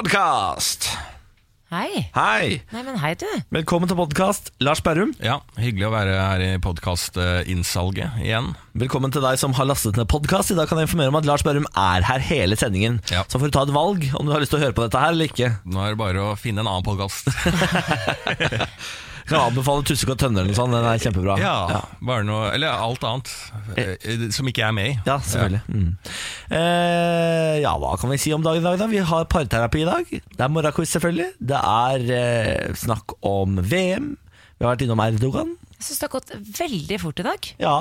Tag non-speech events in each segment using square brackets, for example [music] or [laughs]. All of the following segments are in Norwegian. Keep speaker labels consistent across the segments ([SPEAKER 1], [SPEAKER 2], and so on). [SPEAKER 1] podkast!
[SPEAKER 2] Hei.
[SPEAKER 1] Hei!
[SPEAKER 2] Nei, men hei, du.
[SPEAKER 1] Velkommen til podkast, Lars Berrum.
[SPEAKER 3] Ja, hyggelig å være her i podkastinnsalget igjen.
[SPEAKER 1] Velkommen til deg som har lastet ned podkast. I dag kan jeg informere om at Lars Berrum er her hele sendingen.
[SPEAKER 3] Ja.
[SPEAKER 1] Så får du ta et valg om du har lyst til å høre på dette her eller ikke.
[SPEAKER 3] Nå er det bare å finne en annen podkast.
[SPEAKER 1] Jeg kan anbefale Tussek og Tønner eller noe sånt. Den er kjempebra. Ja.
[SPEAKER 3] Bare noe Eller alt annet eh, som ikke jeg er med i.
[SPEAKER 1] Ja, selvfølgelig. Mm. Eh, ja, hva kan vi si om dagen i dag, da? Vi har parterapi i dag. Det er morgenquiz, selvfølgelig. Det er eh, snakk om VM. Vi har vært innom Erdogan.
[SPEAKER 2] Jeg syns det har gått veldig fort i dag.
[SPEAKER 1] Ja.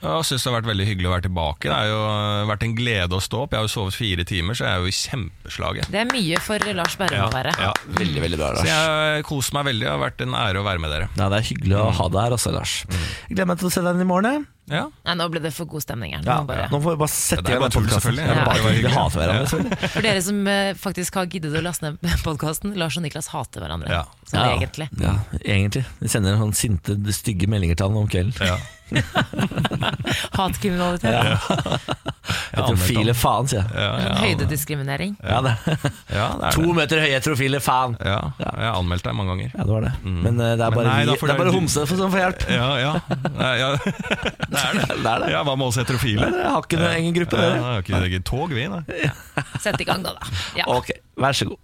[SPEAKER 3] Ja, Jeg syns det har vært veldig hyggelig å være tilbake. Det har jo eh, vært en glede å stå opp. Jeg har jo sovet fire timer, så jeg er jo i kjempeslaget.
[SPEAKER 2] Det er mye for Lars Berrum å være.
[SPEAKER 3] Ja.
[SPEAKER 1] Veldig, veldig bra,
[SPEAKER 3] Så jeg koser meg veldig. Det har vært en ære å være med dere.
[SPEAKER 1] Ja, det er hyggelig å ha deg her også, Lars. Jeg gleder meg til å se deg igjen i morgen. jeg.
[SPEAKER 3] Ja,
[SPEAKER 2] Nei, nå ble det for god stemning her. Nå
[SPEAKER 1] Ja,
[SPEAKER 2] bare.
[SPEAKER 1] Nå får vi bare sette
[SPEAKER 3] Ja, det
[SPEAKER 1] i
[SPEAKER 3] er
[SPEAKER 1] gang
[SPEAKER 3] bare tull,
[SPEAKER 1] podcasten.
[SPEAKER 3] selvfølgelig.
[SPEAKER 1] Ja,
[SPEAKER 2] Ja.
[SPEAKER 1] bare
[SPEAKER 3] Det var
[SPEAKER 1] tull. Vi
[SPEAKER 3] hyggelig.
[SPEAKER 1] hater hverandre.
[SPEAKER 3] Ja.
[SPEAKER 1] selvfølgelig.
[SPEAKER 2] For dere som eh, faktisk har giddet å laste ned [laughs] podkasten, Lars og Niklas hater hverandre.
[SPEAKER 3] Ja.
[SPEAKER 2] Sånn egentlig.
[SPEAKER 1] Ja, egentlig. Vi sender sånn sinte, stygge meldinger til han om kvelden.
[SPEAKER 3] ja.
[SPEAKER 2] Hatkriminalitet.
[SPEAKER 1] Heterofile faen, sier jeg.
[SPEAKER 3] Ja, ja,
[SPEAKER 2] Høydediskriminering.
[SPEAKER 1] Ja, det.
[SPEAKER 3] ja, det er
[SPEAKER 1] To
[SPEAKER 3] det.
[SPEAKER 1] meter høye heterofile faen.
[SPEAKER 3] Ja, jeg har anmeldt deg mange ganger.
[SPEAKER 1] Ja, det var det. Men eh, det er
[SPEAKER 3] Mm. Men
[SPEAKER 1] bare,
[SPEAKER 3] nei, da
[SPEAKER 1] vi-
[SPEAKER 3] får
[SPEAKER 1] det er
[SPEAKER 3] du-
[SPEAKER 1] bare homsene for- som får hjelp.
[SPEAKER 3] Ja, ja. ja, ja. [laughs] Det er det.
[SPEAKER 1] [laughs] Det er det.
[SPEAKER 3] Ja, Hva med oss heterofile?
[SPEAKER 1] Dere har ikke noen egen gruppe,
[SPEAKER 3] Ja,
[SPEAKER 1] dere.
[SPEAKER 3] det er ikke- det er ikke tog, vi, nei.
[SPEAKER 2] Sett i gang, da. da. Ja.
[SPEAKER 1] Ok, vær så god.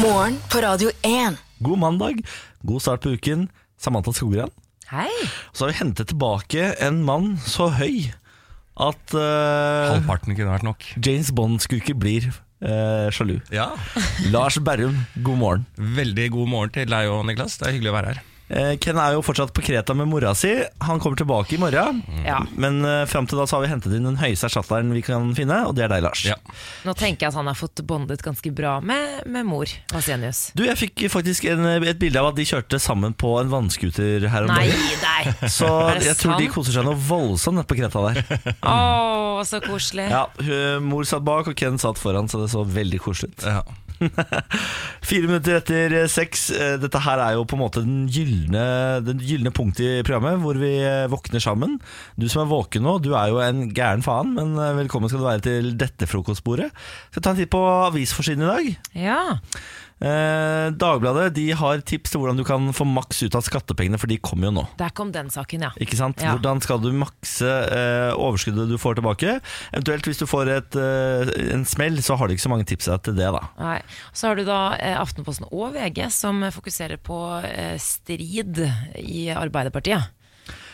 [SPEAKER 4] Morgen på Radio 1.
[SPEAKER 1] God mandag, god start på uken. Samantha Skogran.
[SPEAKER 2] Hei.
[SPEAKER 1] Så har vi hentet tilbake en mann så høy at eh,
[SPEAKER 3] Halvparten kunne vært nok.
[SPEAKER 1] James Bond-skurker blir eh, sjalu.
[SPEAKER 3] Ja,
[SPEAKER 1] Lars Berrum, god morgen.
[SPEAKER 3] Veldig god morgen til deg og Niklas. Det er hyggelig å være her.
[SPEAKER 1] Eh, Ken er jo fortsatt på Kreta med mora si. Han kommer tilbake i morgen.
[SPEAKER 2] Ja.
[SPEAKER 1] Men eh, fram til da så har vi hentet inn den høyeste erstatteren vi kan finne, og det er deg, Lars.
[SPEAKER 3] Ja.
[SPEAKER 2] Nå tenker jeg at han har fått bondet ganske bra med, med mor Vasenius.
[SPEAKER 1] Du, jeg fikk faktisk en, eh, et bilde av at de kjørte sammen på en vannskuter her om
[SPEAKER 2] Nei,
[SPEAKER 1] dagen.
[SPEAKER 3] [laughs]
[SPEAKER 2] nei!
[SPEAKER 1] Så
[SPEAKER 2] Er det
[SPEAKER 1] jeg tror de
[SPEAKER 2] sant?
[SPEAKER 1] koser seg noe voldsomt nede på Kreta
[SPEAKER 2] [laughs]
[SPEAKER 1] der.
[SPEAKER 2] Å, så koselig.
[SPEAKER 1] Ja, hun- Mor satt bak, og Ken satt foran, så det så veldig koselig ut.
[SPEAKER 3] Ja.
[SPEAKER 1] Fire minutter etter eh, seks. Eh, Dette her er jo på en måte den gylne, den gylne punktet i programmet, hvor vi eh, våkner sammen. Du som er våken nå, du er jo en gæren faen, men eh, velkommen skal du være til dette frokostbordet. Skal ta en titt på avisforsiden i dag.
[SPEAKER 2] Ja.
[SPEAKER 1] Eh, Dagbladet de har tips til hvordan du kan få maks ut av skattepengene, for de kommer jo nå.
[SPEAKER 2] Der kom den saken, ja.
[SPEAKER 1] Ikke sant?
[SPEAKER 2] Ja.
[SPEAKER 1] Hvordan skal du makse eh, overskuddet du får tilbake? Eventuelt hvis du får et, eh, en smell, så har de ikke så mange tips til det, da.
[SPEAKER 2] Nei. Så har du da eh, Aftenposten og VG som fokuserer på eh, strid i Arbeiderpartiet.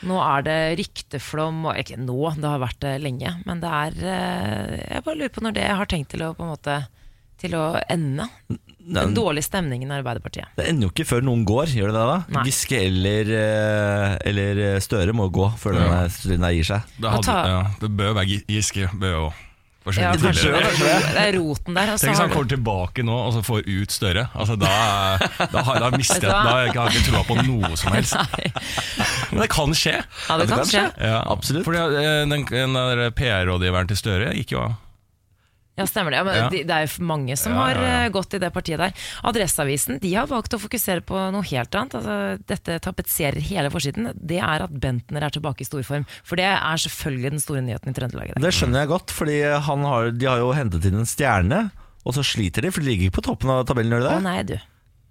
[SPEAKER 2] Nå er det rykteflom, og ikke nå, det har vært det lenge. Men det er eh, Jeg bare lurer på når det har tenkt til å på en måte til å ende. Den dårlige stemningen i Arbeiderpartiet.
[SPEAKER 1] Det ender jo ikke før noen går, gjør det det da?
[SPEAKER 2] Nei.
[SPEAKER 1] Giske eller, eh, eller Støre må gå før
[SPEAKER 3] Ja.
[SPEAKER 1] denne stunden her gir seg.
[SPEAKER 3] Det,
[SPEAKER 2] Og
[SPEAKER 3] hadde,
[SPEAKER 2] ta-
[SPEAKER 3] ja, det bør være Gi- Giske. Bør jo
[SPEAKER 2] Ja,
[SPEAKER 3] forsvinne
[SPEAKER 2] kanskje
[SPEAKER 3] tidligere.
[SPEAKER 2] det er- det er roten der. Og så
[SPEAKER 3] Tenk hvis
[SPEAKER 2] har
[SPEAKER 3] han
[SPEAKER 2] du-
[SPEAKER 3] kommer tilbake nå og så får ut Støre. Altså, da, da, har, da mister jeg
[SPEAKER 2] Vet du
[SPEAKER 3] Da
[SPEAKER 2] hva?
[SPEAKER 3] har jeg ikke trua på noe som helst.
[SPEAKER 2] Nei.
[SPEAKER 3] [laughs] Men det kan skje.
[SPEAKER 2] Ja, det kan skje.
[SPEAKER 3] Ja.
[SPEAKER 1] Absolutt.
[SPEAKER 3] Fordi eh, den, den der PR-rådgiveren til Støre gikk jo av.
[SPEAKER 2] Ja, stemmer det. Ja, men
[SPEAKER 3] Ja.
[SPEAKER 2] de- Det er jo mange som
[SPEAKER 3] Ja, ja, ja.
[SPEAKER 2] har eh, gått i det partiet der. Adresseavisen de har valgt å fokusere på noe helt annet. Altså, dette tapetserer hele forsiden. Det er at Bentner er tilbake i storform. For det er selvfølgelig den store nyheten i Trøndelag i dag.
[SPEAKER 1] Det skjønner jeg godt, fordi han har, de har jo hentet inn en stjerne. Og så sliter de, for de ligger ikke på toppen av tabellen. Gjør
[SPEAKER 2] Å
[SPEAKER 1] de det?
[SPEAKER 2] nei, du.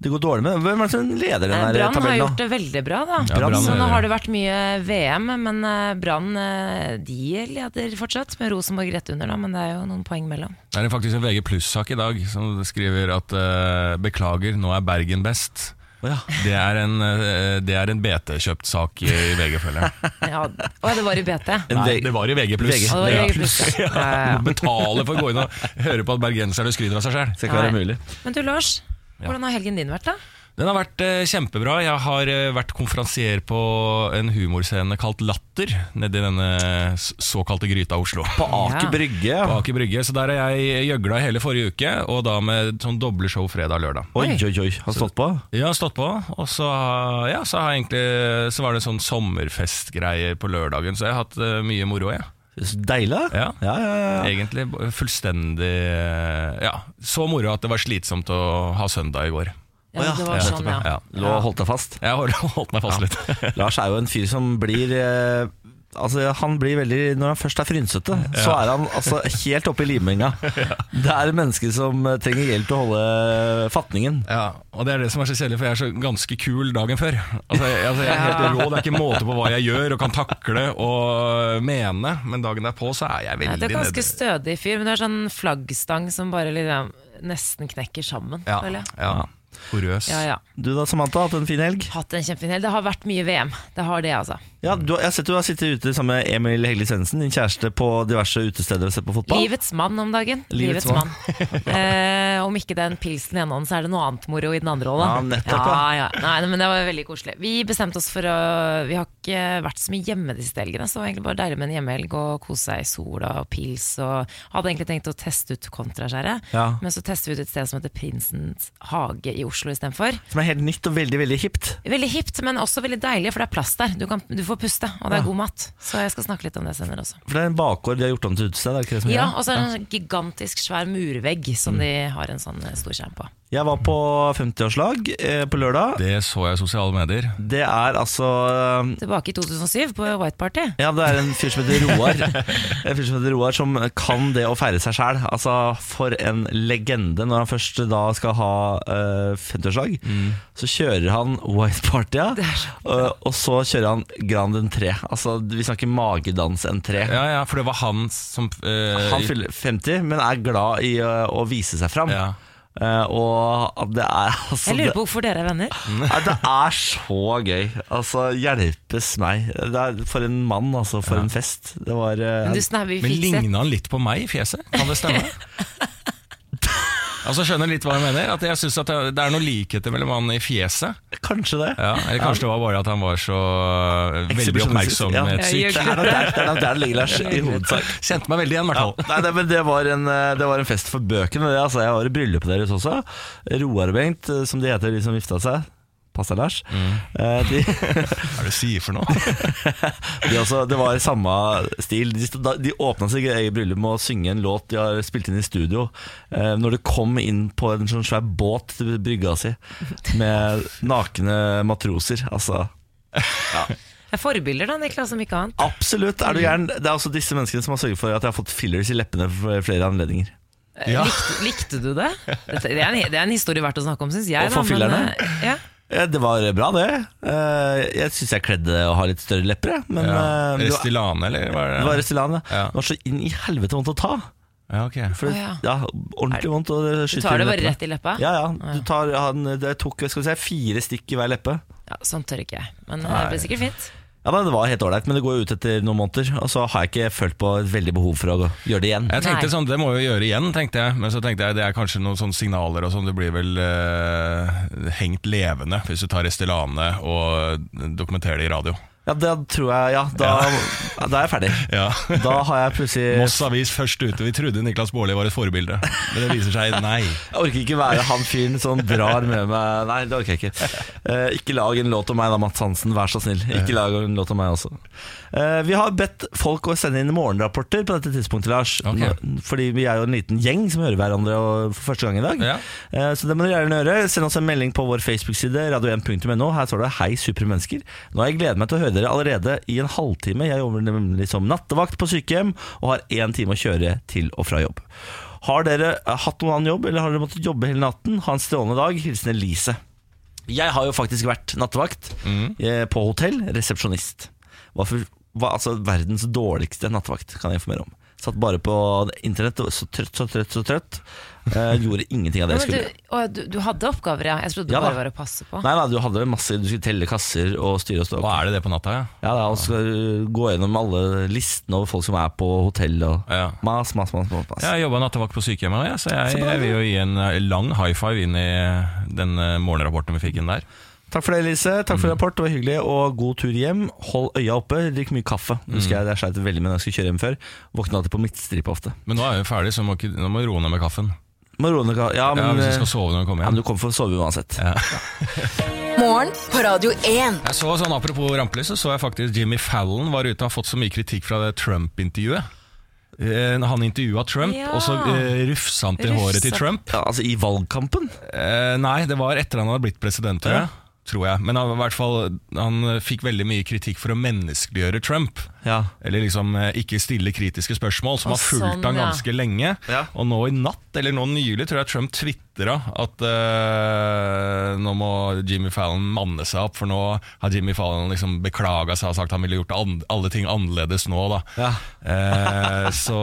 [SPEAKER 1] Det går dårlig med dem. Hvem er det som leder den
[SPEAKER 2] Eh,
[SPEAKER 1] her
[SPEAKER 2] Brann har
[SPEAKER 1] tabellen?
[SPEAKER 2] gjort det veldig bra, da.
[SPEAKER 3] Ja, Brann
[SPEAKER 2] så
[SPEAKER 3] leder.
[SPEAKER 2] nå har det vært mye VM, men eh, Brann eh, de leder fortsatt, med Rosenborg rett under, da, men det er jo noen poeng mellom.
[SPEAKER 3] Det er faktisk en VG Pluss-sak i dag som skriver at eh, beklager, nå er Bergen best.
[SPEAKER 1] Å, ja.
[SPEAKER 3] Det er en, eh, det er en BT-kjøpt sak i VG, føler jeg.
[SPEAKER 2] Ja, å, det var i BT.
[SPEAKER 1] En
[SPEAKER 3] Nei,
[SPEAKER 1] vei-
[SPEAKER 3] det var i VG+.
[SPEAKER 1] VG+.
[SPEAKER 2] Ja, det var i
[SPEAKER 3] Ja.
[SPEAKER 2] VG+, ja. Ja, ja, ja.
[SPEAKER 3] [laughs] Du Betale for å gå inn og høre på at bergenserne skryter av seg sjøl.
[SPEAKER 1] Skal ikke være
[SPEAKER 2] Nei.
[SPEAKER 1] mulig.
[SPEAKER 2] Men du Lars, hvordan har helgen din vært, da?
[SPEAKER 3] Den har vært eh, kjempebra. Jeg har eh, vært konferansier på en humorscene kalt Latter, nedi denne s- såkalte gryta av Oslo.
[SPEAKER 1] På Aker
[SPEAKER 2] Ja.
[SPEAKER 1] Brygge.
[SPEAKER 3] På Aker Brygge. Så der har jeg gjøgla hele forrige uke, og da med sånn doble show fredag og lørdag.
[SPEAKER 1] Oi, oi, oi. Har stått på?
[SPEAKER 3] Jeg har stått på, og så, har- ja, så, har jeg egentlig, så var det sånn sommerfestgreier på lørdagen, så jeg har hatt eh, mye moro, jeg.
[SPEAKER 1] Så Deilig, da.
[SPEAKER 3] Ja.
[SPEAKER 1] Ja, ja, ja.
[SPEAKER 3] Egentlig b- fullstendig eh, Ja, så moro at det var slitsomt å ha søndag i går.
[SPEAKER 2] Ja,
[SPEAKER 1] Å, ja.
[SPEAKER 2] det var sånn, ja.
[SPEAKER 3] Ja. [laughs]
[SPEAKER 1] Lå og holdt deg fast.
[SPEAKER 3] Jeg har holdt meg fast litt. [laughs]
[SPEAKER 1] Lars er jo en fyr som blir eh, Altså, han blir veldig, Når han først er frynsete, så er han altså, helt oppe i liminga. Det er et menneske som eh, trenger hjelp til å holde fatningen.
[SPEAKER 3] Ja, og det er det som er så kjedelig, for jeg er så ganske kul dagen før. Altså, jeg, altså, jeg er helt rå, det er ikke måte på hva jeg gjør og kan takle og mene, men dagen derpå så er jeg
[SPEAKER 2] Nei,
[SPEAKER 3] veldig
[SPEAKER 2] det er ganske
[SPEAKER 3] nede.
[SPEAKER 2] stødig fyr, men det er sånn flaggstang som bare liksom nesten knekker sammen,
[SPEAKER 3] Ja,
[SPEAKER 2] føler jeg.
[SPEAKER 3] ja. Porøs.
[SPEAKER 2] Ja, ja.
[SPEAKER 1] Du da, Samantha, hatt en fin helg?
[SPEAKER 2] Hatt en kjempefin helg. Det har vært mye VM. Det har det, altså.
[SPEAKER 1] Ja, du, Jeg har sett du har sittet ute sammen med Emil Hegli Svendsen, din kjæreste, på diverse utesteder og sett på fotball.
[SPEAKER 2] Livets mann om dagen. Livets,
[SPEAKER 1] Livets
[SPEAKER 2] mann. eh, om ikke den pilsen i den hånden, så er det noe annet moro i den andre
[SPEAKER 1] Ja,
[SPEAKER 2] hånden.
[SPEAKER 1] nettopp,
[SPEAKER 2] ja,
[SPEAKER 1] ja.
[SPEAKER 2] ja. Nei, nei, men det var veldig koselig. Vi bestemte oss for å Vi har ikke vært så mye hjemme de siste helgene, så det var egentlig bare deilig med en hjemmehelg og kose seg i sola og pils. Og hadde egentlig tenkt å teste ut Kontraskjæret,
[SPEAKER 1] Ja.
[SPEAKER 2] men så tester vi ut et sted som heter Prinsens hage i Oslo istedenfor.
[SPEAKER 1] Som er helt nytt og veldig veldig hipt.
[SPEAKER 2] Veldig hipt, men også veldig deilig, for det er plass der. Du, kan, du får puste, og det er god mat. Så jeg skal snakke litt om det senere også.
[SPEAKER 1] For det er en bakgård de har gjort om til utested. er det ikke det som
[SPEAKER 2] Ja, altså-
[SPEAKER 1] gjør det?
[SPEAKER 2] og så er det en sånn gigantisk svær murvegg som
[SPEAKER 1] Mm.
[SPEAKER 2] de har en sånn eh, stor skjerm på.
[SPEAKER 1] Jeg var på 50-årslag eh, på lørdag.
[SPEAKER 3] Det så jeg i sosiale medier.
[SPEAKER 1] Det er altså eh,
[SPEAKER 2] Tilbake i 2007 på White Party.
[SPEAKER 1] ja, det er en fyr som heter Roar En fyr som heter Roar som kan det å feire seg sjæl. Altså, for en legende. Når han først da skal ha eh, 50-årslag, så kjører han White Party, ja. Eh, og så kjører han Grand Entré. Altså, vi snakker magedans-entré.
[SPEAKER 3] Ja, ja, for det var han som eh,
[SPEAKER 1] Han fyller 50, men er glad i eh, å vise seg fram.
[SPEAKER 3] Ja.
[SPEAKER 1] Eh, og at det er altså
[SPEAKER 2] Jeg lurer
[SPEAKER 1] det-
[SPEAKER 2] på hvorfor dere er venner.
[SPEAKER 1] Nei, det er så gøy. Altså, hjelpes meg. Det er for en mann, altså. For en fest. Det var eh,
[SPEAKER 2] Men du snab, vi
[SPEAKER 3] Men
[SPEAKER 2] fikk sett
[SPEAKER 3] ligna han litt på meg i fjeset? Kan det
[SPEAKER 2] [laughs]
[SPEAKER 3] stemme? Altså Skjønner litt hva jeg mener? At jeg synes at det det er noen likheter mellom han i fjeset.
[SPEAKER 1] Kanskje det.
[SPEAKER 3] Ja, eller kanskje det var bare at han var så eh, veldig
[SPEAKER 1] Exhibitionist- ja.
[SPEAKER 3] oppmerksomhetssyk.
[SPEAKER 2] Ja,
[SPEAKER 3] [laughs]
[SPEAKER 1] Det er nok der det, er nok der det ligger, Lars. I hovedsak.
[SPEAKER 3] Kjente meg veldig igjen, i hvert fall.
[SPEAKER 1] Nei, nei, men det var, en, eh, det var en fest for bøkene. Det, altså. Jeg var i bryllupet deres også. Roar og Bengt, eh, som de heter, de som gifta seg. Pass deg, Lars. Eh, De, [laughs]
[SPEAKER 3] Hva er det du sier for noe?
[SPEAKER 1] de også, det var samme stil. De, stod- da- de åpna sitt eget bryllup med å synge en låt de har spilt inn i studio. Eh, når de kom inn på en sånn svær båt til brygga si med nakne matroser. Altså
[SPEAKER 2] Det er forbilder, da, Niklas, om ikke annet.
[SPEAKER 1] Absolutt, er du gæren. Det er også disse menneskene som har sørget for at jeg har fått fillers i leppene ved flere anledninger.
[SPEAKER 2] Eh, Likte, likte du det? Dette, det, er en, det er en historie verdt å snakke om, syns jeg.
[SPEAKER 1] Og for
[SPEAKER 2] men,
[SPEAKER 1] fillerne.
[SPEAKER 2] eh, ja.
[SPEAKER 1] Eh, Det var bra, det. Eh, Jeg syns jeg kledde å ha litt større lepper, jeg. [laughs] Men
[SPEAKER 3] Ja.
[SPEAKER 1] eh, det var-
[SPEAKER 3] Restylane, eller hva er
[SPEAKER 1] det var
[SPEAKER 3] det?
[SPEAKER 1] Restylane.
[SPEAKER 3] Ja.
[SPEAKER 1] Det var så inn i helvete vondt å ta.
[SPEAKER 3] Ja, ok.
[SPEAKER 1] For
[SPEAKER 2] Å,
[SPEAKER 1] det,
[SPEAKER 2] ja.
[SPEAKER 1] ja, ordentlig vondt. Og det
[SPEAKER 2] Du
[SPEAKER 1] skyter
[SPEAKER 2] tar det
[SPEAKER 1] inn i
[SPEAKER 2] bare
[SPEAKER 1] leppene.
[SPEAKER 2] rett i leppa?
[SPEAKER 1] Ja, ja. Du tar, han, det tok skal vi si, fire stikk i hver leppe.
[SPEAKER 2] Ja, sånn tør ikke jeg. Men eh, det blir sikkert fint.
[SPEAKER 1] Ja, da, Det var helt ålreit, men det går jo ut etter noen måneder. Og så har jeg ikke følt på et veldig behov for å gå- gjøre det igjen.
[SPEAKER 3] Jeg
[SPEAKER 2] Nei.
[SPEAKER 3] tenkte sånn, Det må vi gjøre igjen, tenkte jeg. Men så tenkte jeg det er kanskje noen sånne signaler og sånn. Du blir vel eh, hengt levende hvis du tar Restylane og eh, dokumenterer det i radio.
[SPEAKER 1] Ja, Da tror jeg Ja, da, ja, da er jeg ferdig.
[SPEAKER 3] Ja.
[SPEAKER 1] Da har jeg plutselig
[SPEAKER 3] Moss Avis først ute. Vi trodde Niklas Baarli var et forbilde, men det viser seg nei.
[SPEAKER 1] Jeg orker ikke være han fyren som drar med meg Nei, det orker jeg ikke. Eh, ikke lag en låt om meg da, Mats Hansen, vær så snill. Ikke lag en låt om meg også. Eh, vi har bedt folk å sende inn morgenrapporter på dette tidspunktet, Lars.
[SPEAKER 3] Ok.
[SPEAKER 1] Nå- Fordi vi er jo en liten gjeng som hører hverandre og for første gang i dag.
[SPEAKER 3] Ja.
[SPEAKER 1] Eh, så det må dere gjerne gjøre. Send oss en melding på vår Facebook-side, radio1.no. Her står det 'Hei, supermennesker'. Nå har jeg gledet meg til å høre dere allerede i en halvtime. Jeg jobber nemlig som nattevakt på sykehjem og har én time å kjøre til og fra jobb. Har dere eh, hatt noen annen jobb, eller har dere måttet jobbe hele natten? Ha en strålende dag. Hilsen Elise. Jeg har jo faktisk vært nattevakt eh, på hotell, resepsjonist. Var, for, var altså verdens dårligste nattevakt, kan jeg informere om. Satt bare på internett, og så trøtt, så trøtt, så trøtt. Eh, gjorde ingenting av
[SPEAKER 2] Ja,
[SPEAKER 1] det jeg
[SPEAKER 2] men du,
[SPEAKER 1] skulle.
[SPEAKER 2] å, du, du hadde oppgaver, ja. Jeg trodde du
[SPEAKER 1] Ja, da.
[SPEAKER 2] bare var å passe på.
[SPEAKER 1] Nei, nei, du hadde masse Du skulle telle kasser og styre og stå
[SPEAKER 3] [laughs] Hva er det det på natta?
[SPEAKER 1] Ja, da, og skal du gå gjennom alle listene over folk som er på hotell og
[SPEAKER 3] Ja.
[SPEAKER 1] Mas, mas, mas, mas, mas.
[SPEAKER 3] Jeg har jobba nattevakt på sykehjemmet, også, jeg, så jeg, jeg vil jo gi en eh, lang high five inn i den eh, morgenrapporten vi fikk inn der.
[SPEAKER 1] Takk for det, Elise, takk for rapport, det var hyggelig Og god tur hjem, hold øya oppe, drikk mye kaffe Husker jeg, det sleit veldig med når jeg skulle kjøre hjem før Våkna alltid på midtstripe ofte
[SPEAKER 3] Men nå er vi ferdig, så må ikke, nå må vi roe ned med kaffen.
[SPEAKER 1] Marone, ka- ja,
[SPEAKER 3] Ja,
[SPEAKER 1] men,
[SPEAKER 3] hvis
[SPEAKER 1] eh,
[SPEAKER 3] du skal sove når du kommer
[SPEAKER 1] ja,
[SPEAKER 3] hjem.
[SPEAKER 1] men du kommer for å sove uansett
[SPEAKER 4] Morgen på Radio 1.
[SPEAKER 3] Jeg så sånn, Apropos rampelys, så så jeg faktisk Jimmy Fallon var ute og har fått så mye kritikk fra det Trump-intervjuet. Eh, når Han intervjua Trump,
[SPEAKER 2] Ja.
[SPEAKER 3] og så eh, rufsa han til
[SPEAKER 2] Rufsa.
[SPEAKER 3] håret til Trump.
[SPEAKER 1] ja, Altså i valgkampen
[SPEAKER 3] Eh, nei, det var etter han hadde blitt president, tror jeg. Tror jeg. Men han, var i hvert fall, han eh, fikk veldig mye kritikk for å menneskeliggjøre Trump.
[SPEAKER 1] Ja.
[SPEAKER 3] Eller liksom eh, ikke stille kritiske spørsmål, som
[SPEAKER 2] Å,
[SPEAKER 3] har fulgt
[SPEAKER 2] sånn,
[SPEAKER 3] han
[SPEAKER 2] ja.
[SPEAKER 3] ganske lenge.
[SPEAKER 1] Ja.
[SPEAKER 3] Og nå i natt, eller nå nylig, tror jeg Trump tvitra at eh, nå må Jimmy Fallon manne seg opp, for nå har Jimmy Fallon liksom beklaga seg og sagt han ville gjort an alle ting annerledes nå, da.
[SPEAKER 1] Ja.
[SPEAKER 3] Eh, så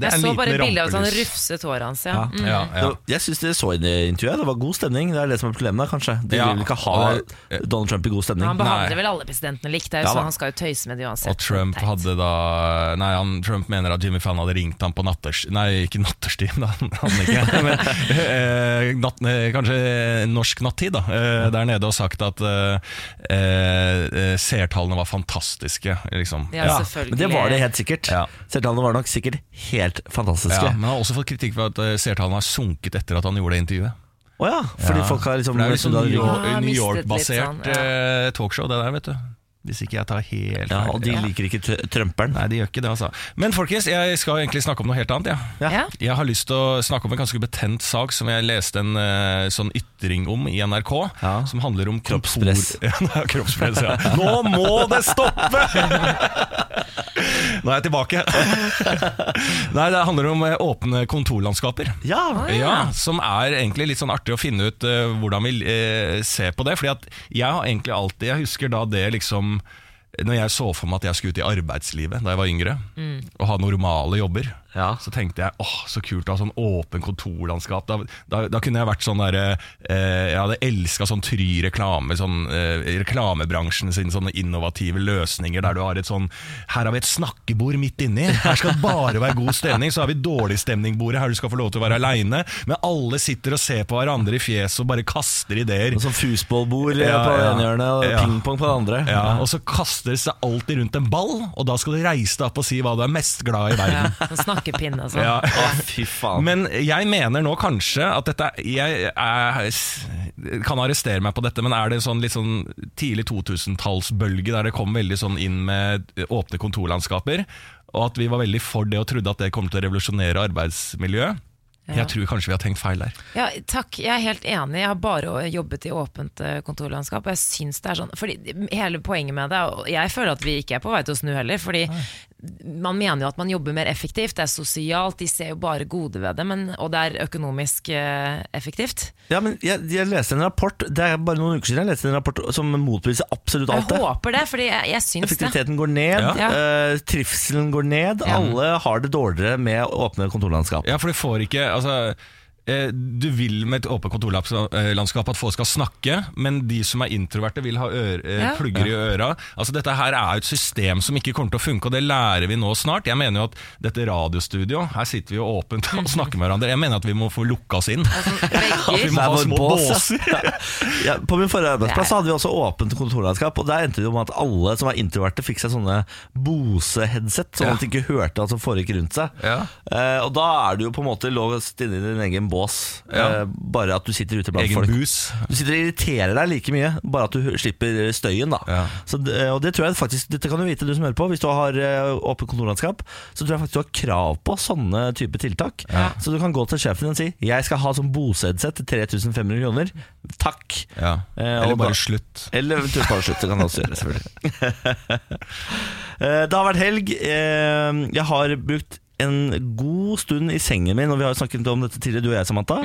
[SPEAKER 3] det er
[SPEAKER 2] Jeg
[SPEAKER 3] en
[SPEAKER 2] så
[SPEAKER 3] liten
[SPEAKER 2] bare et bilde av sånn
[SPEAKER 3] rampelys.
[SPEAKER 2] rufset håret hans. Ja. Mm.
[SPEAKER 3] Ja, ja.
[SPEAKER 1] Det var- Jeg syns dere så inn i intervjuet. Det var god stemning. Det er det som er problemet, kanskje. De
[SPEAKER 3] Ja,
[SPEAKER 1] vil ikke ha
[SPEAKER 3] og det-
[SPEAKER 1] Donald Trump i god stemning.
[SPEAKER 2] Han
[SPEAKER 3] Nei.
[SPEAKER 2] behandler vel alle presidentene likt, det er jo
[SPEAKER 1] Ja, da.
[SPEAKER 2] sånn, han skal jo tøyse med det uansett.
[SPEAKER 3] Og Trump
[SPEAKER 2] Teit.
[SPEAKER 3] hadde da Nei, han, Trump mener at Jimmy Fallon hadde ringt ham på natters... Nei, ikke natterstid, da. [laughs] Han ikke, men, eh, natt, eh, kanskje norsk nattid, da. Eh, der nede og sagt at eh, eh, seertallene var fantastiske, liksom.
[SPEAKER 2] Ja, selvfølgelig.
[SPEAKER 1] Men det var det helt sikkert.
[SPEAKER 3] Ja.
[SPEAKER 1] Seertallene var nok sikkert helt
[SPEAKER 3] Ja,
[SPEAKER 1] fantastiske.
[SPEAKER 3] men han har også fått kritikk for at eh, seertallene har sunket etter at han gjorde det intervjuet.
[SPEAKER 1] Å ja, fordi
[SPEAKER 3] Ja.
[SPEAKER 1] folk har liksom
[SPEAKER 3] For det er jo liksom New
[SPEAKER 2] Ja,
[SPEAKER 3] York-
[SPEAKER 2] jeg
[SPEAKER 3] New
[SPEAKER 2] mistet litt
[SPEAKER 3] York-basert
[SPEAKER 2] sånn, ja.
[SPEAKER 3] eh, talkshow, det der, vet du. Hvis ikke jeg tar helt
[SPEAKER 1] ja,
[SPEAKER 3] feil.
[SPEAKER 1] Og de liker ikke tr- trumperen.
[SPEAKER 3] Nei, de gjør ikke det, altså. Men folkens, jeg skal egentlig snakke om noe helt annet, jeg. Ja.
[SPEAKER 2] Ja.
[SPEAKER 3] Jeg har lyst til å snakke om en ganske betent sak som jeg leste en eh, sånn ytring om i NRK.
[SPEAKER 1] Ja.
[SPEAKER 3] Som handler om kontor-
[SPEAKER 1] Kroppspress.
[SPEAKER 3] [laughs] Ja, kroppspress, ja. Nå må det
[SPEAKER 1] [laughs]
[SPEAKER 3] stoppe! Nå er jeg tilbake. [laughs] Nei, det handler om eh, åpne kontorlandskaper.
[SPEAKER 1] Ja,
[SPEAKER 2] ja.
[SPEAKER 3] Ja, som er egentlig litt sånn artig å finne ut eh, hvordan vi eh, ser på det. Fordi at jeg har egentlig alltid Jeg husker da det liksom Når jeg så for meg at jeg skulle ut i arbeidslivet da jeg var yngre, og ha normale jobber,
[SPEAKER 1] Ja.
[SPEAKER 3] så tenkte jeg åh, så kult å ha sånn åpen kontorlandskap. Da, da, da kunne jeg vært sånn derre eh, Jeg hadde elska sånn try reklame, sånn, eh, reklamebransjen sin sånne innovative løsninger der du har et sånn Her har vi et snakkebord midt inni, her skal det bare være god stemning. Så har vi dårlig stemning-bordet, her du skal få lov til å være aleine. Men alle sitter og ser på hverandre i fjeset og bare kaster ideer.
[SPEAKER 1] Og sånn fusballbord eh,
[SPEAKER 3] Ja,
[SPEAKER 1] på det
[SPEAKER 3] ja.
[SPEAKER 1] ene hjørnet og
[SPEAKER 3] Ja.
[SPEAKER 1] pingpong på det andre.
[SPEAKER 3] Ja, og så kaster det seg alltid rundt en ball, og da skal du reise deg opp og si hva du er mest glad i i
[SPEAKER 2] Ja,
[SPEAKER 3] verden.
[SPEAKER 2] [laughs] sånn snakkepinne og sånn.
[SPEAKER 3] Ja.
[SPEAKER 1] Å, fy faen.
[SPEAKER 3] Men jeg mener nå kanskje at dette Jeg er, kan arrestere meg på dette, men er det en sånn litt sånn tidlig 2000-tallsbølge der det kom veldig sånn inn med åpne kontorlandskaper? Og at vi var veldig for det og trodde at det kom til å revolusjonere arbeidsmiljøet? Jeg tror kanskje vi har tenkt feil der.
[SPEAKER 2] Ja, takk. Jeg er helt enig. Jeg har bare jobbet i åpent eh, kontorlandskap. Og jeg synes det er sånn Fordi Hele poenget med det og Jeg føler at vi ikke er på vei til å snu heller. Fordi man mener jo at man jobber mer effektivt. Det er sosialt, de ser jo bare gode ved det. Men, og det er økonomisk eh, effektivt.
[SPEAKER 1] Ja, men jeg, jeg leste en rapport Det er bare noen uker siden jeg leste en rapport som motbeviser absolutt
[SPEAKER 2] Jeg
[SPEAKER 1] alt det.
[SPEAKER 2] håper det, fordi jeg, jeg syns det.
[SPEAKER 1] Effektiviteten går ned,
[SPEAKER 3] Ja.
[SPEAKER 1] eh, trivselen går ned. Alle har det dårligere med åpne kontorlandskap.
[SPEAKER 3] Ja, for du får ikke altså, eh, Du vil med et åpent kontorlandskap at folk skal snakke, men de som er introverte, vil ha øre, eh,
[SPEAKER 2] Ja.
[SPEAKER 3] plugger i øra. Altså, dette her er jo et system som ikke kommer til å funke, og det lærer vi nå snart. Jeg mener jo at dette radiostudio, her sitter vi jo åpent og snakker med hverandre. Jeg mener at vi må få lukka oss inn.
[SPEAKER 2] Altså,
[SPEAKER 3] [laughs] Vi må
[SPEAKER 2] Vegger.
[SPEAKER 1] [laughs] Det er
[SPEAKER 3] ha
[SPEAKER 1] vår
[SPEAKER 3] små
[SPEAKER 1] bås, [laughs] ja.
[SPEAKER 3] båser.
[SPEAKER 1] Ja, på min forrige arbeidsplass
[SPEAKER 2] Det er-
[SPEAKER 1] hadde vi også åpent kontorlandskap, og der endte det jo med at alle som var introverte, fikk seg sånne Bose-headset, sånn
[SPEAKER 3] Ja.
[SPEAKER 1] at de ikke hørte hva som foregikk rundt seg.
[SPEAKER 3] Ja.
[SPEAKER 1] Eh, og da er du jo på en måte låst inne i din egen bås,
[SPEAKER 3] Ja.
[SPEAKER 1] eh, bare at du sitter ute blant
[SPEAKER 3] Egen
[SPEAKER 1] folk.
[SPEAKER 3] bus.
[SPEAKER 1] Du sitter og irriterer deg like mye, bare at du hø- slipper støyen. da
[SPEAKER 3] Ja.
[SPEAKER 1] så, det- Og det tror jeg faktisk Dette kan du vite, du som hører på. Hvis du har eh, åpent kontorlandskap, så tror jeg faktisk du har krav på sånne type tiltak. Så du kan gå til sjefen din og si 'Jeg skal ha sånn Bose-headset til 3500 kroner'. Takk.
[SPEAKER 3] Ja.
[SPEAKER 1] Eh,
[SPEAKER 3] Eller
[SPEAKER 1] og da-
[SPEAKER 3] bare slutt.
[SPEAKER 1] Eller eventuelt bare slutt. Det kan du også gjøre, selvfølgelig. Eh, det har vært helg. Eh, Jeg har brukt en god stund i sengen min, og vi har jo snakket om dette tidligere, du og jeg, Samantha,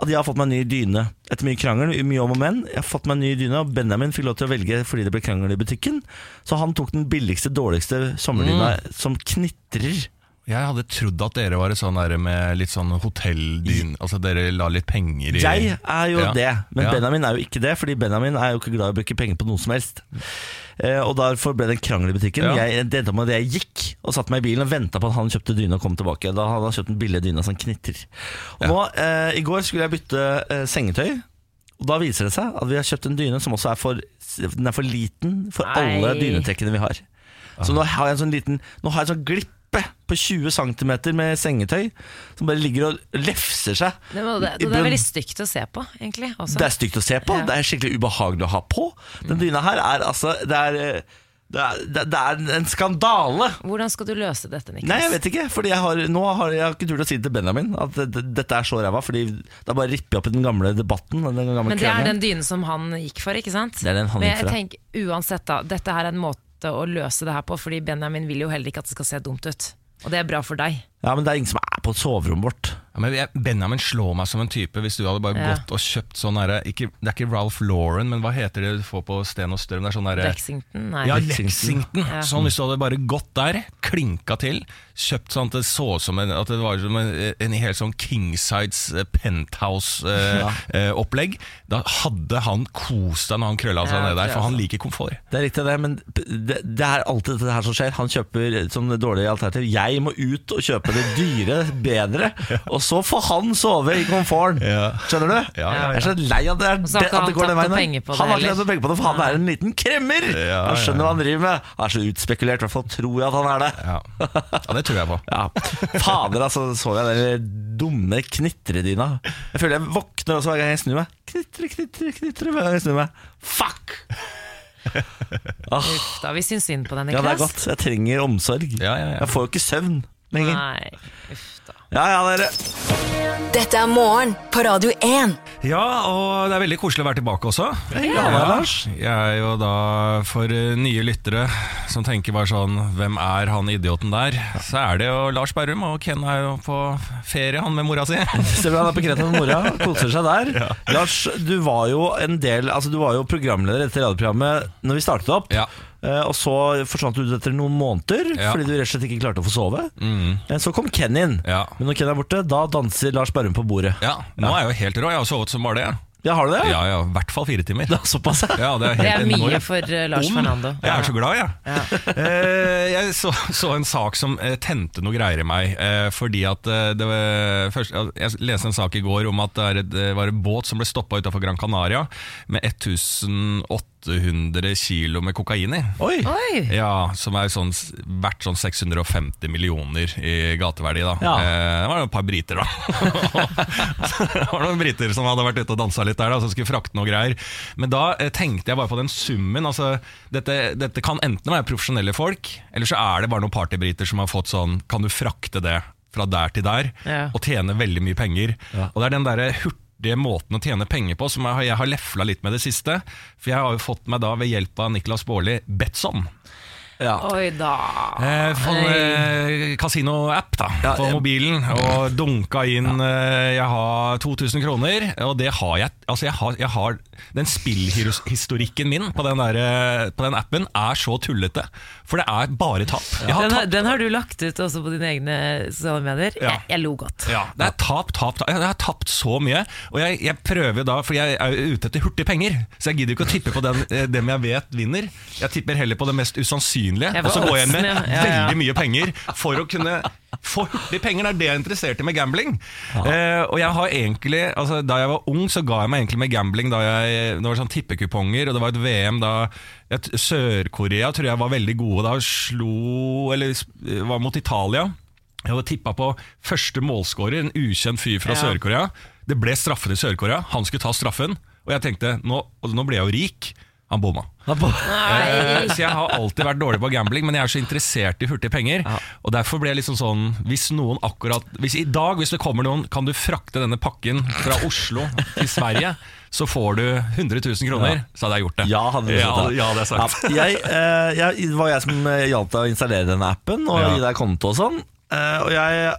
[SPEAKER 1] at jeg har fått meg en ny dyne. Etter mye krangel, mye om og men. Jeg har fått meg en ny dyne, og Benjamin fikk lov til å velge fordi det ble krangel i butikken. Så han tok den billigste, dårligste sommerdyna som knitrer.
[SPEAKER 3] Jeg hadde trodd at dere var et sånn der med litt sånn hotelldyn Altså dere la litt penger i
[SPEAKER 1] Jeg er jo
[SPEAKER 3] Ja.
[SPEAKER 1] det, men
[SPEAKER 3] Ja.
[SPEAKER 1] Benjamin er jo ikke det, fordi Benjamin er jo ikke glad i å bruke penger på noe som helst. Eh, og derfor ble det en krangel i butikken.
[SPEAKER 3] Ja.
[SPEAKER 1] Jeg, det endte med at jeg gikk og satte meg i bilen og venta på at han kjøpte dyne og kom tilbake. Da hadde han kjøpt den billige dyna som knitrer. Og nå, eh, I går skulle jeg bytte eh, sengetøy. Og Da viser det seg at vi har kjøpt en dyne som også er for, den er for liten for
[SPEAKER 2] Nei.
[SPEAKER 1] alle dynetrekkene vi har. Så nå har jeg en sånn liten Nå har jeg en sånn glippe på 20 cm med sengetøy som bare ligger og lefser seg.
[SPEAKER 2] Det, må, det,
[SPEAKER 1] i
[SPEAKER 2] det er
[SPEAKER 1] bunnen.
[SPEAKER 2] veldig stygt å se på, egentlig. altså. Også.
[SPEAKER 1] Det er stygt å se på,
[SPEAKER 2] Ja.
[SPEAKER 1] det er skikkelig ubehagelig å ha på. Den dyna her er altså Det er, eh, det er, det er- det er en skandale!
[SPEAKER 2] Hvordan skal du løse dette, Niklas?
[SPEAKER 1] Nei, jeg vet ikke. Fordi jeg har, nå har jeg har ikke turt å si det til Benjamin at det- det- dette er så ræva. Fordi det er bare å rippe opp i den gamle debatten. Den gamle
[SPEAKER 2] Men det er
[SPEAKER 1] krangelen.
[SPEAKER 2] den dynen som han gikk for, ikke sant?
[SPEAKER 1] Det er den han
[SPEAKER 2] Men
[SPEAKER 1] gikk for,
[SPEAKER 2] jeg tenker uansett da, dette her er en måte måte å løse det her på, fordi Benjamin vil jo heller ikke at det skal se dumt ut. Og det er bra for deg.
[SPEAKER 1] Ja, men det er ingen som er på soverommet vårt.
[SPEAKER 3] Ja, men jeg, Benjamin slår meg som en type hvis du hadde bare
[SPEAKER 2] Ja.
[SPEAKER 3] gått og kjøpt sånn derre ikke- Det er ikke Ralph Lauren, men hva heter det du får på Sten og Strøm? Det er sånn derre
[SPEAKER 2] Lexington, nei.
[SPEAKER 3] ja,
[SPEAKER 1] Lexington.
[SPEAKER 3] Lexington.
[SPEAKER 2] Ja.
[SPEAKER 3] Sånn Hvis du hadde bare gått der, klinka til, kjøpt sånn at det så ut som en, at det var som en, en helt sånn Kingsides eh, penthouse-opplegg, eh, da hadde han kost deg når han krølla seg
[SPEAKER 2] Ja,
[SPEAKER 3] ned der,
[SPEAKER 2] det
[SPEAKER 3] for han liker komfort.
[SPEAKER 1] Det er riktig det, men det, det er alltid dette her som skjer. Han kjøper sånne dårlige alternativer. Jeg må ut og kjøpe det dyre,
[SPEAKER 3] [laughs]
[SPEAKER 1] bedre, og så får han sove i komforten.
[SPEAKER 3] Ja.
[SPEAKER 1] Skjønner du?
[SPEAKER 3] Ja, ja, ja.
[SPEAKER 1] Jeg er så lei av det, er
[SPEAKER 2] så har
[SPEAKER 1] det,
[SPEAKER 2] ikke
[SPEAKER 1] at det
[SPEAKER 2] han
[SPEAKER 1] går den
[SPEAKER 2] tapt noe
[SPEAKER 1] veien. der.
[SPEAKER 2] penger på det
[SPEAKER 1] han har ikke
[SPEAKER 2] heller.
[SPEAKER 1] tatt noe penger på det, for han er en liten kremmer!
[SPEAKER 3] Ja,
[SPEAKER 1] Han
[SPEAKER 3] ja,
[SPEAKER 1] skjønner hva
[SPEAKER 3] ja.
[SPEAKER 1] han driver med. Han er så utspekulert, i hvert fall tror jeg at han er det.
[SPEAKER 3] Ja. ja, det tror jeg på.
[SPEAKER 1] Ja, Fader, altså, så jeg den dumme knitredyna. Jeg føler jeg våkner også hver gang jeg snur meg. Knitre, knitre, knitre hver gang jeg snur meg. Fuck! Åh,
[SPEAKER 2] Uff da, vi syns synd på deg,
[SPEAKER 1] ja,
[SPEAKER 2] Niklas.
[SPEAKER 1] det er godt. Jeg trenger omsorg.
[SPEAKER 3] Ja, ja, ja.
[SPEAKER 1] Jeg får jo ikke søvn lenger.
[SPEAKER 2] Nei, uff
[SPEAKER 1] [laughs]
[SPEAKER 2] da.
[SPEAKER 1] Ja, ja, dere.
[SPEAKER 4] Dette er morgen på Radio 1.
[SPEAKER 3] Ja, og det er veldig koselig å være tilbake også.
[SPEAKER 1] hyggelig å ha deg, Lars.
[SPEAKER 3] Jeg er jo da for eh, nye lyttere som tenker bare sånn Hvem er han idioten der? Så er det jo Lars Berrum, og Ken er jo på ferie, han med mora si.
[SPEAKER 1] Ser vi han er på Kreta med mora, koser seg der. Lars, du var jo en del Altså, du var jo programleder i dette radioprogrammet Når vi startet opp.
[SPEAKER 3] [laughs] Ja.
[SPEAKER 1] Eh, Og så forsvant du ut etter noen måneder
[SPEAKER 3] Ja. Mm.
[SPEAKER 1] fordi du rett og slett ikke klarte å få sove. Men så kom Ken inn.
[SPEAKER 3] Ja.
[SPEAKER 1] Men når Ken er borte, da danser Lars Berrum på bordet.
[SPEAKER 3] Ja, nå er jeg jo helt rå. Jeg har sovet som bare det.
[SPEAKER 1] Ja, har du det?
[SPEAKER 3] Ja, ja, i hvert fall fire timer.
[SPEAKER 1] Ja, såpass, ja.
[SPEAKER 3] Ja, det er,
[SPEAKER 2] Det
[SPEAKER 3] helt
[SPEAKER 2] er mye
[SPEAKER 3] enormt.
[SPEAKER 2] for eh, Lars
[SPEAKER 3] Om.
[SPEAKER 2] Fernando.
[SPEAKER 3] Jeg er så glad, jeg. [laughs] Eh, jeg så, så en sak som eh, tente noe greier i meg. eh, fordi at eh, det var først, ja, Jeg leste en sak i går om at det, er, et- det var en båt som ble stoppa utafor Gran Canaria med 1800 kilo med kokain i.
[SPEAKER 1] Oi!
[SPEAKER 2] Oi!
[SPEAKER 3] Ja, som er sånn, verdt sånn 650 millioner i gateverdi, da.
[SPEAKER 1] Ja.
[SPEAKER 3] Eh, det var et par briter, da. [laughs] det var noen briter som hadde vært ute og dansa litt der, da, som skulle frakte noe greier. Men da eh, tenkte jeg bare på den summen. Altså, dette, dette kan enten være profesjonelle folk, eller så er det bare noen partybriter som har fått sånn Kan du frakte det fra der til der,
[SPEAKER 2] Ja.
[SPEAKER 3] og tjene veldig mye penger? Og det er den derre hurtige måten å tjene penger på som jeg, jeg har lefla litt med det siste. For jeg har jo fått meg da, ved hjelp av Niklas Baarli, Betson.
[SPEAKER 1] Ja.
[SPEAKER 2] Oi da.
[SPEAKER 3] Eh, for
[SPEAKER 2] Nei.
[SPEAKER 3] eh, Kasino-app da
[SPEAKER 1] Ja,
[SPEAKER 3] på
[SPEAKER 1] eh,
[SPEAKER 3] mobilen, og dunka inn eh, Jeg har 2000 kroner, og det har jeg. Altså jeg har, jeg har Den spillhistorikken min på den, der, eh, på den appen er så tullete, for det er bare tap. Jeg har
[SPEAKER 2] Den, har-
[SPEAKER 3] tapt,
[SPEAKER 2] den har du lagt ut også på dine egne sosiale medier.
[SPEAKER 3] Ja.
[SPEAKER 2] Jeg, jeg lo godt.
[SPEAKER 3] ja, det er tap, tap, tap. Jeg har tapt så mye, og jeg, jeg prøver da, for jeg er jo ute etter hurtige penger, så jeg gidder ikke å tippe på den, eh, dem jeg vet vinner. Jeg tipper heller på det mest usannsynlige,
[SPEAKER 2] Jeg
[SPEAKER 3] og så
[SPEAKER 2] får
[SPEAKER 3] går jeg med
[SPEAKER 2] oddsen, ja. Ja, ja.
[SPEAKER 3] veldig mye penger for å kunne få hurtig penger. Det er det jeg er interessert i med gambling. Eh, og jeg har egentlig, altså, Da jeg var ung, så ga jeg meg egentlig med gambling. Da jeg, det var sånn tippekuponger, og det var et VM da jeg t- Sør-Korea tror jeg var veldig gode da. Slo Eller s- var mot Italia. Jeg hadde tippa på første målskårer, en ukjent fyr fra
[SPEAKER 2] Ja.
[SPEAKER 3] Sør-Korea. Det ble straffer i Sør-Korea. Han skulle ta straffen. Og jeg tenkte nå, altså, nå ble jeg jo rik. Han bomma.
[SPEAKER 1] Ja, på-
[SPEAKER 3] Eh, Så jeg har alltid vært dårlig på gambling, men jeg er så interessert i hurtige penger. Og derfor ble jeg liksom sånn Hvis noen akkurat Hvis i dag, hvis det kommer noen, kan du frakte denne pakken fra Oslo til Sverige, så får du 100 000 kroner, så hadde jeg gjort det.
[SPEAKER 1] Ja, hadde du
[SPEAKER 3] ja,
[SPEAKER 1] sett
[SPEAKER 3] ja, det er sant.
[SPEAKER 1] Ja, jeg, eh, jeg, det var jeg som eh, hjalp deg å installere denne appen og
[SPEAKER 3] Ja.
[SPEAKER 1] gi deg konto og sånn. Eh, og jeg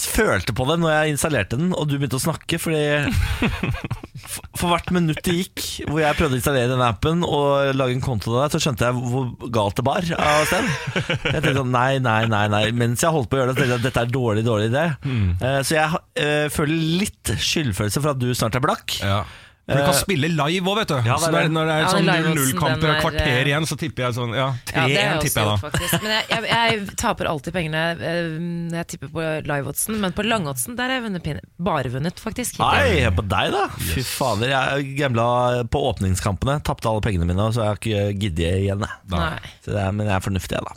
[SPEAKER 1] følte på det når jeg installerte den, og du begynte å snakke, fordi for- for hvert minutt det gikk hvor jeg prøvde å installere denne appen og lage en konto til deg, så skjønte jeg hvor galt det bar av sted. Jeg tenkte sånn, nei, nei, nei, nei. Mens jeg holdt på å gjøre det, så tenkte jeg at dette er dårlig, dårlig idé.
[SPEAKER 3] Mm.
[SPEAKER 1] Eh, så jeg eh, føler litt skyldfølelse for at du snart er blakk.
[SPEAKER 3] Ja. For du kan spille live òg, vet du.
[SPEAKER 1] Eh, Ja, det er
[SPEAKER 3] så når,
[SPEAKER 1] det.
[SPEAKER 3] når det er
[SPEAKER 2] Ja, den
[SPEAKER 3] sånn
[SPEAKER 2] liveoddsen,
[SPEAKER 3] 0-0-kamper og
[SPEAKER 2] den er,
[SPEAKER 3] kvarter
[SPEAKER 2] eh,
[SPEAKER 3] igjen, så tipper jeg sånn Ja, 3-1
[SPEAKER 2] Ja, det har jeg også
[SPEAKER 3] tipper
[SPEAKER 2] gjort,
[SPEAKER 3] jeg da.
[SPEAKER 2] faktisk. Men jeg, jeg, jeg taper alltid pengene eh, når jeg tipper på live-oddsen, men på langoddsen der har jeg vunnet pinne. Bare vunnet, faktisk.
[SPEAKER 1] Nei, hør på deg da Fy fader, jeg gambla på åpningskampene Tappte alle pengene mine, så jeg har ikke giddet igjen jeg.
[SPEAKER 3] Nei.
[SPEAKER 2] Nei.
[SPEAKER 1] Så det er, Men jeg er fornuftig jeg da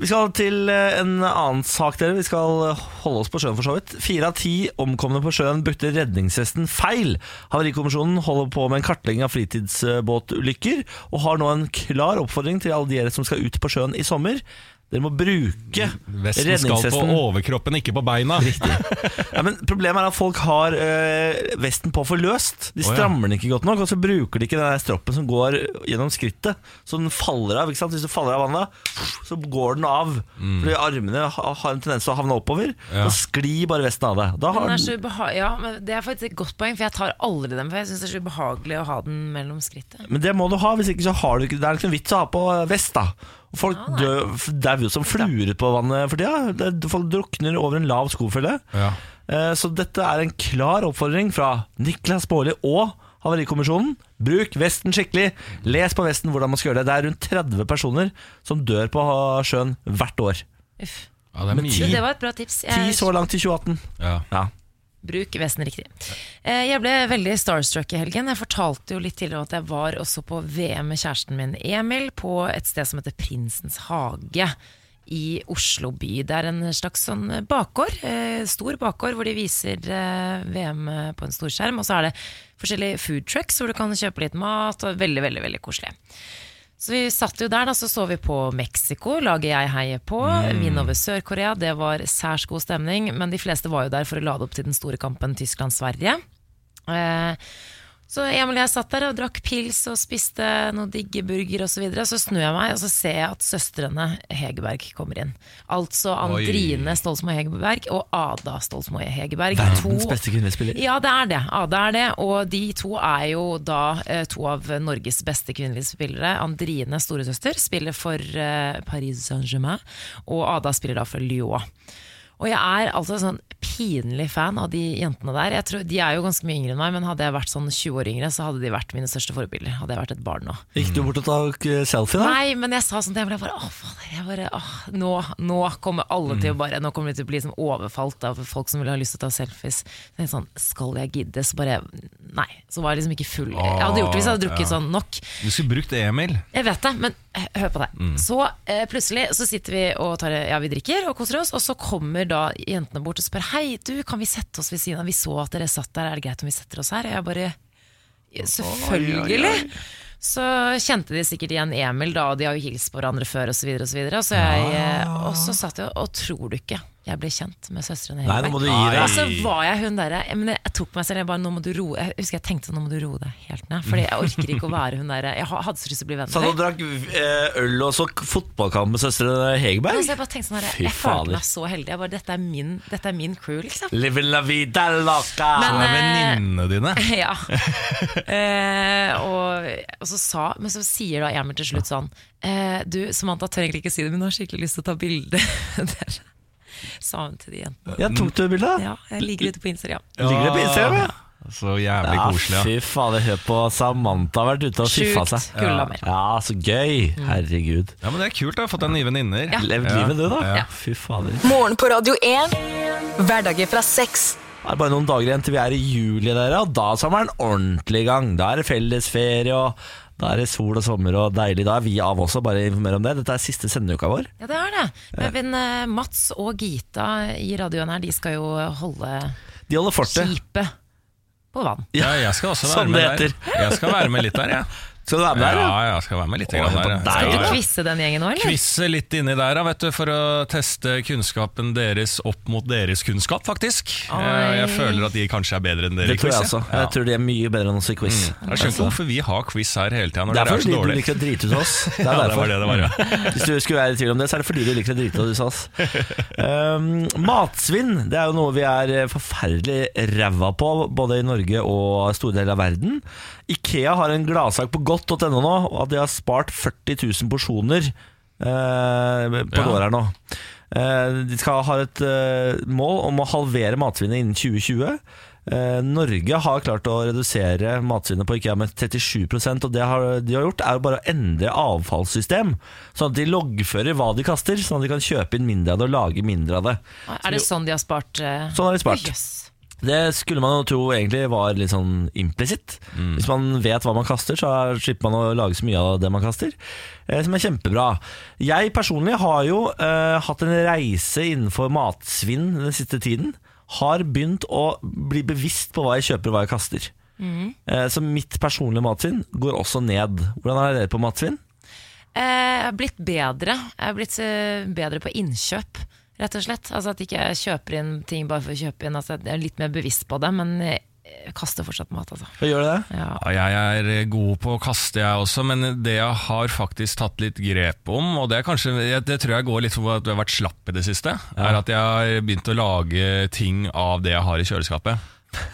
[SPEAKER 1] Vi skal til eh, en annen sak dere Vi skal holde oss på sjøen for så vidt Fire av ti omkomne på sjøen brukte redningsvesten feil Havarikommisjonen holder på med en kartlegging av fritidsbåtulykker Og har nå en klar oppfordring til alle dere som skal ut på sjøen i sommer Dere må bruke
[SPEAKER 3] Vesten skal på
[SPEAKER 1] redningshesten.
[SPEAKER 3] overkroppen, ikke på beina.
[SPEAKER 1] Ja, men problemet er at folk har eh, vesten på for løst. De
[SPEAKER 3] Å, ja.
[SPEAKER 1] strammer den ikke godt nok, og så bruker de ikke den der stroppen som går gjennom skrittet. Så den faller av. ikke sant? Hvis du faller av vannet, så går den av. Fordi armene ha- har en tendens til å havne oppover.
[SPEAKER 3] Mm. Ja.
[SPEAKER 1] Og sklir bare vesten av deg. Da
[SPEAKER 2] Den
[SPEAKER 1] har
[SPEAKER 2] er
[SPEAKER 1] den
[SPEAKER 2] så ubeha ja, men det er faktisk et godt poeng, for jeg tar aldri den, for jeg syns det er så ubehagelig å ha den mellom skrittet.
[SPEAKER 1] men det må du ha, hvis ikke så har du ikke Det er ikke noen vits å ha på eh, vest, da. Og Folk
[SPEAKER 2] Ah,
[SPEAKER 1] dør dauer jo som fluer på vannet for tida. Det- Folk drukner over en lav skofølge.
[SPEAKER 3] Ja.
[SPEAKER 1] Eh, Så dette er en klar oppfordring fra Niklas Baarli og Havarikommisjonen. Bruk vesten skikkelig. Les på vesten hvordan man skal gjøre det. Det er rundt 30 personer som dør på sjøen hvert år.
[SPEAKER 2] Uff.
[SPEAKER 3] Ja, det er
[SPEAKER 1] Men
[SPEAKER 3] mye.
[SPEAKER 2] Så det var et bra tips.
[SPEAKER 1] 10
[SPEAKER 2] Jeg
[SPEAKER 1] så langt i 2018.
[SPEAKER 3] Ja.
[SPEAKER 1] Ja.
[SPEAKER 2] Bruk vesten riktig. Eh, Jeg ble veldig starstruck i helgen. Jeg fortalte jo litt tidligere at jeg var også på VM med kjæresten min Emil på et sted som heter Prinsens hage i Oslo by. Det er en slags sånn bakgård, eh, stor bakgård, hvor de viser eh, VM på en storskjerm. Og så er det forskjellige food trucks hvor du kan kjøpe litt mat. Og veldig, veldig, veldig koselig. Så vi satt jo der, da, så så vi på Mexico, laget jeg heier på.
[SPEAKER 1] Mm.
[SPEAKER 2] Vinn over Sør-Korea, det var særs god stemning. Men de fleste var jo der for å lade opp til den store kampen Tyskland-Sverige. Eh, så Emil og jeg satt der og drakk pils og spiste noen digge burger osv. Så, videre. så snur jeg meg og så ser jeg at søstrene Hegerberg kommer inn. Altså Andrine Stolsmo Hegerberg og Ada Stolsmo Hegerberg.
[SPEAKER 1] Verdens
[SPEAKER 2] to-
[SPEAKER 1] beste kvinnespiller.
[SPEAKER 2] ja, det er det. Ja, det er det. Og de to er jo da eh, to av Norges beste kvinnelige spillere. Andrine, storesøster, spiller for eh, Paris Saint-Germain, og Ada spiller da for Lyon. Og jeg er altså sånn pinlig fan av de jentene der. Jeg tror, de er jo ganske mye yngre enn meg, men hadde jeg vært sånn 20 år yngre, så hadde de vært mine største forbilder. Hadde jeg vært et barn nå.
[SPEAKER 1] Gikk du bort og tok eh, selfie, da?
[SPEAKER 2] Nei, men jeg sa sånn til Emil, jeg bare, åh, fader, jeg bare, åh, nå, nå kommer alle til å bare, nå kommer de til å bli som overfalt av folk som vil ha lyst til å ta selfies. Så jeg sånn, skal jeg gidde? Så bare, nei, så var jeg liksom ikke full. Jeg hadde gjort det hvis jeg hadde drukket
[SPEAKER 3] Ja.
[SPEAKER 2] sånn nok.
[SPEAKER 3] Du skulle brukt Emil.
[SPEAKER 2] Jeg vet det, men hø- hør på det.
[SPEAKER 1] Mm.
[SPEAKER 2] Så eh, plutselig så sitter vi og tar, ja, vi drikker og koser oss, og så kommer da jentene bort og spør Hei, du, kan vi sette oss ved siden av? Vi så at dere satt der, er det greit om vi setter oss her? Og jeg bare «Ja, Selvfølgelig! Så kjente de sikkert igjen Emil, da, og de har jo hilst på hverandre før osv. Og, så videre, og, så jeg, eh, og så satt jeg og og tror du ikke jeg ble kjent med Altså, søstrene
[SPEAKER 1] Ah. Nei, nå må du gi deg.
[SPEAKER 2] Og så var jeg hun derre jeg, mener, jeg tok meg selv, jeg bare nå må du roe Jeg husker jeg tenkte sånn, nå må du roe deg helt ned. Fordi jeg orker ikke å være hun derre Jeg ha- hadde så lyst til å bli venn
[SPEAKER 1] Satt
[SPEAKER 2] med
[SPEAKER 1] og
[SPEAKER 2] deg.
[SPEAKER 1] drakk eh, øl og så k- fotballkamp med søstrene
[SPEAKER 2] Og så
[SPEAKER 1] Hegerberg?
[SPEAKER 2] jeg bare tenkte sånn derre,
[SPEAKER 1] Fy
[SPEAKER 2] Jeg
[SPEAKER 1] fader.
[SPEAKER 2] følte meg så heldig. Jeg bare, dette, er min, dette er min crew, liksom. [laughs]
[SPEAKER 1] Living la vida loca!
[SPEAKER 3] Det
[SPEAKER 2] Men,
[SPEAKER 3] er
[SPEAKER 2] eh,
[SPEAKER 3] venninnene dine.
[SPEAKER 2] Ja. Eh, og, og så sa, men så sier da Emil til slutt sånn eh, Du, Samantha tør egentlig ikke si det, men hun har skikkelig lyst til å ta bilde. [laughs] Der sa hun til de jentene.
[SPEAKER 1] Ja, tok du bildet?
[SPEAKER 2] Ja, jeg ligger ute på Instagram.
[SPEAKER 1] Ligger det på Instagram? Ja?
[SPEAKER 3] Så jævlig
[SPEAKER 1] Ja,
[SPEAKER 3] koselig. Ja.
[SPEAKER 1] Fy fader, hør på Samantha har vært ute og fiffa
[SPEAKER 2] Sjukt
[SPEAKER 1] seg.
[SPEAKER 2] gull av meg. Mm.
[SPEAKER 1] Ja, så gøy. Herregud.
[SPEAKER 3] ja, men Det er kult. da, Fått deg nye venninner.
[SPEAKER 1] Levd
[SPEAKER 3] Ja.
[SPEAKER 1] livet, du, da.
[SPEAKER 3] Ja.
[SPEAKER 1] Fy fader.
[SPEAKER 4] Morgen på Radio 1. Hverdager fra seks.
[SPEAKER 1] Det er bare noen dager igjen til vi er i juli, dere, og da er sommeren ordentlig i gang. Da er det fellesferie, og da er det sol og sommer og deilig. Da er vi av også, bare informer om det. Dette er siste sendeuka vår.
[SPEAKER 2] Ja, det er det. Men, men eh, Mats og Gita i radioen her, de skal jo holde
[SPEAKER 1] De holder fortet.
[SPEAKER 2] skipet på vann.
[SPEAKER 3] Ja, jeg skal også være
[SPEAKER 1] Som
[SPEAKER 3] med
[SPEAKER 1] det
[SPEAKER 3] der. Jeg skal være med litt der, jeg.
[SPEAKER 1] Skal du være med
[SPEAKER 3] Ja.
[SPEAKER 1] der?
[SPEAKER 3] ja,
[SPEAKER 1] [laughs] Ja.
[SPEAKER 3] jeg skal være med litt
[SPEAKER 1] Å,
[SPEAKER 3] grann
[SPEAKER 1] jeg
[SPEAKER 3] der.
[SPEAKER 1] er på
[SPEAKER 3] jeg.
[SPEAKER 1] deg,
[SPEAKER 3] Ja,
[SPEAKER 2] Skal
[SPEAKER 3] ja.
[SPEAKER 2] du kvisse den gjengen nå, eller?
[SPEAKER 3] Kvisse litt inni der da, vet du, for å teste kunnskapen deres opp mot deres kunnskap, faktisk.
[SPEAKER 2] Oi.
[SPEAKER 3] Eh, Jeg føler at de kanskje er bedre enn dere
[SPEAKER 1] Det
[SPEAKER 3] i
[SPEAKER 1] tror jeg
[SPEAKER 3] quiz,
[SPEAKER 1] også.
[SPEAKER 3] ja. Mm.
[SPEAKER 1] Jeg tror de er mye bedre enn oss i quiz.
[SPEAKER 3] Jeg skjønner ikke hvorfor vi har quiz her hele tida når
[SPEAKER 1] Det er
[SPEAKER 3] dere er så
[SPEAKER 1] fordi du
[SPEAKER 3] dårlige.
[SPEAKER 1] liker å drite ut oss.
[SPEAKER 3] [laughs]
[SPEAKER 1] Det er
[SPEAKER 3] Ja, det
[SPEAKER 1] derfor.
[SPEAKER 3] var det det var, ja.
[SPEAKER 1] [laughs] Hvis du skulle være i tvil om det, så er det fordi du liker å drite ut oss. Um, matsvinn det er jo noe vi er eh, forferdelig ræva på, både i Norge og store deler av verden. Ikea har en gladsak på godt.no nå, og at de har spart 40 000 porsjoner eh, på
[SPEAKER 3] Ja.
[SPEAKER 1] et år her nå. Eh, de skal ha et eh, mål om å halvere matsvinnet innen 2020. Eh, Norge har klart å redusere matsvinnet på IKEA med 37 og det har, de har gjort, er jo bare å endre avfallssystem. Sånn at de loggfører hva de kaster, sånn at de kan kjøpe inn mindre av det og lage mindre av det.
[SPEAKER 2] Er det sånn de har spart? eh,
[SPEAKER 1] Sånn har de spart.
[SPEAKER 2] Jøss.
[SPEAKER 1] Det skulle man jo tro egentlig var litt sånn implisitt.
[SPEAKER 3] Mm.
[SPEAKER 1] Hvis man vet hva man kaster, så er- slipper man å lage så mye av det man kaster. eh, Som er kjempebra. Jeg personlig har jo eh, hatt en reise innenfor matsvinn den siste tiden. Har begynt å bli bevisst på hva jeg kjøper og hva jeg kaster. Eh, Så mitt personlige matsvinn går også ned. Hvordan er dere på matsvinn?
[SPEAKER 2] Eh, Jeg har blitt bedre. Jeg har blitt eh, bedre på innkjøp, rett og slett. Altså At ikke jeg kjøper inn ting bare for å kjøpe inn. Altså, jeg er litt mer bevisst på det, men jeg jeg kaster fortsatt mat, altså.
[SPEAKER 1] Hva gjør det?
[SPEAKER 2] Ja.
[SPEAKER 3] Ja, jeg er eh, god på å kaste, jeg også, men det jeg har faktisk tatt litt grep om, og det, er kanskje, jeg- det tror jeg går litt for at du har vært slapp i det siste, er at jeg har begynt å lage ting av det jeg har i kjøleskapet.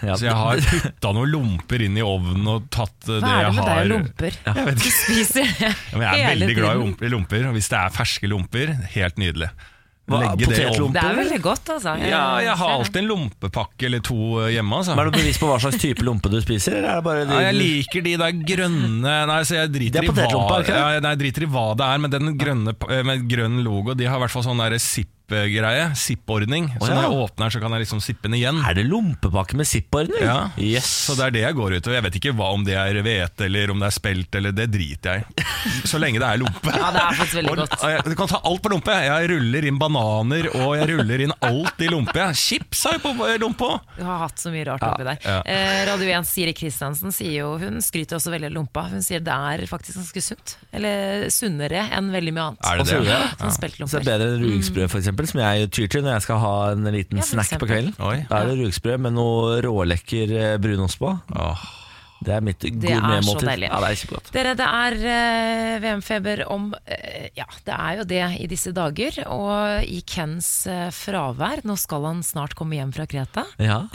[SPEAKER 1] Ja,
[SPEAKER 3] Så jeg har putta noen lomper inn i ovnen og tatt eh, det
[SPEAKER 2] Hva
[SPEAKER 3] jeg
[SPEAKER 2] er det med
[SPEAKER 3] har
[SPEAKER 2] deg og lomper?
[SPEAKER 3] Jeg vet
[SPEAKER 2] Du
[SPEAKER 3] ikke.
[SPEAKER 2] [laughs] spiser det
[SPEAKER 3] Ja, men jeg er
[SPEAKER 2] hele
[SPEAKER 3] veldig glad i
[SPEAKER 2] tiden.
[SPEAKER 3] lomper- i lomper, og hvis det er ferske lomper, helt nydelig.
[SPEAKER 1] Hva,
[SPEAKER 3] Legge det i
[SPEAKER 1] potetlomper?
[SPEAKER 3] ovnen.
[SPEAKER 2] Det er veldig godt, altså.
[SPEAKER 3] Ja, jeg har
[SPEAKER 2] ser det.
[SPEAKER 3] alltid en lompepakke eller to eh, hjemme. Altså.
[SPEAKER 1] Men Er du bevisst på hva slags type lompe du spiser? Eller er det bare de,
[SPEAKER 3] Ja, jeg liker de der grønne Nei, så jeg
[SPEAKER 1] Det
[SPEAKER 3] driter,
[SPEAKER 1] er
[SPEAKER 3] i
[SPEAKER 1] potetlompa,
[SPEAKER 3] hva,
[SPEAKER 1] er det ikke det?
[SPEAKER 3] ja, nei, jeg driter i hva det er, men den grønne p- eh, med grønn logo De har i hvert fall sånn der zipp-greie. Zipp-ordning. Så
[SPEAKER 1] Å, ja.
[SPEAKER 3] når jeg åpner, så kan jeg liksom zippe den igjen.
[SPEAKER 1] Er det lompepakke med zipporder?
[SPEAKER 3] Ja.
[SPEAKER 1] Yes.
[SPEAKER 3] Så det er det jeg går ut over. Jeg vet ikke hva om det er hvete eller om det er spelt, eller det driter jeg i. Så lenge det er lompe.
[SPEAKER 2] Ja, det er faktisk veldig
[SPEAKER 3] Og-
[SPEAKER 2] godt.
[SPEAKER 3] og jeg- Du kan ta alt på lompe. Jeg ruller inn bananer, og jeg ruller inn alt i lompe. jeg. Chips har jeg på lompe òg!
[SPEAKER 2] Du har hatt så mye rart oppi der.
[SPEAKER 3] ja.
[SPEAKER 2] Eh, Radio 1 Siri Kristiansen sier jo, hun skryter også veldig av lompa. Hun sier det er faktisk ganske sunt. Eller sunnere enn veldig mye annet.
[SPEAKER 3] Er det det?
[SPEAKER 2] Ja, Sånn
[SPEAKER 1] Så det
[SPEAKER 2] speltlomper.
[SPEAKER 1] er bedre enn rugsprø, for eksempel, som jeg tyr til når jeg skal ha en liten
[SPEAKER 2] Ja, for
[SPEAKER 1] snack på
[SPEAKER 2] eksempel.
[SPEAKER 1] kvelden.
[SPEAKER 3] Oi.
[SPEAKER 1] Da er det rugsprø med noe rålekker eh, brunost på.
[SPEAKER 3] Åh.
[SPEAKER 1] Det er mitt
[SPEAKER 2] er så
[SPEAKER 1] gourmetmåltid.
[SPEAKER 2] deilig.
[SPEAKER 1] Ja, det er kjempegodt.
[SPEAKER 2] Dere, det er eh, VM-feber om eh, Ja, det er jo det i disse dager. Og i Kens eh, fravær, nå skal han snart komme hjem fra Kreta.
[SPEAKER 1] Ja.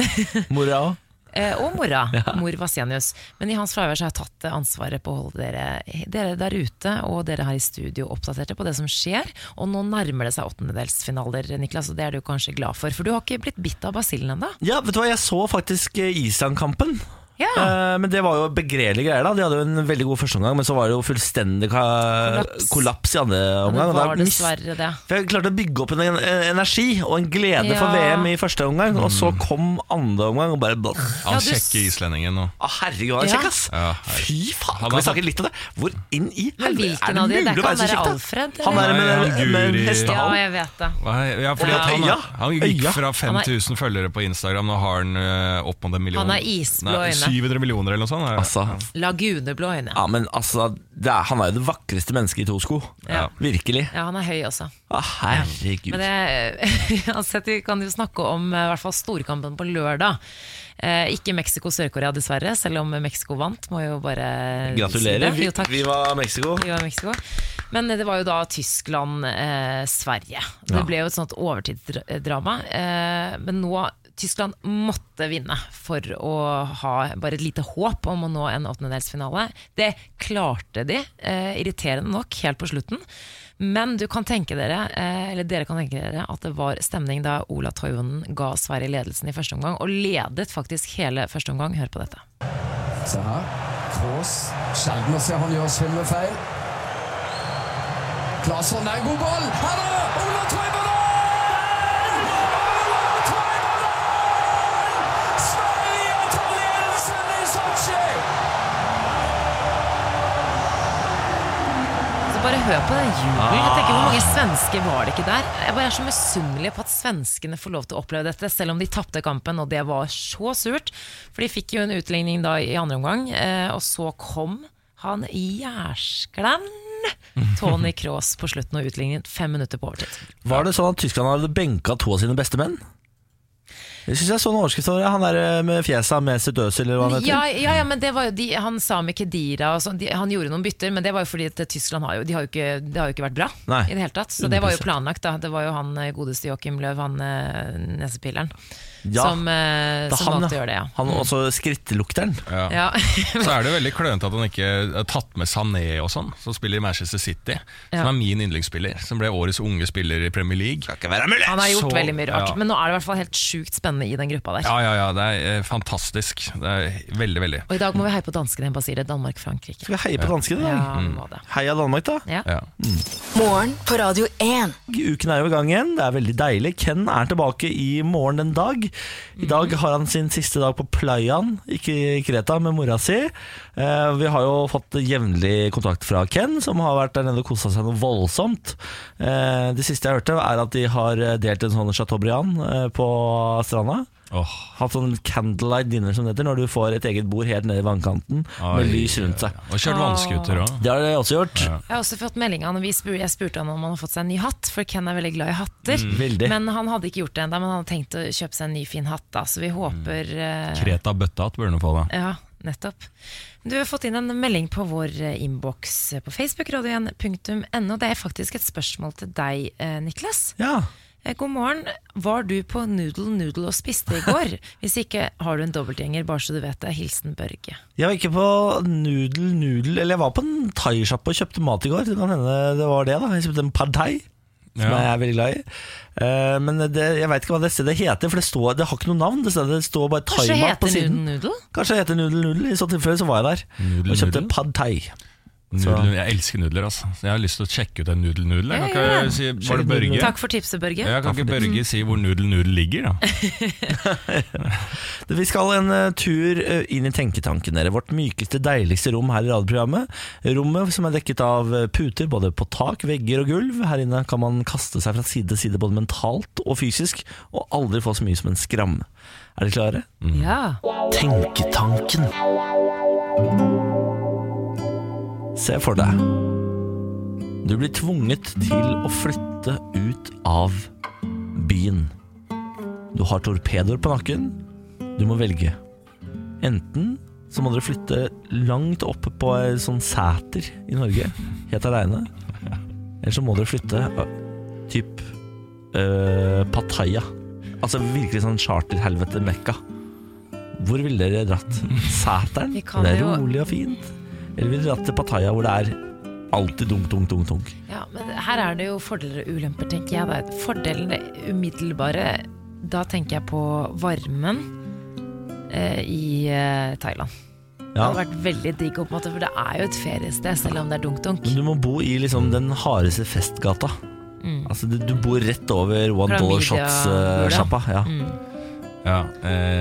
[SPEAKER 1] Mora òg.
[SPEAKER 2] Eh, og
[SPEAKER 1] [laughs]
[SPEAKER 2] mora, mor Vasenius. Men i hans fravær så har jeg tatt eh, ansvaret på å holde dere, dere der ute og dere her i studio oppdaterte på det som skjer. Og nå nærmer det seg åttendedelsfinaler, Niklas, og det er du kanskje glad for. For du har ikke blitt bitt av basillen ennå.
[SPEAKER 1] Ja, vet du hva, jeg så faktisk eh, Island-kampen.
[SPEAKER 2] Ja.
[SPEAKER 1] Eh, Men det var jo begredelige greier. da De hadde jo en veldig god førsteomgang, men så var det jo fullstendig ka
[SPEAKER 2] Kollaps.
[SPEAKER 1] kollaps. i andre
[SPEAKER 2] Det
[SPEAKER 1] omgang. og da
[SPEAKER 2] var
[SPEAKER 1] mist-
[SPEAKER 2] dessverre det.
[SPEAKER 1] for Jeg klarte å bygge opp en en energi og en glede for
[SPEAKER 2] Ja.
[SPEAKER 1] VM i første omgang, og så kom andre omgang og bare Å,
[SPEAKER 3] Han
[SPEAKER 2] Ja, du s-
[SPEAKER 3] kjekke islendingen nå.
[SPEAKER 1] herregud, han er
[SPEAKER 2] Ja.
[SPEAKER 1] kjekk, ass!
[SPEAKER 3] Ja, herregud.
[SPEAKER 1] Fy faen,
[SPEAKER 3] Han
[SPEAKER 1] kan vi
[SPEAKER 3] er-
[SPEAKER 1] snakke litt om det? Hvor inn
[SPEAKER 2] Men
[SPEAKER 1] i helvete
[SPEAKER 2] hvilken av de? Det
[SPEAKER 1] mulig å
[SPEAKER 2] kan
[SPEAKER 1] være så
[SPEAKER 2] være
[SPEAKER 1] kjekk, da?
[SPEAKER 2] Alfred.
[SPEAKER 1] Han
[SPEAKER 2] eller?
[SPEAKER 1] der med,
[SPEAKER 3] Nei, han
[SPEAKER 1] med, med
[SPEAKER 3] Guri.
[SPEAKER 2] Ja,
[SPEAKER 1] hestehalen.
[SPEAKER 2] jeg vet det.
[SPEAKER 3] Hva er- Ja, fordi at han,
[SPEAKER 1] Øya.
[SPEAKER 3] han gikk
[SPEAKER 1] Øya.
[SPEAKER 3] fra 5000 følgere på Instagram, nå har han eh, opp mot en million.
[SPEAKER 2] Han har isblå
[SPEAKER 3] Nei,
[SPEAKER 2] øyne.
[SPEAKER 3] 700 millioner eller noe sånt. er det?
[SPEAKER 1] Altså,
[SPEAKER 2] Laguneblå øyne.
[SPEAKER 1] ja, men altså det er, Han er jo det vakreste mennesket i to sko.
[SPEAKER 2] Ja.
[SPEAKER 1] Virkelig.
[SPEAKER 2] Ja, han er høy også.
[SPEAKER 1] Å, herregud.
[SPEAKER 2] Men det, [laughs] uansett, vi kan jo snakke om eh, i hvert fall storkampen på lørdag. Eh, ikke Mexico-Sør-Korea, dessverre, selv om Mexico vant. Må jo bare Si
[SPEAKER 1] Gratulerer.
[SPEAKER 2] det. Jo, takk.
[SPEAKER 1] Vi, vi var Mexico.
[SPEAKER 2] Vi var i Mexico. Men det var jo da Tyskland-Sverige. det ble jo et sånt overtidsdrama. Eh, men nå Tyskland måtte vinne for å ha bare et lite håp om å nå en åttendedelsfinale. Det klarte de, eh, irriterende nok, helt på slutten. Men du kan tenke dere, eh, eller dere kan tenke dere at det var stemning da Ola Toivonen ga Sverige ledelsen i første omgang, og ledet faktisk hele første omgang. Hør på dette.
[SPEAKER 5] Se her. Krås. Sjelden å se han gjør slemme feil. Claesson er en god ball! Her da! Ola Toivonen! Ola Toivonen! Sverige tar ledelsen i Sotsji!
[SPEAKER 2] Så bare hør på den jubelen. Jeg tenker Hvor mange svensker var det ikke der? Jeg bare er så misunnelig på at svenskene får lov til å oppleve dette, selv om de tapte kampen, og det var så surt. For de fikk jo en utligning da i andre omgang, eh, og så kom han jærsklann Tony Cross på slutten og utlignet fem minutter på overtid.
[SPEAKER 1] Var det sånn at Tyskland hadde benka to av sine beste menn? Jeg synes jeg så en overskrift over det. Han der eh, med fjesa med sitt øs, eller hva han heter.
[SPEAKER 2] Ja, ja, ja, men det var jo de, han Sami Kedira og sånn, de, Han gjorde noen bytter, men det var jo fordi at Tyskland har jo, de har jo ikke, det har jo ikke vært bra
[SPEAKER 1] Nei, Mm,
[SPEAKER 2] i det hele tatt. Så det var jo
[SPEAKER 1] 100%.
[SPEAKER 2] planlagt, da. Det var jo han eh, godeste Joakim Løv, han eh, nesepilleren,
[SPEAKER 1] Ja,
[SPEAKER 2] som, eh,
[SPEAKER 1] Det er
[SPEAKER 2] som
[SPEAKER 1] han,
[SPEAKER 2] måtte gjøre det, ja.
[SPEAKER 1] Han og også skrittlukteren.
[SPEAKER 3] Ja.
[SPEAKER 2] ja. [laughs]
[SPEAKER 1] [laughs]
[SPEAKER 3] Så er det jo veldig klønete at han ikke eh, har tatt med Sané og sånn, som spiller i Manchester City.
[SPEAKER 2] Ja.
[SPEAKER 3] Som er min yndlingsspiller, som ble årets unge spiller i Premier League. Kan ikke være mulig!
[SPEAKER 2] Han har gjort
[SPEAKER 3] Så-
[SPEAKER 2] veldig mye rart,
[SPEAKER 3] ja.
[SPEAKER 2] men nå er det i hvert fall helt sjukt spennende i den gruppa der.
[SPEAKER 3] ja, ja, ja, det er eh, fantastisk. Det er veldig, veldig.
[SPEAKER 2] Og i dag må vi heie på danskene igjen, Basile. Danmark-Frankrike.
[SPEAKER 1] Skal vi heie på danskene i dag?
[SPEAKER 2] Ja, vi må det.
[SPEAKER 1] Heia Danmark, da.
[SPEAKER 2] Ja.
[SPEAKER 3] Ja.
[SPEAKER 4] Morgen på Radio 1.
[SPEAKER 1] Uken er jo i gang igjen. Det er veldig deilig. Ken er tilbake i morgen en dag. I dag har han sin siste dag på playaen, ikke i Kreta, med mora si. Eh, Vi har jo fått jevnlig kontakt fra Ken, som har vært der nede og kosa seg noe voldsomt. Eh, Det siste jeg hørte, er at de har delt en sånn chateaubriand eh, på stranda. Hatt sånn candlelight dinner som det heter, når du får et eget bord helt nede i vannkanten med lys rundt seg.
[SPEAKER 3] Og kjørt vannskuter òg.
[SPEAKER 1] Det har jeg også gjort.
[SPEAKER 3] Ja.
[SPEAKER 2] Jeg har også fått melding av når vi spur, Jeg spurte han om han har fått seg en ny hatt, for Ken er veldig glad i hatter.
[SPEAKER 1] veldig.
[SPEAKER 2] Men han hadde ikke gjort det ennå, men han hadde tenkt å kjøpe seg en ny, fin hatt. Da, så vi håper
[SPEAKER 1] Mm.
[SPEAKER 2] eh,
[SPEAKER 3] Kreta bøttehatt bør du få, da.
[SPEAKER 2] Ja, nettopp. Du har fått inn en melding på vår eh, innboks på Facebook, radioen.no. Det er faktisk et spørsmål til deg, eh, Niklas.
[SPEAKER 1] Ja.
[SPEAKER 2] Eh, God morgen. Var du på Noodle Noodle og spiste i
[SPEAKER 1] [laughs]
[SPEAKER 2] går? Hvis ikke har du en dobbeltgjenger, bare så du vet det. Hilsen Børge.
[SPEAKER 1] Jeg var ikke på nudel, nudel Eller jeg var på en thaisjappe og kjøpte mat i går. Det kan hende det var det. da Jeg kjøpte en pad thai, som
[SPEAKER 3] Ja.
[SPEAKER 1] jeg er veldig glad i. Eh, men det, jeg veit ikke hva det stedet heter, for det, står, det har ikke noe navn. Det, stedet, det står bare
[SPEAKER 2] Kanskje
[SPEAKER 1] thaimat på
[SPEAKER 2] heter
[SPEAKER 1] siden.
[SPEAKER 2] Noodle Noodle?
[SPEAKER 1] Kanskje det heter Nudel Nudel. I så tilfelle så var jeg der
[SPEAKER 3] Nudel
[SPEAKER 1] og kjøpte
[SPEAKER 3] Nudel?
[SPEAKER 1] pad thai.
[SPEAKER 3] Nudler, jeg elsker nudler, altså. Så Jeg har lyst til å sjekke ut en nudelnudel. Jeg
[SPEAKER 2] Ja, ja,
[SPEAKER 3] Kan
[SPEAKER 2] ja.
[SPEAKER 3] ikke si, var det Børge?
[SPEAKER 2] Takk for tipset, Børge.
[SPEAKER 3] Ja, kan ikke Børge si hvor nudel-nudel ligger,
[SPEAKER 2] [laughs]
[SPEAKER 3] da?
[SPEAKER 1] Vi skal en eh, tur eh, inn i tenketanken, dere. Vårt mykeste, deiligste rom her i radioprogrammet. Rommet som er dekket av eh, puter både på tak, vegger og gulv. Her inne kan man kaste seg fra side til side både mentalt og fysisk, og aldri få så mye som en skramme. Er dere klare? Mm.
[SPEAKER 2] Ja.
[SPEAKER 1] Tenketanken. Se for deg. Du blir tvunget til å flytte ut av byen. Du har torpedoer på nakken. Du må velge. Enten så må dere flytte langt opp på en sånn sæter i Norge, helt aleine. Eller så må dere flytte ø, typ øh, Pattaya. Altså virkelig sånn charterhelvete-mekka. Hvor ville dere dratt? Sæteren?
[SPEAKER 2] Vi kan
[SPEAKER 1] Det er
[SPEAKER 2] jo-
[SPEAKER 1] rolig og fint. Eller ville dere dratt til Pattaya, hvor det er alltid dunk, dunk, dunk, dunk?
[SPEAKER 2] Ja, men her er det jo fordeler og ulemper, tenker jeg. Da. Fordelene umiddelbare, da tenker jeg på varmen eh, i eh, Thailand. Det hadde vært veldig digg, å på en måte, for det er jo et feriested, selv om det er dunk-dunk.
[SPEAKER 1] Men du må bo i liksom den hardeste festgata.
[SPEAKER 2] Mm.
[SPEAKER 1] Altså, du, du bor rett over One Dollar
[SPEAKER 2] Chlamydia-
[SPEAKER 1] Shots-sjappa. ja.
[SPEAKER 3] Ja,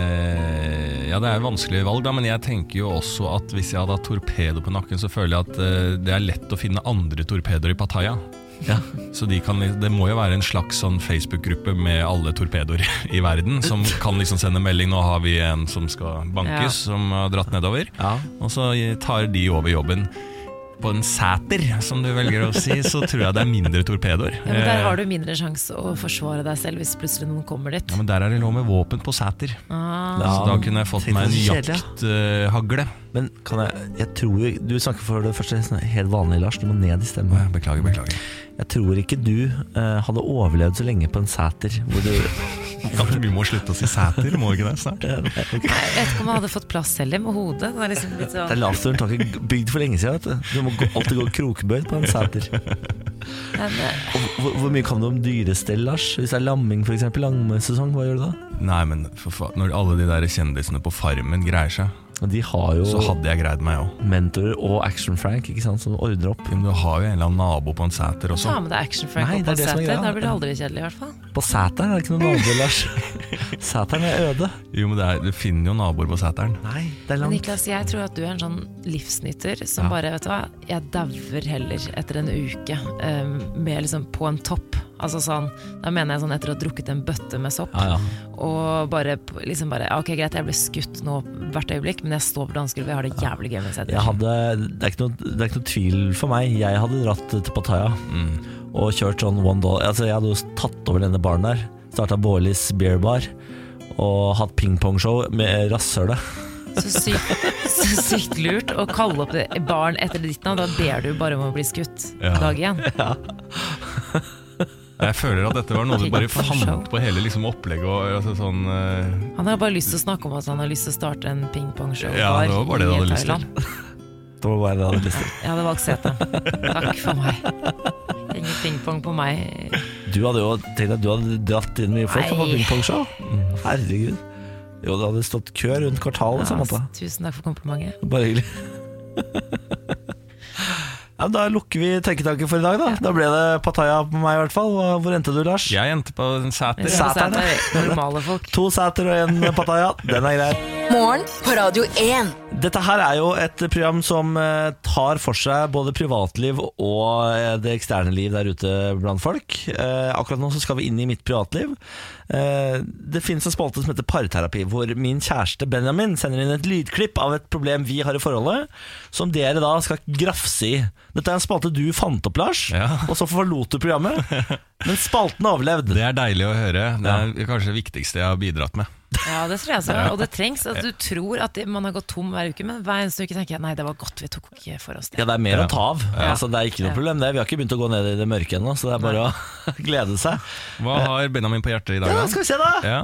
[SPEAKER 3] eh, ja, det er vanskelig valg, da, men jeg tenker jo også at hvis jeg hadde hatt torpedo på nakken, så føler jeg at eh, det er lett å finne andre torpedoer i Pattaya.
[SPEAKER 1] Ja.
[SPEAKER 3] Så de kan, li- Det må jo være en slags sånn Facebook-gruppe med alle torpedoer [laughs] i verden,
[SPEAKER 2] [laughs]
[SPEAKER 3] som kan liksom sende melding 'nå har vi en som skal bankes',
[SPEAKER 2] Ja.
[SPEAKER 3] som har dratt nedover.
[SPEAKER 1] Ja.
[SPEAKER 3] Og så tar de over jobben på en sæter, som du velger å si, så tror jeg det er mindre torpedoer. Eh,
[SPEAKER 2] Ja, men
[SPEAKER 1] Eh.
[SPEAKER 2] Der har du mindre sjanse å forsvare deg selv hvis plutselig noen kommer dit.
[SPEAKER 3] Ja, men der er det lov med våpen på sæter.
[SPEAKER 2] Ah,
[SPEAKER 1] Ja,
[SPEAKER 3] så da kunne jeg fått
[SPEAKER 1] tenk
[SPEAKER 3] meg en
[SPEAKER 1] så kjedelig, ja.
[SPEAKER 3] jakthagle.
[SPEAKER 1] Men kan jeg, jeg tror jo- Du snakker for det første sånn helt vanlig, Lars. Du må ned i stemmen.
[SPEAKER 3] beklager, beklager.
[SPEAKER 1] Jeg tror ikke du eh, hadde overlevd så lenge på en sæter hvor du
[SPEAKER 3] vi må slutte å si sæter, må vi ikke det snart?
[SPEAKER 2] jeg vet ikke om han hadde fått plass heller med hodet. Det er liksom litt
[SPEAKER 1] Det er
[SPEAKER 2] sånn,
[SPEAKER 1] lavsturen tak bygd for lenge siden. Vet du. du må gå, alltid gå krokbøyd på en sæter.
[SPEAKER 2] men, eh,
[SPEAKER 1] Og Hvor, hvor mye kan du om dyrestell, Lars? Hvis det er lamming, f.eks. Lammesesong, hva gjør du da?
[SPEAKER 3] Nei, men for fa når alle de der kjendisene på Farmen greier seg,
[SPEAKER 1] Og De har jo
[SPEAKER 3] så hadde jeg greid meg òg.
[SPEAKER 1] mentorer og Action-Frank ikke sant, som ordner opp.
[SPEAKER 3] Men du har jo en eller annen nabo på en sæter også.
[SPEAKER 2] ta med deg Action Frank
[SPEAKER 1] Nei,
[SPEAKER 2] opp
[SPEAKER 1] det
[SPEAKER 2] på
[SPEAKER 1] er det som er
[SPEAKER 2] setet.
[SPEAKER 1] greia.
[SPEAKER 2] Da blir det aldri kjedelig, i hvert fall.
[SPEAKER 1] På Sæteren er det ikke noen naboer, Lars. [laughs] Sæteren er øde.
[SPEAKER 3] Jo, men det er, Du finner jo naboer på sæteren.
[SPEAKER 1] Nei, det er
[SPEAKER 2] Men
[SPEAKER 1] langt.
[SPEAKER 2] Niklas, jeg tror at du er en sånn livsnyter som bare, vet du hva, jeg dauer heller etter en uke eh, med liksom på en topp. Altså sånn, da mener jeg sånn etter å ha drukket en bøtte med sopp.
[SPEAKER 1] Ja, ja.
[SPEAKER 2] Og bare p- liksom bare Ok, greit, jeg ble skutt nå hvert øyeblikk, men jeg står på dansegulvet, jeg har det jævlig gøy mens jeg
[SPEAKER 3] [laughs]
[SPEAKER 1] Jeg
[SPEAKER 2] drikker.
[SPEAKER 1] hadde, det, er ikke noe, det er ikke noe tvil for meg. Jeg hadde dratt til Pattaya og kjørt sånn one dollar. Altså, jeg hadde jo tatt over denne baren der. Starta Bårlis beer bar og hatt pingpongshow med rasshølet.
[SPEAKER 2] Så sykt, så sykt lurt å kalle opp det- barn etter ditt navn. Da ber du bare om å bli skutt
[SPEAKER 3] Ja.
[SPEAKER 2] dag igjen.
[SPEAKER 3] Jeg føler at dette var noe du bare fant på hele liksom opplegget og altså, sånn eh,
[SPEAKER 2] Han har bare lyst til å snakke om at han har lyst til å starte en
[SPEAKER 3] Ja,
[SPEAKER 2] pingpongshow-bar
[SPEAKER 3] det var bare det du
[SPEAKER 2] i
[SPEAKER 3] hadde lyst til.
[SPEAKER 2] Thailand.
[SPEAKER 1] Det var bare det jeg hadde lyst til.
[SPEAKER 2] Jeg hadde valgt sete. Takk for meg. Ingen pingpong på meg.
[SPEAKER 1] Du hadde jo tenkt at du hadde dratt inn mye folk på
[SPEAKER 2] Nei.
[SPEAKER 1] pingpongshow. Mm, Herregud. Jo, det hadde stått kø rundt kvartalet.
[SPEAKER 2] Ja,
[SPEAKER 1] Ja, måte.
[SPEAKER 2] tusen takk for komplimentet.
[SPEAKER 1] Bare hyggelig. Ja, men da lukker vi tenketanken for i dag, da. Da ble det Pattaya på meg, i hvert fall. Hva- Hvor endte du, Lars?
[SPEAKER 3] Jeg endte på en sæter.
[SPEAKER 1] Sæterne. [laughs]
[SPEAKER 2] Normale folk.
[SPEAKER 1] To sæter og en Pattaya. Den er grei.
[SPEAKER 4] Morgen på Radio 1.
[SPEAKER 1] Dette her er jo et program som eh, tar for seg både privatliv og eh, det eksterne liv der ute blant folk. Eh, Akkurat nå så skal vi inn i mitt privatliv. Eh, Det finnes en spalte som heter parterapi, hvor min kjæreste Benjamin sender inn et lydklipp av et problem vi har i forholdet, som dere da skal grafse i. Dette er en spalte du fant opp, Lars,
[SPEAKER 3] Ja.
[SPEAKER 1] og så forlot du programmet. Men spalten har overlevd.
[SPEAKER 3] Det er deilig å høre. Det er kanskje det viktigste jeg har bidratt med.
[SPEAKER 2] Ja, det tror jeg så. Og det trengs. At du tror at det- man har gått tom hver uke, men hver eneste uke tenker jeg nei, det var godt vi tok ikke for oss
[SPEAKER 1] Ja,
[SPEAKER 2] det.
[SPEAKER 1] det er mer
[SPEAKER 3] Ja.
[SPEAKER 1] å ta av. Altså, det er ikke noe
[SPEAKER 2] Ja.
[SPEAKER 1] problem. Det. Vi har ikke begynt å gå ned i det mørke ennå, så det er bare å [laughs] glede seg.
[SPEAKER 3] Hva har Benjamin på hjertet i dag?
[SPEAKER 1] Ja,
[SPEAKER 3] da?
[SPEAKER 1] skal vi se, da!
[SPEAKER 3] Ja.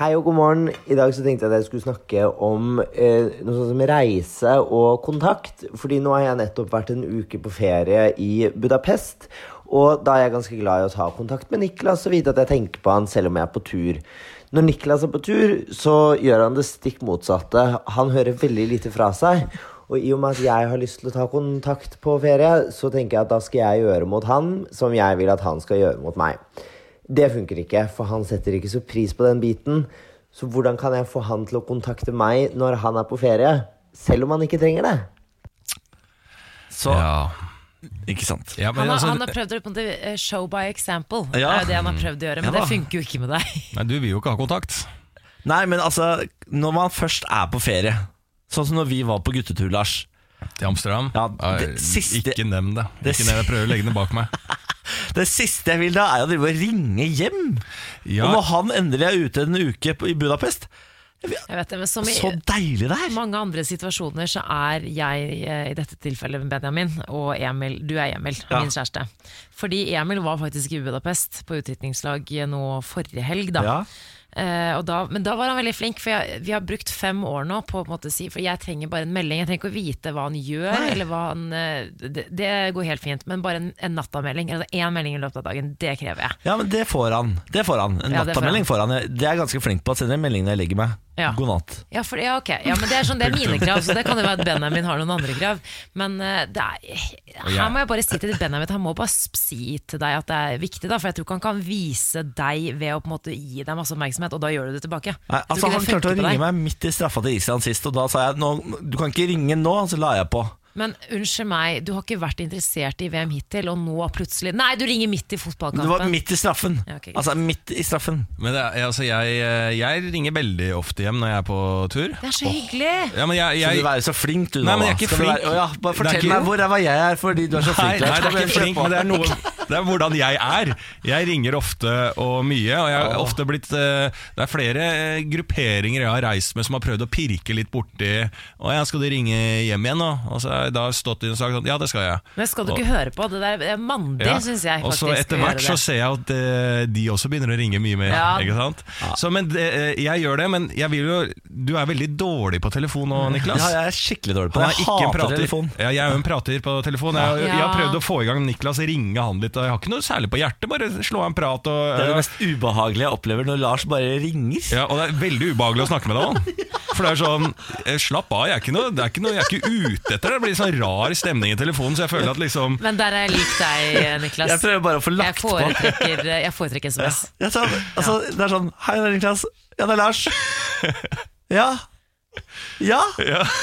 [SPEAKER 6] Hei og god morgen. I dag så tenkte jeg at jeg skulle snakke om eh, noe sånt som reise og kontakt. Fordi nå har jeg nettopp vært en uke på ferie i Budapest. Og da er jeg ganske glad i å ta kontakt med Niklas og vite at jeg tenker på han selv om jeg er på tur. Når Niklas er på tur, så gjør han det stikk motsatte. Han hører veldig lite fra seg. Og i og med at jeg har lyst til å ta kontakt på ferie, så tenker jeg at da skal jeg gjøre mot han som jeg vil at han skal gjøre mot meg. Det funker ikke, for han setter ikke så pris på den biten. Så hvordan kan jeg få han til å kontakte meg når han er på ferie, selv om han ikke trenger det?
[SPEAKER 1] Så,
[SPEAKER 3] Ja.
[SPEAKER 1] Ikke sant.
[SPEAKER 3] Ja, men
[SPEAKER 2] Han har,
[SPEAKER 3] altså,
[SPEAKER 2] han har prøvd å på en måte, eh, show by example.
[SPEAKER 1] Ja.
[SPEAKER 2] Det er jo det han har prøvd å gjøre, men
[SPEAKER 1] Ja.
[SPEAKER 2] det funker jo ikke med deg. [laughs]
[SPEAKER 3] nei, du vil jo ikke ha kontakt.
[SPEAKER 1] Nei, men altså, når man først er på ferie, sånn som når vi var på guttetur, Lars
[SPEAKER 3] Til Amsterdam?
[SPEAKER 1] Ja, det
[SPEAKER 3] Nei,
[SPEAKER 1] siste-
[SPEAKER 3] Ikke nevn det.
[SPEAKER 1] Det
[SPEAKER 3] Ikke nevn det. Jeg prøver å legge det bak
[SPEAKER 1] [laughs]
[SPEAKER 3] meg.
[SPEAKER 1] Det siste jeg vil da, er å drive og ringe hjem.
[SPEAKER 3] Ja.
[SPEAKER 1] Og når han endelig er ute en uke på, i Budapest
[SPEAKER 2] Jeg vet det, men som i
[SPEAKER 1] Så deilig det er!
[SPEAKER 2] mange andre situasjoner så er jeg, eh, i dette tilfellet Benjamin, og Emil, du er Emil,
[SPEAKER 1] Ja.
[SPEAKER 2] min kjæreste. Fordi Emil var faktisk i Budapest på utdrikningslag nå forrige helg, da.
[SPEAKER 1] Ja.
[SPEAKER 2] Eh, og da, men da var han veldig flink, for jeg, vi har brukt fem år nå på å på en måte si For jeg trenger bare en melding. Jeg trenger ikke å vite hva han gjør, eller hva han eh, det, det går helt fint, men bare en, en nattamelding, eller én melding i løpet av dagen, det krever jeg.
[SPEAKER 1] Ja, men det får han. Det får han. En
[SPEAKER 2] Ja, det får
[SPEAKER 1] nattamelding får han. Det er jeg ganske flink på. Sender en melding når jeg legger meg.
[SPEAKER 2] Ja.
[SPEAKER 1] God natt.
[SPEAKER 2] Ja, for, ja, ok. ja, men det er, sånn, det er mine krav, så det kan jo være at Benjamin har noen andre krav. Men eh, det er, her må jeg bare si til Benjamin at han må bare sp- si til deg at det er viktig, da, for jeg tror ikke han kan vise deg ved å på en måte gi deg masse oppmerksomhet, og da gjør du det tilbake.
[SPEAKER 1] Nei,
[SPEAKER 2] Jeg tror
[SPEAKER 1] altså
[SPEAKER 2] ikke
[SPEAKER 1] Han
[SPEAKER 2] det
[SPEAKER 1] klarte å
[SPEAKER 2] funker på
[SPEAKER 1] ringe
[SPEAKER 2] deg.
[SPEAKER 1] meg midt i straffa til Island sist, og da sa jeg nå, du kan ikke ringe nå, så la jeg på.
[SPEAKER 2] Men unnskyld meg, du har ikke vært interessert i VM hittil, og nå plutselig Nei, du ringer midt i fotballkampen.
[SPEAKER 1] Det var midt i straffen.
[SPEAKER 2] Ja, ok, greit.
[SPEAKER 1] altså midt i straffen.
[SPEAKER 3] Men det, er- altså, jeg, jeg ringer veldig ofte hjem når jeg er på tur.
[SPEAKER 2] Det er så hyggelig!
[SPEAKER 3] Ja, men jeg,
[SPEAKER 1] Skal
[SPEAKER 3] jeg,
[SPEAKER 1] du være så flink, du
[SPEAKER 3] Nei,
[SPEAKER 1] nå,
[SPEAKER 3] men jeg
[SPEAKER 1] da?
[SPEAKER 3] er ikke
[SPEAKER 1] Skal du
[SPEAKER 3] flink.
[SPEAKER 1] Være... Å ja, bare
[SPEAKER 3] Det er
[SPEAKER 1] fortell
[SPEAKER 3] ikke-
[SPEAKER 1] meg hvor ræva jeg er, fordi du er så
[SPEAKER 3] Nei,
[SPEAKER 1] flink.
[SPEAKER 3] nei,
[SPEAKER 1] Lars.
[SPEAKER 3] det er ikke
[SPEAKER 1] Kjør
[SPEAKER 3] flink,
[SPEAKER 1] på.
[SPEAKER 3] men det er, noe, det er hvordan jeg er. Jeg ringer ofte og mye, og jeg har ofte blitt eh, Det er flere eh, grupperinger jeg har reist med som har prøvd å pirke litt borti Og ja, skal du ringe hjem igjen nå? Og så har jeg da stått i en sak sånn, ja, det skal jeg.
[SPEAKER 2] Men skal du ikke høre på? Det der er mandig,
[SPEAKER 3] Ja.
[SPEAKER 2] syns jeg.
[SPEAKER 3] Og
[SPEAKER 2] faktisk
[SPEAKER 3] så etter
[SPEAKER 2] å
[SPEAKER 3] hvert
[SPEAKER 2] gjøre
[SPEAKER 3] så
[SPEAKER 2] det.
[SPEAKER 3] ser jeg at eh, de også begynner å ringe mye mer.
[SPEAKER 2] Ja.
[SPEAKER 3] Ikke sant? Så, men det, eh, jeg gjør det, men jeg vil jo Du er veldig dårlig på telefon nå, Niklas.
[SPEAKER 1] Mm. Ja, jeg er skikkelig dårlig på
[SPEAKER 3] Han
[SPEAKER 1] det.
[SPEAKER 3] er
[SPEAKER 1] Jeg
[SPEAKER 3] ikke en
[SPEAKER 1] hater
[SPEAKER 3] prater.
[SPEAKER 1] telefon.
[SPEAKER 3] Ja, jeg er jo en prater på telefon. Jeg, har- jeg har
[SPEAKER 2] Ja.
[SPEAKER 3] prøvd å få i gang Niklas, ringe han litt. Og jeg har ikke noe særlig på hjertet, bare slå av en prat. Og,
[SPEAKER 1] Det er det mest ubehagelige jeg opplever når Lars bare ringer.
[SPEAKER 3] ja, og det er veldig ubehagelig å snakke med
[SPEAKER 1] [laughs]
[SPEAKER 3] deg òg. For det er sånn eh, Slapp av, jeg er ikke, noe, det er ikke, noe, jeg er ikke ute etter det. Det blir sånn rar stemning i telefonen, så jeg føler at liksom
[SPEAKER 2] Men der er jeg lik deg, Niklas.
[SPEAKER 1] [laughs] Jeg prøver bare å få
[SPEAKER 2] Jeg
[SPEAKER 1] lagt på.
[SPEAKER 2] foretrekker, jeg foretrekker SMS.
[SPEAKER 1] Jeg sa, altså, Det er sånn Hei, det er Niklas. Ja, det er
[SPEAKER 3] [laughs]
[SPEAKER 1] Lars. Ja. Ja.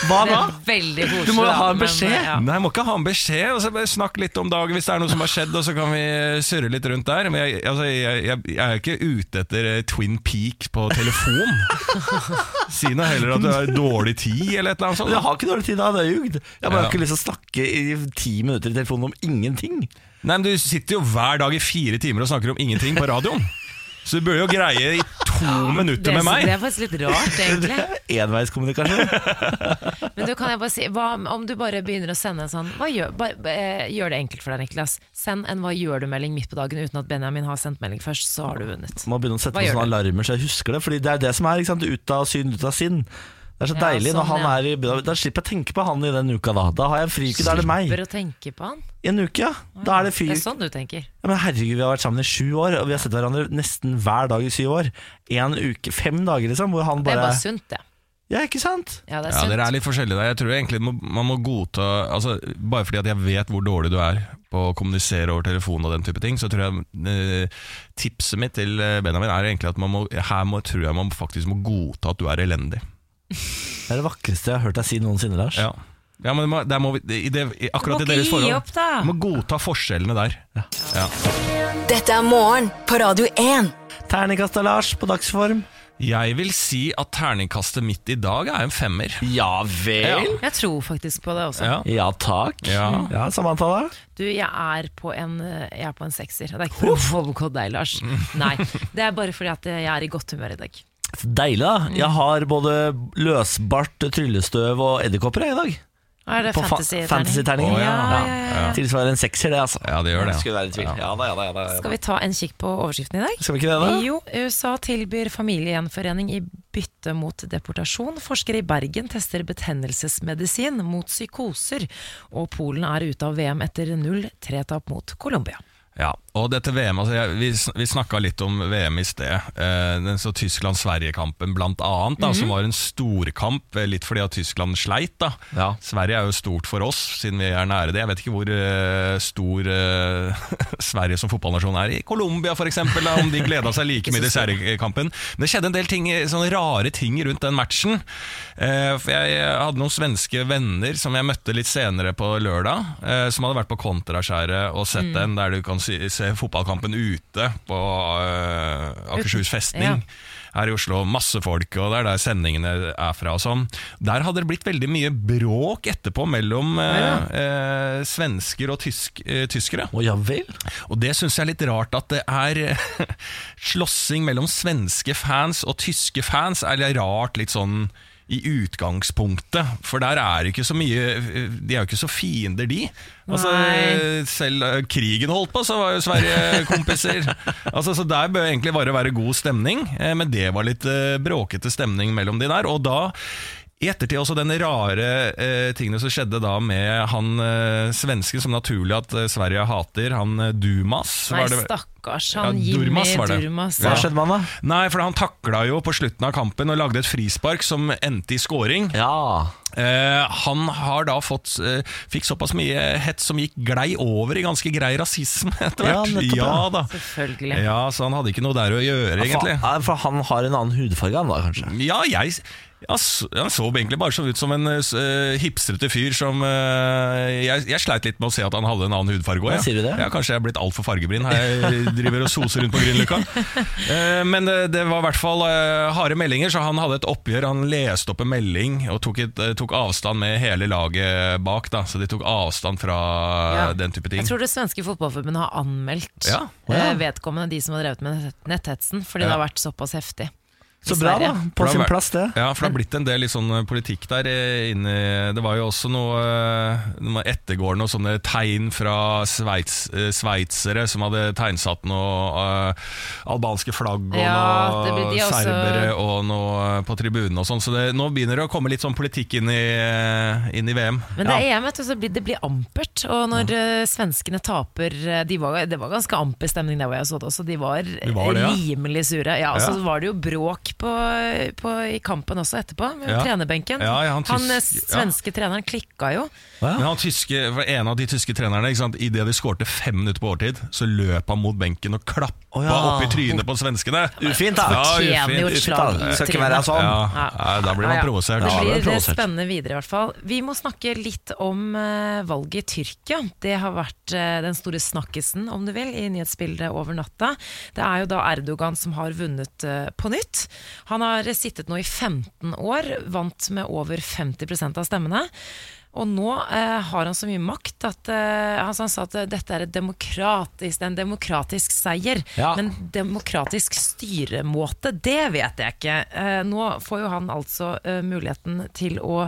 [SPEAKER 1] Hva
[SPEAKER 2] Det
[SPEAKER 1] da?
[SPEAKER 2] er veldig koselig.
[SPEAKER 1] Du må jo
[SPEAKER 2] da,
[SPEAKER 1] ha en
[SPEAKER 2] men, eh,
[SPEAKER 1] beskjed.
[SPEAKER 2] ja.
[SPEAKER 3] Nei, jeg må ikke ha en beskjed. Og så bare snakk litt om dagen hvis det er noe som har skjedd, og så kan vi eh, surre litt rundt der. Men jeg, altså, jeg, jeg, jeg er ikke ute etter eh, Twin Peak på telefon.
[SPEAKER 1] [laughs]
[SPEAKER 3] si nå heller at du har dårlig tid, eller et eller annet sånt.
[SPEAKER 1] Men Jeg har ikke dårlig tid, da. Det er ljugd. Jeg bare
[SPEAKER 3] Ja.
[SPEAKER 1] har ikke lyst til å snakke i ti minutter i telefonen om ingenting.
[SPEAKER 3] Nei, men Du sitter jo hver dag i fire timer og snakker om ingenting på radioen. Så du burde jo greie i to
[SPEAKER 2] Det,
[SPEAKER 3] minutter med
[SPEAKER 2] det
[SPEAKER 3] meg.
[SPEAKER 2] er faktisk litt rart,
[SPEAKER 1] Det
[SPEAKER 2] egentlig.
[SPEAKER 1] er Enveiskommunikasjon.
[SPEAKER 2] Men du kan jeg bare si, hva, om du bare begynner å sende en sånn hva gjør, bare, eh, gjør det enkelt for deg, Niklas. Send en 'hva gjør du'-melding midt på dagen uten at Benjamin har sendt melding først, så har du vunnet.
[SPEAKER 1] Må begynne å sette
[SPEAKER 2] Hva
[SPEAKER 1] på
[SPEAKER 2] gjør
[SPEAKER 1] sånne
[SPEAKER 2] du?
[SPEAKER 1] alarmer så jeg husker det. Fordi det er det som er. Ikke sant? Ut av syn, ut av sinn. Det er så
[SPEAKER 2] Ja,
[SPEAKER 1] deilig når
[SPEAKER 2] sånn,
[SPEAKER 1] han
[SPEAKER 2] ja.
[SPEAKER 1] er i Budapest. Da slipper jeg å tenke på han i den uka, da. Da har jeg en friuke, da er det meg.
[SPEAKER 2] Slipper å tenke på han.
[SPEAKER 1] I en uke, ja. Da er det
[SPEAKER 2] Det er
[SPEAKER 1] fyr.
[SPEAKER 2] sånn du tenker.
[SPEAKER 1] Ja, men herregud, vi har vært sammen i sju år, og vi har sett hverandre nesten hver dag i syv år. En uke, fem dager liksom, hvor han
[SPEAKER 2] Det er
[SPEAKER 1] bare,
[SPEAKER 2] bare sunt, det.
[SPEAKER 1] Ja, ikke sant?
[SPEAKER 2] Ja, det er
[SPEAKER 3] Ja,
[SPEAKER 2] sunt.
[SPEAKER 3] Dere er litt forskjellige der. Jeg tror egentlig må- man må godta altså, Bare fordi at jeg vet hvor dårlig du er på å kommunisere over telefon og den type ting, så tror jeg eh, tipset mitt til eh, Benjamin er egentlig at man må, her må, tror jeg man faktisk må godta at du er elendig.
[SPEAKER 1] Det er det vakreste jeg har hørt deg si noensinne, Lars.
[SPEAKER 3] Ja. Ja, men det må, der må vi, i det, i akkurat
[SPEAKER 2] Du må
[SPEAKER 3] i deres
[SPEAKER 2] ikke gi
[SPEAKER 3] forhold
[SPEAKER 2] opp, da.
[SPEAKER 3] Du må godta forskjellene der. Ja.
[SPEAKER 4] Dette er morgen på Radio 1.
[SPEAKER 1] Terningkast av Lars på dagsform.
[SPEAKER 3] Jeg vil si at terningkastet mitt i dag er en femmer.
[SPEAKER 1] Ja vel?
[SPEAKER 2] Jeg tror faktisk på det også.
[SPEAKER 3] Ja.
[SPEAKER 1] Ja, takk.
[SPEAKER 3] Ja.
[SPEAKER 1] ja samme antall, da.
[SPEAKER 2] Du, jeg er på en, eh, jeg er på en sekser. Og det er ikke for å voldgå deg, Lars. Nei, Det er bare fordi at jeg er i godt humør i dag. Mm.
[SPEAKER 1] Deilig, da. Jeg har både løsbart, tryllestøv og edderkopper jeg, i dag.
[SPEAKER 2] Er det
[SPEAKER 1] På fa-
[SPEAKER 2] fantasy-terning?
[SPEAKER 1] fantasy-terning.
[SPEAKER 3] Å, ja.
[SPEAKER 2] Ja, ja, ja, ja.
[SPEAKER 1] Tilsvarer en sekser, det, altså.
[SPEAKER 3] Ja, det gjør det.
[SPEAKER 1] Skulle være i tvil. Ja da, ja da. Ja, da, ja, da.
[SPEAKER 2] Skal vi ta en kikk på overskriften i dag?
[SPEAKER 1] Skal vi ikke det, da?
[SPEAKER 2] Jo, USA tilbyr familiegjenforening i bytte mot deportasjon. Forskere i Bergen tester betennelsesmedisin mot psykoser. Og Polen er ute av VM etter 0-3-tap mot Colombia.
[SPEAKER 3] Ja, og dette VM, altså jeg, vi, sn- vi snakka litt om VM i sted. Eh, den så Tyskland-Sverige-kampen blant annet, da, som var en storkamp, eh, litt fordi at Tyskland sleit. da.
[SPEAKER 1] Ja.
[SPEAKER 3] Sverige er jo stort for oss, siden vi er nære det. Jeg vet ikke hvor eh, stor eh, [laughs] Sverige som fotballnasjon er i Colombia, f.eks., om de gleda seg like mye til Sverige-kampen. Men det skjedde en del ting, eh, sånne rare ting rundt den matchen. Eh, for jeg hadde noen svenske venner som jeg møtte litt senere på lørdag, eh, som hadde vært på Kontraskjæret og sett den, der du kan si, se fotballkampen ute på eh, Akershus festning.
[SPEAKER 2] Ja.
[SPEAKER 3] Her i Oslo, masse folk, og det er der sendingene er fra og sånn. Der hadde det blitt veldig mye bråk etterpå mellom eh, eh, svensker og tysk, eh, tyskere.
[SPEAKER 1] Å ja vel?
[SPEAKER 3] Og det syns jeg er litt rart at det er eh, [laughs] slåssing mellom svenske fans og tyske fans. Er litt rart litt sånn i utgangspunktet, for der er det ikke så mye eh, De er jo ikke så fiender, de. Altså,
[SPEAKER 2] Nei.
[SPEAKER 3] selv da krigen holdt på, så var jo Sverige kompiser. altså, så der bør egentlig bare være god stemning, eh, men det var litt eh, bråkete stemning mellom de der. Og da i ettertid også den rare eh, tingene som skjedde da med han eh, svensken som naturlig at eh, Sverige hater, han eh, Dumas.
[SPEAKER 2] Nei,
[SPEAKER 3] var det-
[SPEAKER 2] stakkars han
[SPEAKER 3] Ja,
[SPEAKER 2] Jimmy
[SPEAKER 3] Durmaz var det.
[SPEAKER 2] Durmaz.
[SPEAKER 1] Hva
[SPEAKER 3] Ja.
[SPEAKER 1] skjedde med han, da?
[SPEAKER 3] Nei, for han takla jo på slutten av kampen og lagde et frispark som endte i scoring.
[SPEAKER 1] Ja.
[SPEAKER 3] Eh, han har da fått, eh, fikk såpass mye hets som gikk glei over i ganske grei rasisme [laughs] etter
[SPEAKER 1] Ja,
[SPEAKER 3] hvert.
[SPEAKER 1] nettopp,
[SPEAKER 3] Ja,
[SPEAKER 1] ja.
[SPEAKER 3] da.
[SPEAKER 2] Selvfølgelig.
[SPEAKER 3] Ja, så han hadde ikke noe der å gjøre, egentlig.
[SPEAKER 1] For, for han har en annen hudfarge, han da, kanskje.
[SPEAKER 3] Ja, jeg ja, så, han så egentlig bare så ut som en eh, hipstrete fyr som eh, jeg, jeg sleit litt med å se at han hadde en annen hudfarge òg.
[SPEAKER 1] Ja, sier du det?
[SPEAKER 3] Ja, kanskje jeg er blitt altfor fargeblind. Jeg driver og soser rundt på Grünerløkka. Eh, men det, det var i hvert fall eh, harde meldinger, så han hadde et oppgjør. Han leste opp en melding og tok, et, eh, tok avstand med hele laget bak. Da. Så de tok avstand fra
[SPEAKER 2] Ja.
[SPEAKER 3] den type ting.
[SPEAKER 2] Jeg tror det svenske fotballforbundet har anmeldt
[SPEAKER 3] Ja.
[SPEAKER 2] eh, vedkommende, de som har drevet med nett- netthetsen, fordi det har vært såpass heftig. i
[SPEAKER 1] Så bra, da.
[SPEAKER 2] Sverige.
[SPEAKER 1] På
[SPEAKER 3] For det
[SPEAKER 1] sin
[SPEAKER 3] har vært-
[SPEAKER 1] plass, det.
[SPEAKER 3] Ja, for det har blitt en del litt sånn eh, politikk der eh, inne. Det var jo også noe eh, noe ettergående og sånne tegn fra sveits, eh, sveitsere som hadde tegnsatt noe eh, albanske flagg og
[SPEAKER 2] Ja, det
[SPEAKER 3] noe
[SPEAKER 2] blir de også-
[SPEAKER 3] serbere og noe eh, på tribunen og sånn. Så det, nå begynner det å komme litt sånn politikk inn i, eh, inn i VM.
[SPEAKER 2] Men det er EM, vet du, så blir, det blir ampert. Og når eh, svenskene taper eh, de var, Det var ganske amper stemning der hvor jeg så det også. De var,
[SPEAKER 3] var det, ja.
[SPEAKER 2] rimelig sure. Ja, og
[SPEAKER 3] Ja.
[SPEAKER 2] Så var det jo bråk på, på, i kampen også etterpå, med
[SPEAKER 3] Ja.
[SPEAKER 2] trenerbenken.
[SPEAKER 3] Ja, ja, han
[SPEAKER 2] han,
[SPEAKER 3] tysk-
[SPEAKER 2] eh,
[SPEAKER 3] ja.
[SPEAKER 2] svenske treneren klikka jo.
[SPEAKER 3] Men han tyske, for en av de tyske trenerne, ikke sant? i det de skårte fem minutter på overtid, så løp han mot benken og klappa
[SPEAKER 1] Å ja.
[SPEAKER 3] opp i trynet på svenskene.
[SPEAKER 1] Ufint, da.
[SPEAKER 3] Ja,
[SPEAKER 2] Fortjener jo
[SPEAKER 3] ufint.
[SPEAKER 2] et slag i
[SPEAKER 1] Skal ikke
[SPEAKER 2] trynet.
[SPEAKER 1] være sånn.
[SPEAKER 3] Ja, nei, da blir man
[SPEAKER 2] altså. Ja, ja.
[SPEAKER 3] provosert.
[SPEAKER 2] Det
[SPEAKER 3] Ja,
[SPEAKER 2] blir
[SPEAKER 1] da blir man provosert.
[SPEAKER 2] spennende videre, i hvert fall. Vi må snakke litt om eh, valget i Tyrkia. Det har vært eh, den store snakkisen, om du vil, i nyhetsbildet over natta. Det er jo da Erdogan som har vunnet eh, på nytt. Han har sittet nå i 15 år, vant med over 50 av stemmene. Og nå eh, har han så mye makt at eh, altså han sa at eh, dette er et demokratisk, det er en demokratisk seier.
[SPEAKER 1] Ja.
[SPEAKER 2] Men demokratisk styremåte, det vet jeg ikke. Eh, nå får jo han altså eh, muligheten til å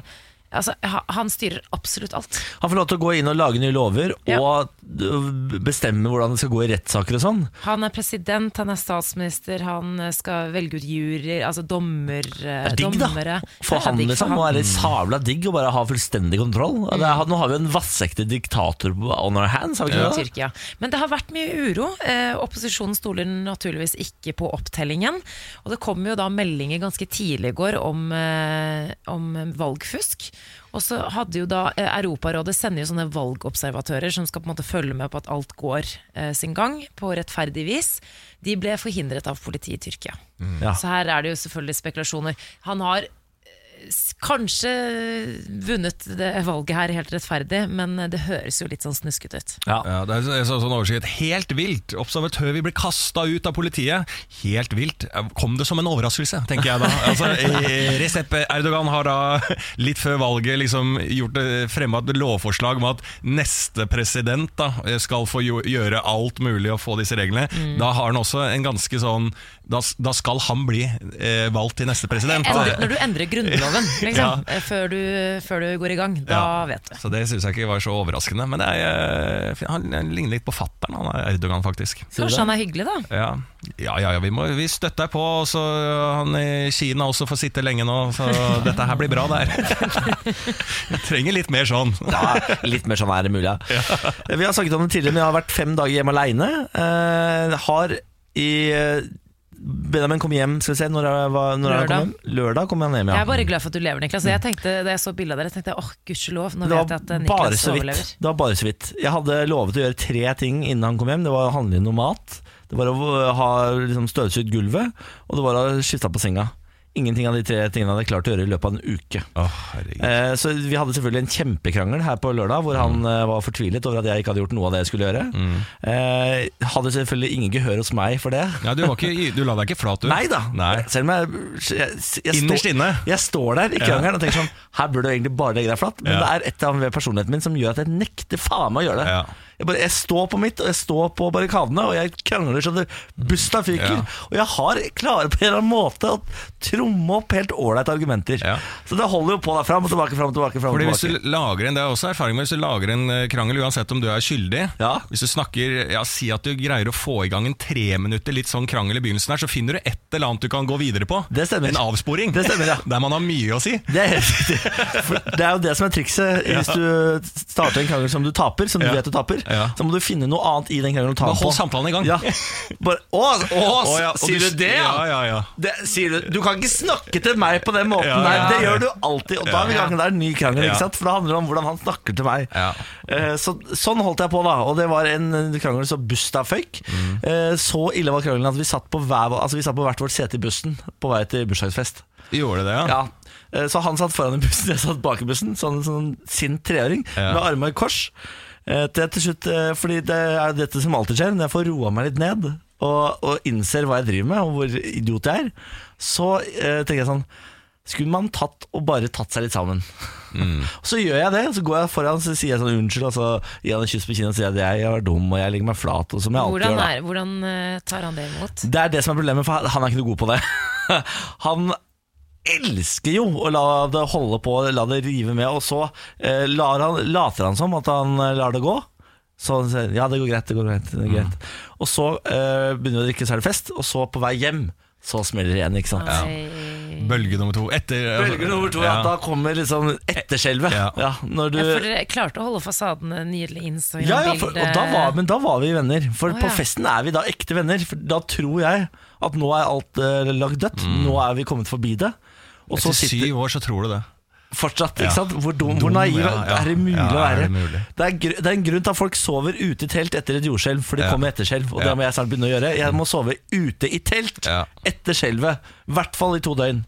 [SPEAKER 2] Altså, ha- han styrer absolutt alt.
[SPEAKER 1] Han får lov til å gå inn og lage nye lover
[SPEAKER 2] Ja.
[SPEAKER 1] og øh, bestemme hvordan det skal gå i rettssaker og sånn.
[SPEAKER 2] Han er president, han er statsminister, han eh, skal velge ut juryer, altså dommer, eh,
[SPEAKER 1] Det er digg, da.
[SPEAKER 2] dommere.
[SPEAKER 1] For
[SPEAKER 2] Ja,
[SPEAKER 1] han,
[SPEAKER 2] digg for
[SPEAKER 1] liksom. Nå er det sabla digg å bare ha fullstendig kontroll. Og det er, nå har vi en vassekte diktator på- on our hands, har vi
[SPEAKER 2] i
[SPEAKER 1] ikke det?
[SPEAKER 2] Tyrkia. Men det har vært mye uro. Eh, opposisjonen stoler naturligvis ikke på opptellingen. Og det kom jo da meldinger ganske tidlig i går om, eh, om valgfusk. Og så hadde jo da eh, Europarådet sender jo sånne valgobservatører som skal på en måte følge med på at alt går eh, sin gang på rettferdig vis. De ble forhindret av politiet i Tyrkia.
[SPEAKER 1] Ja.
[SPEAKER 2] Så her er det jo selvfølgelig spekulasjoner. Han har eh, s- kanskje vunnet det valget her helt rettferdig, men eh, det høres jo litt sånn snuskete ut.
[SPEAKER 1] Ja.
[SPEAKER 3] Ja, det er så- så, sånn oversikt. Helt vilt. Observatør vil bli kasta ut av politiet. Helt vilt. Kom det som en overraskelse, tenker
[SPEAKER 2] [laughs]
[SPEAKER 3] jeg da. Altså, eh, Recep Erdogan har da litt før valget liksom gjort det- fremma et lovforslag om at neste president da, eh, skal få jo- gjøre alt mulig og få disse reglene.
[SPEAKER 2] Mm.
[SPEAKER 3] Da har han også en ganske sånn Da, da skal han bli eh, valgt til neste president.
[SPEAKER 2] Endre, når du endrer Grunnloven liksom,
[SPEAKER 3] Ja.
[SPEAKER 2] før, du, før du går i gang, da
[SPEAKER 3] Ja.
[SPEAKER 2] vet du.
[SPEAKER 3] Så det syns jeg ikke var så overraskende. Men jeg, eh, han han ligner litt på fattern, han er Erdogan, faktisk.
[SPEAKER 2] Kanskje han er hyggelig, da.
[SPEAKER 3] Ja, ja, ja, ja vi, må, vi støtter deg på. og Så øh, han i Kina også får sitte lenge nå, så [laughs] dette her blir bra, det her. [laughs] Vi trenger litt mer sånn.
[SPEAKER 1] Ja, litt mer sånn er det mulig. Ja. [laughs] Vi har snakket om det tidligere, men jeg har vært fem dager hjemme aleine. Eh, har i eh, Benjamin kom hjem skal vi se, når, jeg var, når lørdag.
[SPEAKER 2] Lørdag.
[SPEAKER 1] kom hjem. Lørdag kom han hjem, ja. Mm.
[SPEAKER 2] Jeg er bare glad for at du lever, Niklas. Jeg tenkte, da jeg så bildet av dere, tenkte jeg åh, gudskjelov, nå
[SPEAKER 1] det
[SPEAKER 2] vet
[SPEAKER 1] var
[SPEAKER 2] jeg at eh,
[SPEAKER 1] bare
[SPEAKER 2] Niklas
[SPEAKER 1] så vidt.
[SPEAKER 2] overlever.
[SPEAKER 1] Det var bare så vidt. Jeg hadde lovet å gjøre tre ting innen han kom hjem. Det var å handle inn noe mat, det var å ha liksom, støvsugd gulvet, og det var å skifte på senga. Ingenting av de tre tingene hadde jeg klart å gjøre i løpet av en uke. Eh, Så vi hadde selvfølgelig en kjempekrangel her på lørdag, hvor han
[SPEAKER 3] Mm.
[SPEAKER 1] eh, var fortvilet over at jeg ikke hadde gjort noe av det jeg skulle gjøre. Eh, Hadde selvfølgelig ingen gehør hos meg for det.
[SPEAKER 3] Ja, du, var ikke, i- du la deg ikke flat, du.
[SPEAKER 1] Nei da,
[SPEAKER 3] Nei.
[SPEAKER 1] selv om jeg, jeg, jeg,
[SPEAKER 3] Innerst
[SPEAKER 1] står-
[SPEAKER 3] inne.
[SPEAKER 1] jeg står der i krangelen og tenker sånn Her burde du egentlig bare legge deg flatt, men
[SPEAKER 3] Ja.
[SPEAKER 1] det er et eller annet ved personligheten min som gjør at jeg nekter faen meg å gjøre det.
[SPEAKER 3] Ja.
[SPEAKER 1] Jeg, bare, jeg står på mitt, og jeg står på barrikadene, og jeg krangler som det busta fyker.
[SPEAKER 3] Ja.
[SPEAKER 1] Og jeg har klarer på en eller annen måte å tromme opp helt ålreite argumenter.
[SPEAKER 3] Ja.
[SPEAKER 1] Så det holder jo på der fram og tilbake, fram og tilbake. Frem og
[SPEAKER 3] Fordi hvis
[SPEAKER 1] tilbake.
[SPEAKER 3] du lager en, Det er også erfaring med hvis du lager en eh, krangel, uansett om du er skyldig.
[SPEAKER 1] Ja.
[SPEAKER 3] Hvis du snakker, ja, Si at du greier å få i gang en tre minutter litt sånn krangel i begynnelsen, her, så finner du et eller annet du kan gå videre på.
[SPEAKER 1] Det stemmer.
[SPEAKER 3] En avsporing.
[SPEAKER 1] Det stemmer, ja.
[SPEAKER 3] Der man har mye å si.
[SPEAKER 1] Det er, helt riktig. For det er jo det som er trikset. Hvis du starter en krangel som du taper, som du
[SPEAKER 3] Ja.
[SPEAKER 1] vet du taper,
[SPEAKER 3] Ja.
[SPEAKER 1] så må du finne noe annet i den krangelen. å ta
[SPEAKER 3] Bare
[SPEAKER 1] den på.
[SPEAKER 3] hold samtalen i gang.
[SPEAKER 1] Ja.
[SPEAKER 3] [laughs]
[SPEAKER 1] Bare, å, å,
[SPEAKER 3] Å, ja, og
[SPEAKER 1] sier du det,
[SPEAKER 3] ja? Ja, ja,
[SPEAKER 1] Det, sier du, du kan ikke snakke til meg på den måten
[SPEAKER 3] Ja,
[SPEAKER 1] her.
[SPEAKER 3] ja.
[SPEAKER 1] Det gjør du alltid. Og da er vi i gang. Det er en ny krangel,
[SPEAKER 3] Ja.
[SPEAKER 1] ikke sant? for det handler om hvordan han snakker til meg.
[SPEAKER 3] Ja.
[SPEAKER 1] Eh, Så, sånn holdt jeg på, da. Og det var en en krangel som busta føyk.
[SPEAKER 3] Mm.
[SPEAKER 1] Eh, Så ille var krangelen at vi satt, på hver, altså vi satt på hvert vårt sete i bussen på vei til bursdagsfest.
[SPEAKER 3] Gjorde det,
[SPEAKER 1] Ja. Eh, Så han satt foran i bussen, jeg satt bak i bussen, sånn, sånn sint treåring
[SPEAKER 3] Ja.
[SPEAKER 1] med armene i kors. Eh, Til jeg til slutt, eh, fordi det er jo dette som alltid skjer, når jeg får roa meg litt ned og, og innser hva jeg driver med, og hvor idiot jeg er, så eh, tenker jeg sånn skulle man tatt og bare tatt seg litt sammen? [laughs] Så gjør jeg det, så går jeg foran så sier jeg sånn unnskyld, og så gir han en kyss på kinnet og sier at jeg, jeg var dum og jeg legger meg flat. Og som jeg alltid gjør,
[SPEAKER 2] Hvordan,
[SPEAKER 1] da.
[SPEAKER 2] er, hvordan eh, tar han det imot?
[SPEAKER 1] Det er det som er problemet, for han er ikke noe god på det. [laughs] Han elsker jo å la det holde på, la det rive med, og så eh, lar han, later han som at han eh, lar det gå. Så han sier ja, det går greit, det går greit. Det går greit. Og så eh, begynner vi å drikke, så er det fest, og så på vei hjem, så smeller det igjen, ikke sant.
[SPEAKER 2] Nei.
[SPEAKER 3] Bølge nummer to. Etter, altså,
[SPEAKER 1] Bølge nummer to, ja. Da kommer liksom etterskjelvet.
[SPEAKER 3] Ja.
[SPEAKER 1] Ja. når du
[SPEAKER 2] Ja, for dere klarte å holde fasaden eh, nydelig instagram
[SPEAKER 1] Ja, ja, for, og da var, men da var vi venner. For
[SPEAKER 2] Å,
[SPEAKER 1] på
[SPEAKER 2] ja.
[SPEAKER 1] festen er vi da ekte venner. For da tror jeg at nå er alt eh, lagt dødt. Nå er vi kommet forbi det. Og så
[SPEAKER 3] Etter
[SPEAKER 1] sitter
[SPEAKER 3] syv år så tror du det.
[SPEAKER 1] fortsatt,
[SPEAKER 3] Ja.
[SPEAKER 1] ikke sant? Hvor dum,
[SPEAKER 3] Dum,
[SPEAKER 1] hvor naiv
[SPEAKER 3] ja, ja.
[SPEAKER 1] er det mulig
[SPEAKER 3] Ja, er
[SPEAKER 1] å være?
[SPEAKER 3] det mulig?
[SPEAKER 1] Det er, gr det er en grunn til at folk sover ute i telt etter et jordskjelv, for det
[SPEAKER 3] Ja.
[SPEAKER 1] kommer etterskjelv. Og
[SPEAKER 3] Ja.
[SPEAKER 1] det må jeg snart begynne å gjøre. Jeg må sove ute i telt
[SPEAKER 3] Ja.
[SPEAKER 1] etter skjelvet. I hvert fall i to døgn.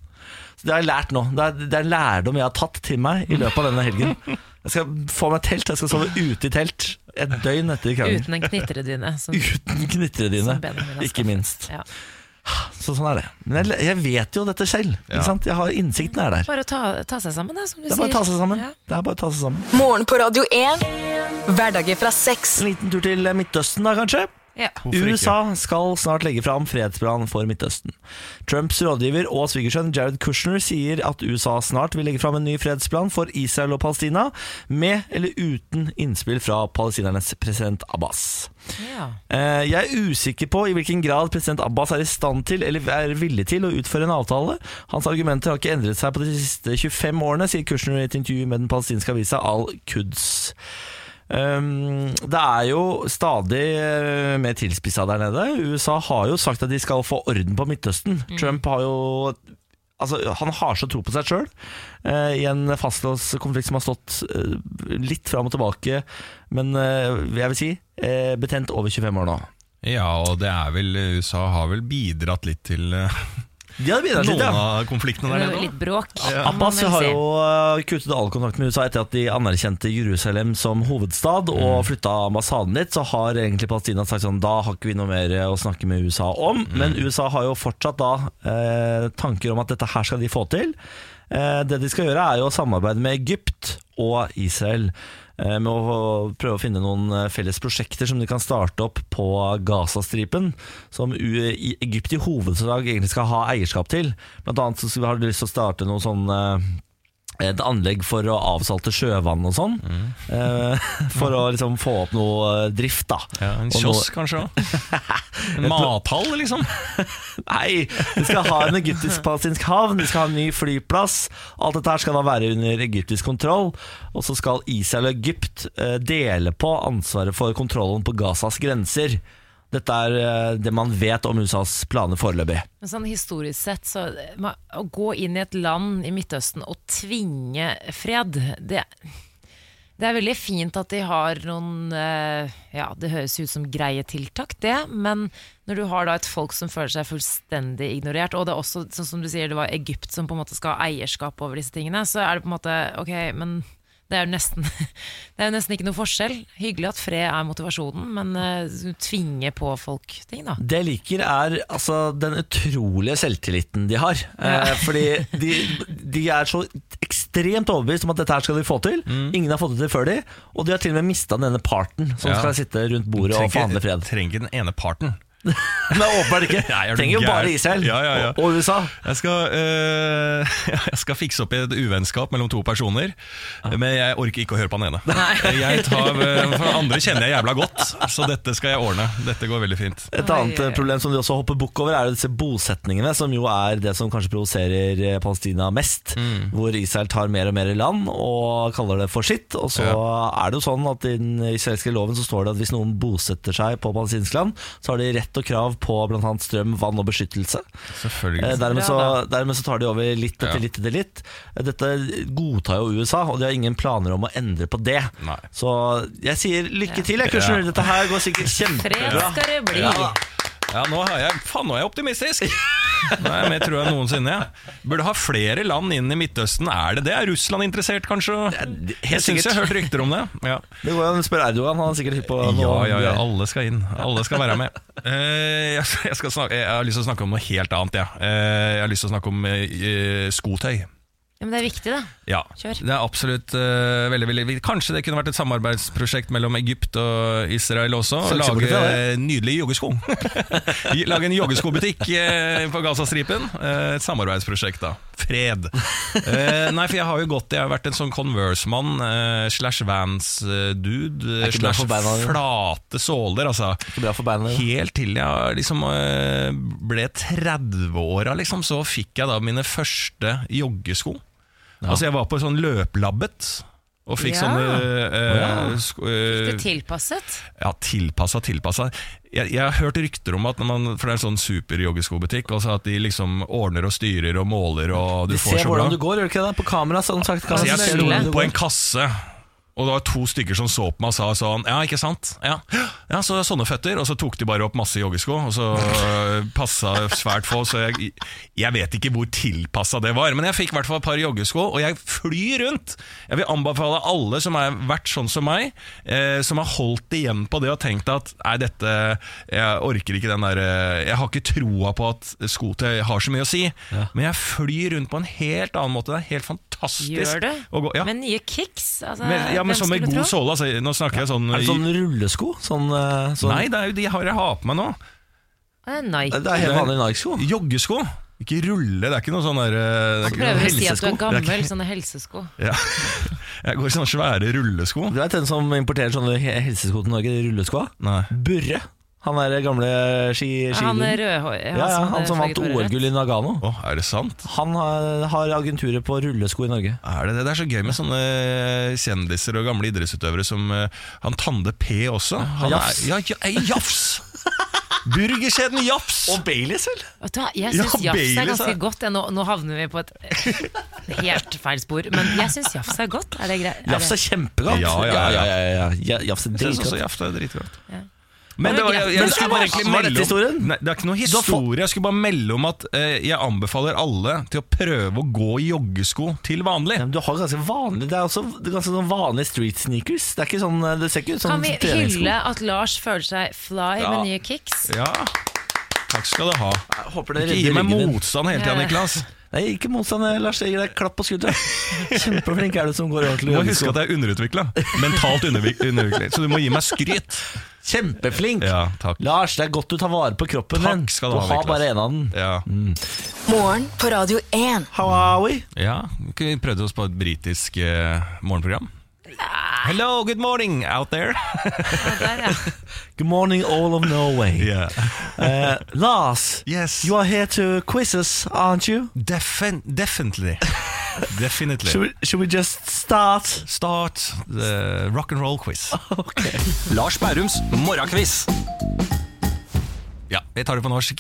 [SPEAKER 1] Så det har jeg lært nå. Det er, det er en lærdom jeg har tatt til meg i løpet av denne helgen. Jeg skal få meg telt. Jeg skal sove ute i telt et døgn etter krangelen.
[SPEAKER 2] Uten en knitredyne.
[SPEAKER 1] [laughs]
[SPEAKER 2] som-
[SPEAKER 1] Uten knitredyne,
[SPEAKER 2] Som Benjamin har
[SPEAKER 1] ikke
[SPEAKER 2] skaffet.
[SPEAKER 1] minst.
[SPEAKER 2] Ja.
[SPEAKER 1] Så sånn er det. Men jeg, jeg vet jo dette selv.
[SPEAKER 3] Ja.
[SPEAKER 1] Ikke sant? Jeg har Innsikten er der.
[SPEAKER 2] Bare å ta, ta seg sammen, da, som du
[SPEAKER 1] Det er
[SPEAKER 2] sier.
[SPEAKER 1] bare å ta seg sammen.
[SPEAKER 2] Ja.
[SPEAKER 1] Det er bare å ta seg sammen.
[SPEAKER 4] Morgen på Radio 1. Hverdager fra seks.
[SPEAKER 1] En liten tur til Midtøsten, da kanskje?
[SPEAKER 2] Ja.
[SPEAKER 3] Hvorfor ikke?
[SPEAKER 1] USA skal snart legge fram fredsplan for Midtøsten. Trumps rådgiver og svigersønn Jared Kushner sier at USA snart vil legge fram en ny fredsplan for Israel og Palestina, med eller uten innspill fra palestinernes president Abbas.
[SPEAKER 2] Ja.
[SPEAKER 1] Eh, Jeg er usikker på i hvilken grad president Abbas er i stand til eller er villig til å utføre en avtale. Hans argumenter har ikke endret seg på de siste 25 årene, sier Kushner i et intervju med den palestinske avisa Al-Quds. Um, det er jo stadig eh, mer tilspissa der nede. USA har jo sagt at de skal få orden på Midtøsten. Trump har jo Altså, han har så tro på seg sjøl eh, i en fastlåskonflikt som har stått eh, litt fram og tilbake, men eh, jeg vil si eh, betent over 25 år nå.
[SPEAKER 3] Ja, og det er vel USA har vel bidratt litt til eh,
[SPEAKER 1] De hadde [laughs] bidratt
[SPEAKER 3] Noen
[SPEAKER 1] litt, ja.
[SPEAKER 3] av konfliktene der nede.
[SPEAKER 2] Litt bråk. må man
[SPEAKER 1] Abbas
[SPEAKER 2] vel
[SPEAKER 1] har
[SPEAKER 2] si.
[SPEAKER 1] jo eh, kuttet all kontakt med USA etter at de anerkjente Jerusalem som hovedstad og flytta ambassaden dit. Så har egentlig Palestina sagt sånn da har ikke vi noe mer å snakke med USA om. Men USA har jo fortsatt da eh, tanker om at dette her skal de få til. Eh, det de skal gjøre, er jo å samarbeide med Egypt og Israel. eh, Med å prøve å finne noen eh, felles prosjekter som de kan starte opp på Gazastripen. Som U i Egypt i hovedsak egentlig skal ha eierskap til. Blant annet så skal- har de lyst til å starte noe sånn eh, et anlegg for å avsalte sjøvann og sånn. eh, [laughs] For å liksom få opp noe eh, drift, da.
[SPEAKER 3] Ja, en
[SPEAKER 1] Og noe-
[SPEAKER 3] kiosk kanskje [laughs] også. En mathall, liksom.
[SPEAKER 1] [laughs] Nei, de skal ha en egyptisk-palestinsk havn, de skal ha en ny flyplass. Alt dette her skal da være under egyptisk kontroll. Og så skal Israel og Egypt eh, dele på ansvaret for kontrollen på Gazas grenser. Dette er eh, det man vet om USAs planer foreløpig.
[SPEAKER 2] Men sånn historisk sett, så eh, ma- å gå inn i et land i Midtøsten og tvinge fred, det, det er veldig fint at de har noen eh, Ja, det høres ut som greie tiltak, det, men når du har da et folk som føler seg fullstendig ignorert, og det er også, sånn som du sier, det var Egypt som på en måte skal ha eierskap over disse tingene, så er det på en måte Ok, men det er jo nesten, [laughs] det er jo nesten ikke noe forskjell. Hyggelig at fred er motivasjonen, men eh, tvinge på folk ting, da.
[SPEAKER 1] Det jeg liker, er altså, den utrolige selvtilliten de har. Eh, fordi de, de er så ekstremt overbevist om at dette her skal de få til.
[SPEAKER 3] Mm.
[SPEAKER 1] Ingen har fått det til før de. Og de har til og med mista denne parten som
[SPEAKER 3] Ja.
[SPEAKER 1] skal sitte rundt bordet og forhandle fred.
[SPEAKER 3] [laughs] trenger ikke den ene parten.
[SPEAKER 1] Nei, åpenbart ikke.
[SPEAKER 3] [laughs] Nei, er du
[SPEAKER 1] Trenger jo
[SPEAKER 3] gæren?
[SPEAKER 1] bare Israel
[SPEAKER 3] Ja, ja, ja.
[SPEAKER 1] og- og USA.
[SPEAKER 3] Jeg skal, eh, [laughs] jeg skal fikse opp i et uvennskap mellom to personer, men jeg orker ikke å høre på den ene. Jeg tar,
[SPEAKER 1] [laughs]
[SPEAKER 3] eh, for den andre kjenner jeg jævla godt, så dette skal jeg ordne. Dette går veldig fint.
[SPEAKER 1] Et
[SPEAKER 2] Oi,
[SPEAKER 1] annet
[SPEAKER 2] oi,
[SPEAKER 1] eh,
[SPEAKER 2] oi.
[SPEAKER 1] problem som de også hopper bukk over, er jo disse bosetningene, som jo er det som kanskje provoserer eh, Palestina mest.
[SPEAKER 2] Mm.
[SPEAKER 1] Hvor Israel tar mer og mer land og kaller det for sitt. Og så er det jo sånn at i den israelske loven så står det at hvis noen bosetter seg på palestinsk land, så har de rett og krav på bl.a. strøm, vann og beskyttelse. Eh,
[SPEAKER 3] Selvfølgelig.
[SPEAKER 1] Dermed så,
[SPEAKER 2] Bra,
[SPEAKER 1] dermed så tar de over litt etter
[SPEAKER 3] Ja.
[SPEAKER 1] litt etter litt. Eh, Dette godtar jo USA, og de har ingen planer om å endre på det.
[SPEAKER 3] Nei.
[SPEAKER 1] Så jeg sier lykke
[SPEAKER 2] Ja.
[SPEAKER 1] til, jeg, Kushner. Dette her går sikkert
[SPEAKER 2] Fred
[SPEAKER 1] kjempebra.
[SPEAKER 2] skal det bli!
[SPEAKER 3] Ja, da. ja, nå er jeg, faen, nå er jeg
[SPEAKER 1] [laughs]
[SPEAKER 3] optimistisk! Nå er jeg mer trua enn noensinne. Jeg. Burde ha flere land inn i Midtøsten. Er det det? Er Russland interessert, kanskje?
[SPEAKER 1] det- helt
[SPEAKER 3] Jeg syns jeg har
[SPEAKER 1] sikkert.
[SPEAKER 3] hørt rykter om det. Ja.
[SPEAKER 1] Det går jo an å spørre Erdogan, han er sikkert hypp på noe.
[SPEAKER 3] Ja, ja, ja, alle skal inn. Alle skal være med. [laughs] Eh, jeg, skal- jeg, skal snakke, jeg har lyst til å snakke om noe helt annet. Ja. Eh, jeg har lyst til å snakke om eh, skotøy.
[SPEAKER 2] Ja, men det er viktig, det.
[SPEAKER 3] Ja,
[SPEAKER 2] Kjør.
[SPEAKER 3] Det er absolutt eh, veldig, veldig viktig. Kanskje det kunne vært et samarbeidsprosjekt mellom Egypt og Israel også. Å
[SPEAKER 1] Så ikke så
[SPEAKER 3] lage
[SPEAKER 1] borte fra
[SPEAKER 3] eh, nydelige joggesko. [laughs] lage en joggeskobutikk eh, på Gazastripen. Eh, et samarbeidsprosjekt, da. Fred. Eh, nei, for jeg har jo gått Jeg har vært en sånn Converse-mann eh, slash Vans-dude
[SPEAKER 1] ikke bra
[SPEAKER 3] slash
[SPEAKER 1] for beina dine.
[SPEAKER 3] flate såler, altså.
[SPEAKER 1] Ikke bra for beina dine.
[SPEAKER 3] Helt til jeg liksom eh, ble 30-åra, liksom, så fikk jeg da mine første joggesko. Altså jeg var på sånn løplabbet og fikk
[SPEAKER 2] Ja.
[SPEAKER 3] sånne eh, sko-
[SPEAKER 2] Det
[SPEAKER 3] eh,
[SPEAKER 2] er tilpasset.
[SPEAKER 3] ja, tilpassa, tilpassa. Jeg, jeg har hørt rykter om at når man, For det er en sånn superjoggeskobutikk, altså at de liksom ordner og styrer og måler og du
[SPEAKER 1] Du
[SPEAKER 3] får
[SPEAKER 1] ser
[SPEAKER 3] så bra.
[SPEAKER 1] hvordan du går, gjør du ikke det? På kamera, sånn sagt.
[SPEAKER 3] Altså, jeg
[SPEAKER 2] Altså,
[SPEAKER 3] sto
[SPEAKER 2] det er
[SPEAKER 3] på en kasse, og det var to stykker som så på meg og sa sånn Ja, ikke sant? Ja, ja så det er sånne føtter. Og så tok de bare opp masse joggesko, og så øh, passa svært få. Så jeg, jeg vet ikke hvor tilpassa det var, men jeg fikk i hvert fall et par joggesko, og jeg flyr rundt. Jeg vil anbefale alle som har vært sånn som meg, eh, som har holdt igjen på det og tenkt at nei, dette Jeg orker ikke den der eh, Jeg har ikke troa på at skotøy har så mye å si, men jeg flyr rundt på en helt annen måte. Det er helt fantastisk.
[SPEAKER 2] Gjør du?
[SPEAKER 3] Å gå, ja.
[SPEAKER 2] Med nye kicks? Altså,
[SPEAKER 3] Men, ja, men
[SPEAKER 2] hvem
[SPEAKER 3] sånn med
[SPEAKER 2] skulle
[SPEAKER 3] god
[SPEAKER 2] tro?
[SPEAKER 3] såle. Altså, nå snakker jeg sånn,
[SPEAKER 1] Er det sånn rullesko? Sånn, eh, sånn
[SPEAKER 3] Nei, det er jo de jeg har jeg har på meg nå.
[SPEAKER 2] Det er Nike.
[SPEAKER 1] Det er helt vanlig Nike-sko.
[SPEAKER 3] Joggesko. Ikke rulle, det er ikke noe sånn der eh, det er ikke noe
[SPEAKER 2] Prøver å si at du er
[SPEAKER 3] helsesko. Det
[SPEAKER 2] gammel,
[SPEAKER 3] ikke-
[SPEAKER 2] sånne helsesko.
[SPEAKER 3] Ja. [laughs] Jeg går i sånne svære rullesko.
[SPEAKER 1] Du vet den som importerer sånne he- helsesko til Norge, de rulleskoa?
[SPEAKER 3] Nei.
[SPEAKER 1] Burre. Han er den gamle ski...
[SPEAKER 2] Han
[SPEAKER 1] skiløperen.
[SPEAKER 2] er rødhårig.
[SPEAKER 1] ja, ja, han som vant OL-gull i Nagano.
[SPEAKER 3] Å, er det sant?
[SPEAKER 1] Han har, har agenturer på rullesko i Norge.
[SPEAKER 3] Er det det? Det er så gøy med sånne eh, kjendiser og gamle idrettsutøvere som eh, han Tande P også. Han
[SPEAKER 1] Jafs.
[SPEAKER 3] Er, ja, ja, eh,
[SPEAKER 1] [laughs]
[SPEAKER 3] Jafs! Burgerkjeden Jafs!
[SPEAKER 1] Baileys, vel?
[SPEAKER 2] Jeg
[SPEAKER 3] Ja,
[SPEAKER 2] syns jafs
[SPEAKER 3] Baileys
[SPEAKER 2] er ganske
[SPEAKER 3] er-
[SPEAKER 2] godt. Ja, nå, nå havner vi på et [laughs] helt feil spor, men jeg syns jafs er godt. Er det greit?
[SPEAKER 1] Jafs er kjempegodt.
[SPEAKER 3] Ja, ja, ja.
[SPEAKER 1] ja, ja, ja. Ja, Jafs er
[SPEAKER 3] Jeg synes også
[SPEAKER 1] dritgodt.
[SPEAKER 3] Jafs er dritgodt.
[SPEAKER 2] Ja.
[SPEAKER 3] Men det var, jeg, jeg
[SPEAKER 1] Men
[SPEAKER 3] skulle
[SPEAKER 1] hva-
[SPEAKER 3] bare egentlig
[SPEAKER 1] var dette
[SPEAKER 3] melde om
[SPEAKER 1] historien?
[SPEAKER 3] Nei, Det er ikke noe
[SPEAKER 1] har fått-
[SPEAKER 3] historie. Jeg skulle bare melde om at eh, jeg anbefaler alle til å prøve å gå i joggesko til vanlig.
[SPEAKER 1] Ja, men du har ganske vanlig Det er også ganske sånn vanlige street sneakers. Det, er ikke sånn, det ser ikke ut som
[SPEAKER 2] Kan vi
[SPEAKER 1] treningssko.
[SPEAKER 2] hylle at Lars føler seg fly
[SPEAKER 3] Ja.
[SPEAKER 2] med nye kicks?
[SPEAKER 3] Ja, takk skal du ha.
[SPEAKER 1] Jeg håper det
[SPEAKER 3] Ikke gi
[SPEAKER 1] redder
[SPEAKER 3] meg
[SPEAKER 1] ryggen din.
[SPEAKER 3] motstand hele tida,
[SPEAKER 2] Ja.
[SPEAKER 3] Niklas.
[SPEAKER 1] Nei, ikke motstand, eh, Lars. Jeg gir deg klapp på
[SPEAKER 3] [laughs]
[SPEAKER 1] skulderen. Kjempeflink er du som går i
[SPEAKER 3] Du
[SPEAKER 1] ordentlig
[SPEAKER 3] må
[SPEAKER 1] joggesko.
[SPEAKER 3] huske at jeg er underutvikla.
[SPEAKER 1] [laughs]
[SPEAKER 3] Mentalt underutvikla. Så du må gi meg skryt.
[SPEAKER 1] Kjempeflink!
[SPEAKER 3] Ja, takk.
[SPEAKER 1] Lars, det er godt du tar vare på kroppen
[SPEAKER 3] Takk
[SPEAKER 1] din.
[SPEAKER 3] skal du ha,
[SPEAKER 1] har
[SPEAKER 3] Niklas.
[SPEAKER 1] bare en av den. Mm.
[SPEAKER 3] Ja.
[SPEAKER 4] Morgen på Radio 1.
[SPEAKER 1] How are we?
[SPEAKER 3] ja. Vi prøvde oss på et britisk eh, morgenprogram. Hello, good morning out
[SPEAKER 1] [laughs]
[SPEAKER 3] there.
[SPEAKER 2] Ja, der, ja.
[SPEAKER 1] Good morning, all of
[SPEAKER 3] [laughs]
[SPEAKER 1] Norway.
[SPEAKER 3] Yeah.
[SPEAKER 1] Eh, Lars,
[SPEAKER 3] Yes.
[SPEAKER 1] you are here to quiz us, aren't you?
[SPEAKER 3] Defin
[SPEAKER 1] [laughs]
[SPEAKER 3] definitely. Definitely.
[SPEAKER 1] Should we, should we just start?
[SPEAKER 3] Start the rock and roll quiz.
[SPEAKER 7] Lars Bærums morgenkviss.
[SPEAKER 3] Ja, jeg tar det på norsk.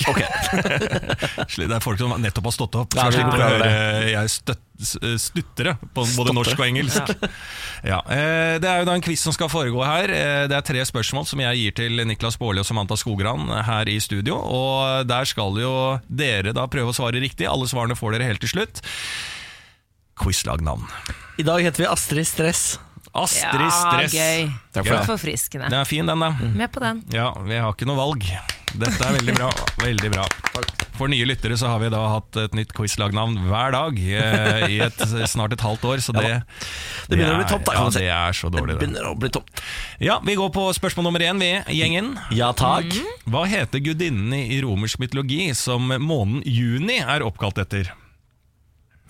[SPEAKER 3] [laughs] Sli- det er folk som nettopp har stått opp.
[SPEAKER 1] Ja,
[SPEAKER 3] Skal
[SPEAKER 1] vi
[SPEAKER 3] slippe å
[SPEAKER 1] klarer
[SPEAKER 3] høre jeg støt, s- eh, stuttere på både norsk og engelsk. Ja. eh, Det er jo da en quiz som skal foregå her. Eh, Det er tre spørsmål som jeg gir til Niklas Baarli og Samantha Skogran eh, her i studio. Og der skal jo dere da prøve å svare riktig. Alle svarene får dere helt til slutt. Quizlagnavn.
[SPEAKER 1] I dag heter vi Astrid Stress.
[SPEAKER 3] Astrid
[SPEAKER 2] ja,
[SPEAKER 3] Stress.
[SPEAKER 2] gøy.
[SPEAKER 1] Takk
[SPEAKER 3] for det.
[SPEAKER 2] Forfriskende.
[SPEAKER 3] Den er fin, den, da.
[SPEAKER 2] Med på den.
[SPEAKER 3] Ja, vi har ikke noe valg. Dette er veldig bra. Veldig bra. For nye lyttere så har vi da hatt et nytt quizlagnavn hver dag eh, i et, snart et halvt år, så det
[SPEAKER 1] Det begynner å
[SPEAKER 3] er-
[SPEAKER 1] bli tomt, da, kan
[SPEAKER 3] Ja,
[SPEAKER 1] man si.
[SPEAKER 3] det er så
[SPEAKER 1] Det
[SPEAKER 3] dårlig, det.
[SPEAKER 1] begynner å bli tomt.
[SPEAKER 3] Ja, vi går på spørsmål nummer én, vi, gjengen.
[SPEAKER 1] Ja takk.
[SPEAKER 2] Mm.
[SPEAKER 3] Hva heter gudinnen i i romersk mytologi som måneden juni er oppkalt etter?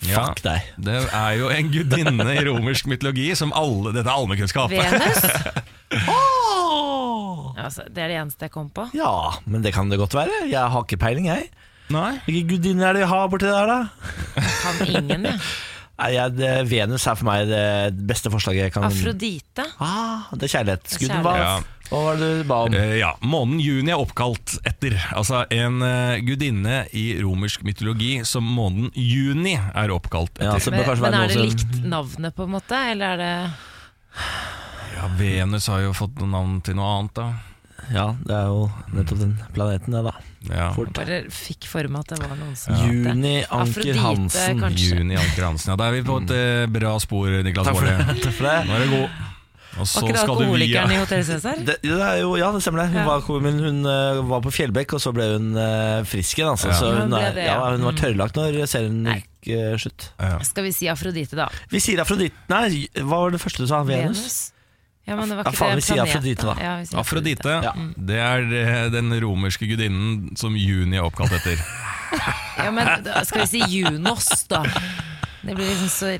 [SPEAKER 3] Ja,
[SPEAKER 1] Fuck deg.
[SPEAKER 3] Det er jo en gudinne i romersk mytologi som alle Dette er allmennkunnskap.
[SPEAKER 2] Venus. Altså, det er det eneste jeg kom på.
[SPEAKER 1] Ja, men det kan det godt være. Jeg har ikke peiling, jeg.
[SPEAKER 3] Nei?
[SPEAKER 1] Hvilke gudinner er det vi har borti der, da?
[SPEAKER 2] Kan ingen, jeg.
[SPEAKER 1] Nei, jeg, det, Venus er for meg det beste forslaget jeg kan
[SPEAKER 2] Afrodite.
[SPEAKER 1] Ah, det er kjærlighetsguden. Hva,
[SPEAKER 3] Ja.
[SPEAKER 1] hva var det du ba om?
[SPEAKER 3] Eh, ja, Månen juni er oppkalt etter altså en eh, gudinne i romersk mytologi som måneden juni er oppkalt
[SPEAKER 1] Ja,
[SPEAKER 3] etter.
[SPEAKER 1] altså- så det
[SPEAKER 2] Men,
[SPEAKER 1] bør kanskje
[SPEAKER 2] men
[SPEAKER 1] være
[SPEAKER 2] er det
[SPEAKER 1] noe som
[SPEAKER 2] likt navnet, på en måte? Eller er det
[SPEAKER 3] Ja, Venus har jo fått navn til noe annet, da.
[SPEAKER 1] Ja, det er jo nettopp den planeten, det, da.
[SPEAKER 3] Ja.
[SPEAKER 1] Fort.
[SPEAKER 2] bare fikk for meg at det var noen som het det?
[SPEAKER 1] Juni Anker
[SPEAKER 2] Afrodite,
[SPEAKER 1] Hansen.
[SPEAKER 2] kanskje.
[SPEAKER 3] Juni Anker Hansen. Ja, da er vi på et eh, bra spor, Niklas
[SPEAKER 1] Mm. Takk for
[SPEAKER 3] Baarli.
[SPEAKER 1] det. Takk [laughs] for det.
[SPEAKER 3] [laughs] Nå er du god. Og så
[SPEAKER 2] Var ikke det
[SPEAKER 3] skal du via
[SPEAKER 2] alkoholikeren i Hotell
[SPEAKER 1] [laughs]
[SPEAKER 2] Cæsar?
[SPEAKER 1] Det, det er jo, ja, det stemmer det. Hun,
[SPEAKER 2] Ja.
[SPEAKER 1] var, kommunen, hun eh, var på Fjellbekk, og så ble hun eh, frisk igjen. Altså.
[SPEAKER 3] Ja.
[SPEAKER 1] Så
[SPEAKER 2] Hun
[SPEAKER 1] hun,
[SPEAKER 2] ble
[SPEAKER 1] er,
[SPEAKER 2] det,
[SPEAKER 1] ja,
[SPEAKER 2] ja. Mm.
[SPEAKER 1] hun var tørrlagt når serien
[SPEAKER 2] Nei.
[SPEAKER 1] gikk eh, slutt.
[SPEAKER 2] Skal vi si Afrodite, da?
[SPEAKER 1] Vi sier Afrodite Nei, hva var det første du sa? Venus?
[SPEAKER 2] Ja, men det var
[SPEAKER 1] Ja,
[SPEAKER 2] ikke
[SPEAKER 1] faen,
[SPEAKER 2] det
[SPEAKER 1] vi sier
[SPEAKER 2] planeten.
[SPEAKER 1] Afrodite, da.
[SPEAKER 2] Ja, vi sier
[SPEAKER 3] Afrodite.
[SPEAKER 1] Ja.
[SPEAKER 3] Det er eh, den romerske gudinnen som juni er oppkalt etter.
[SPEAKER 2] Ja, men da skal vi si Junos, da? Det blir liksom så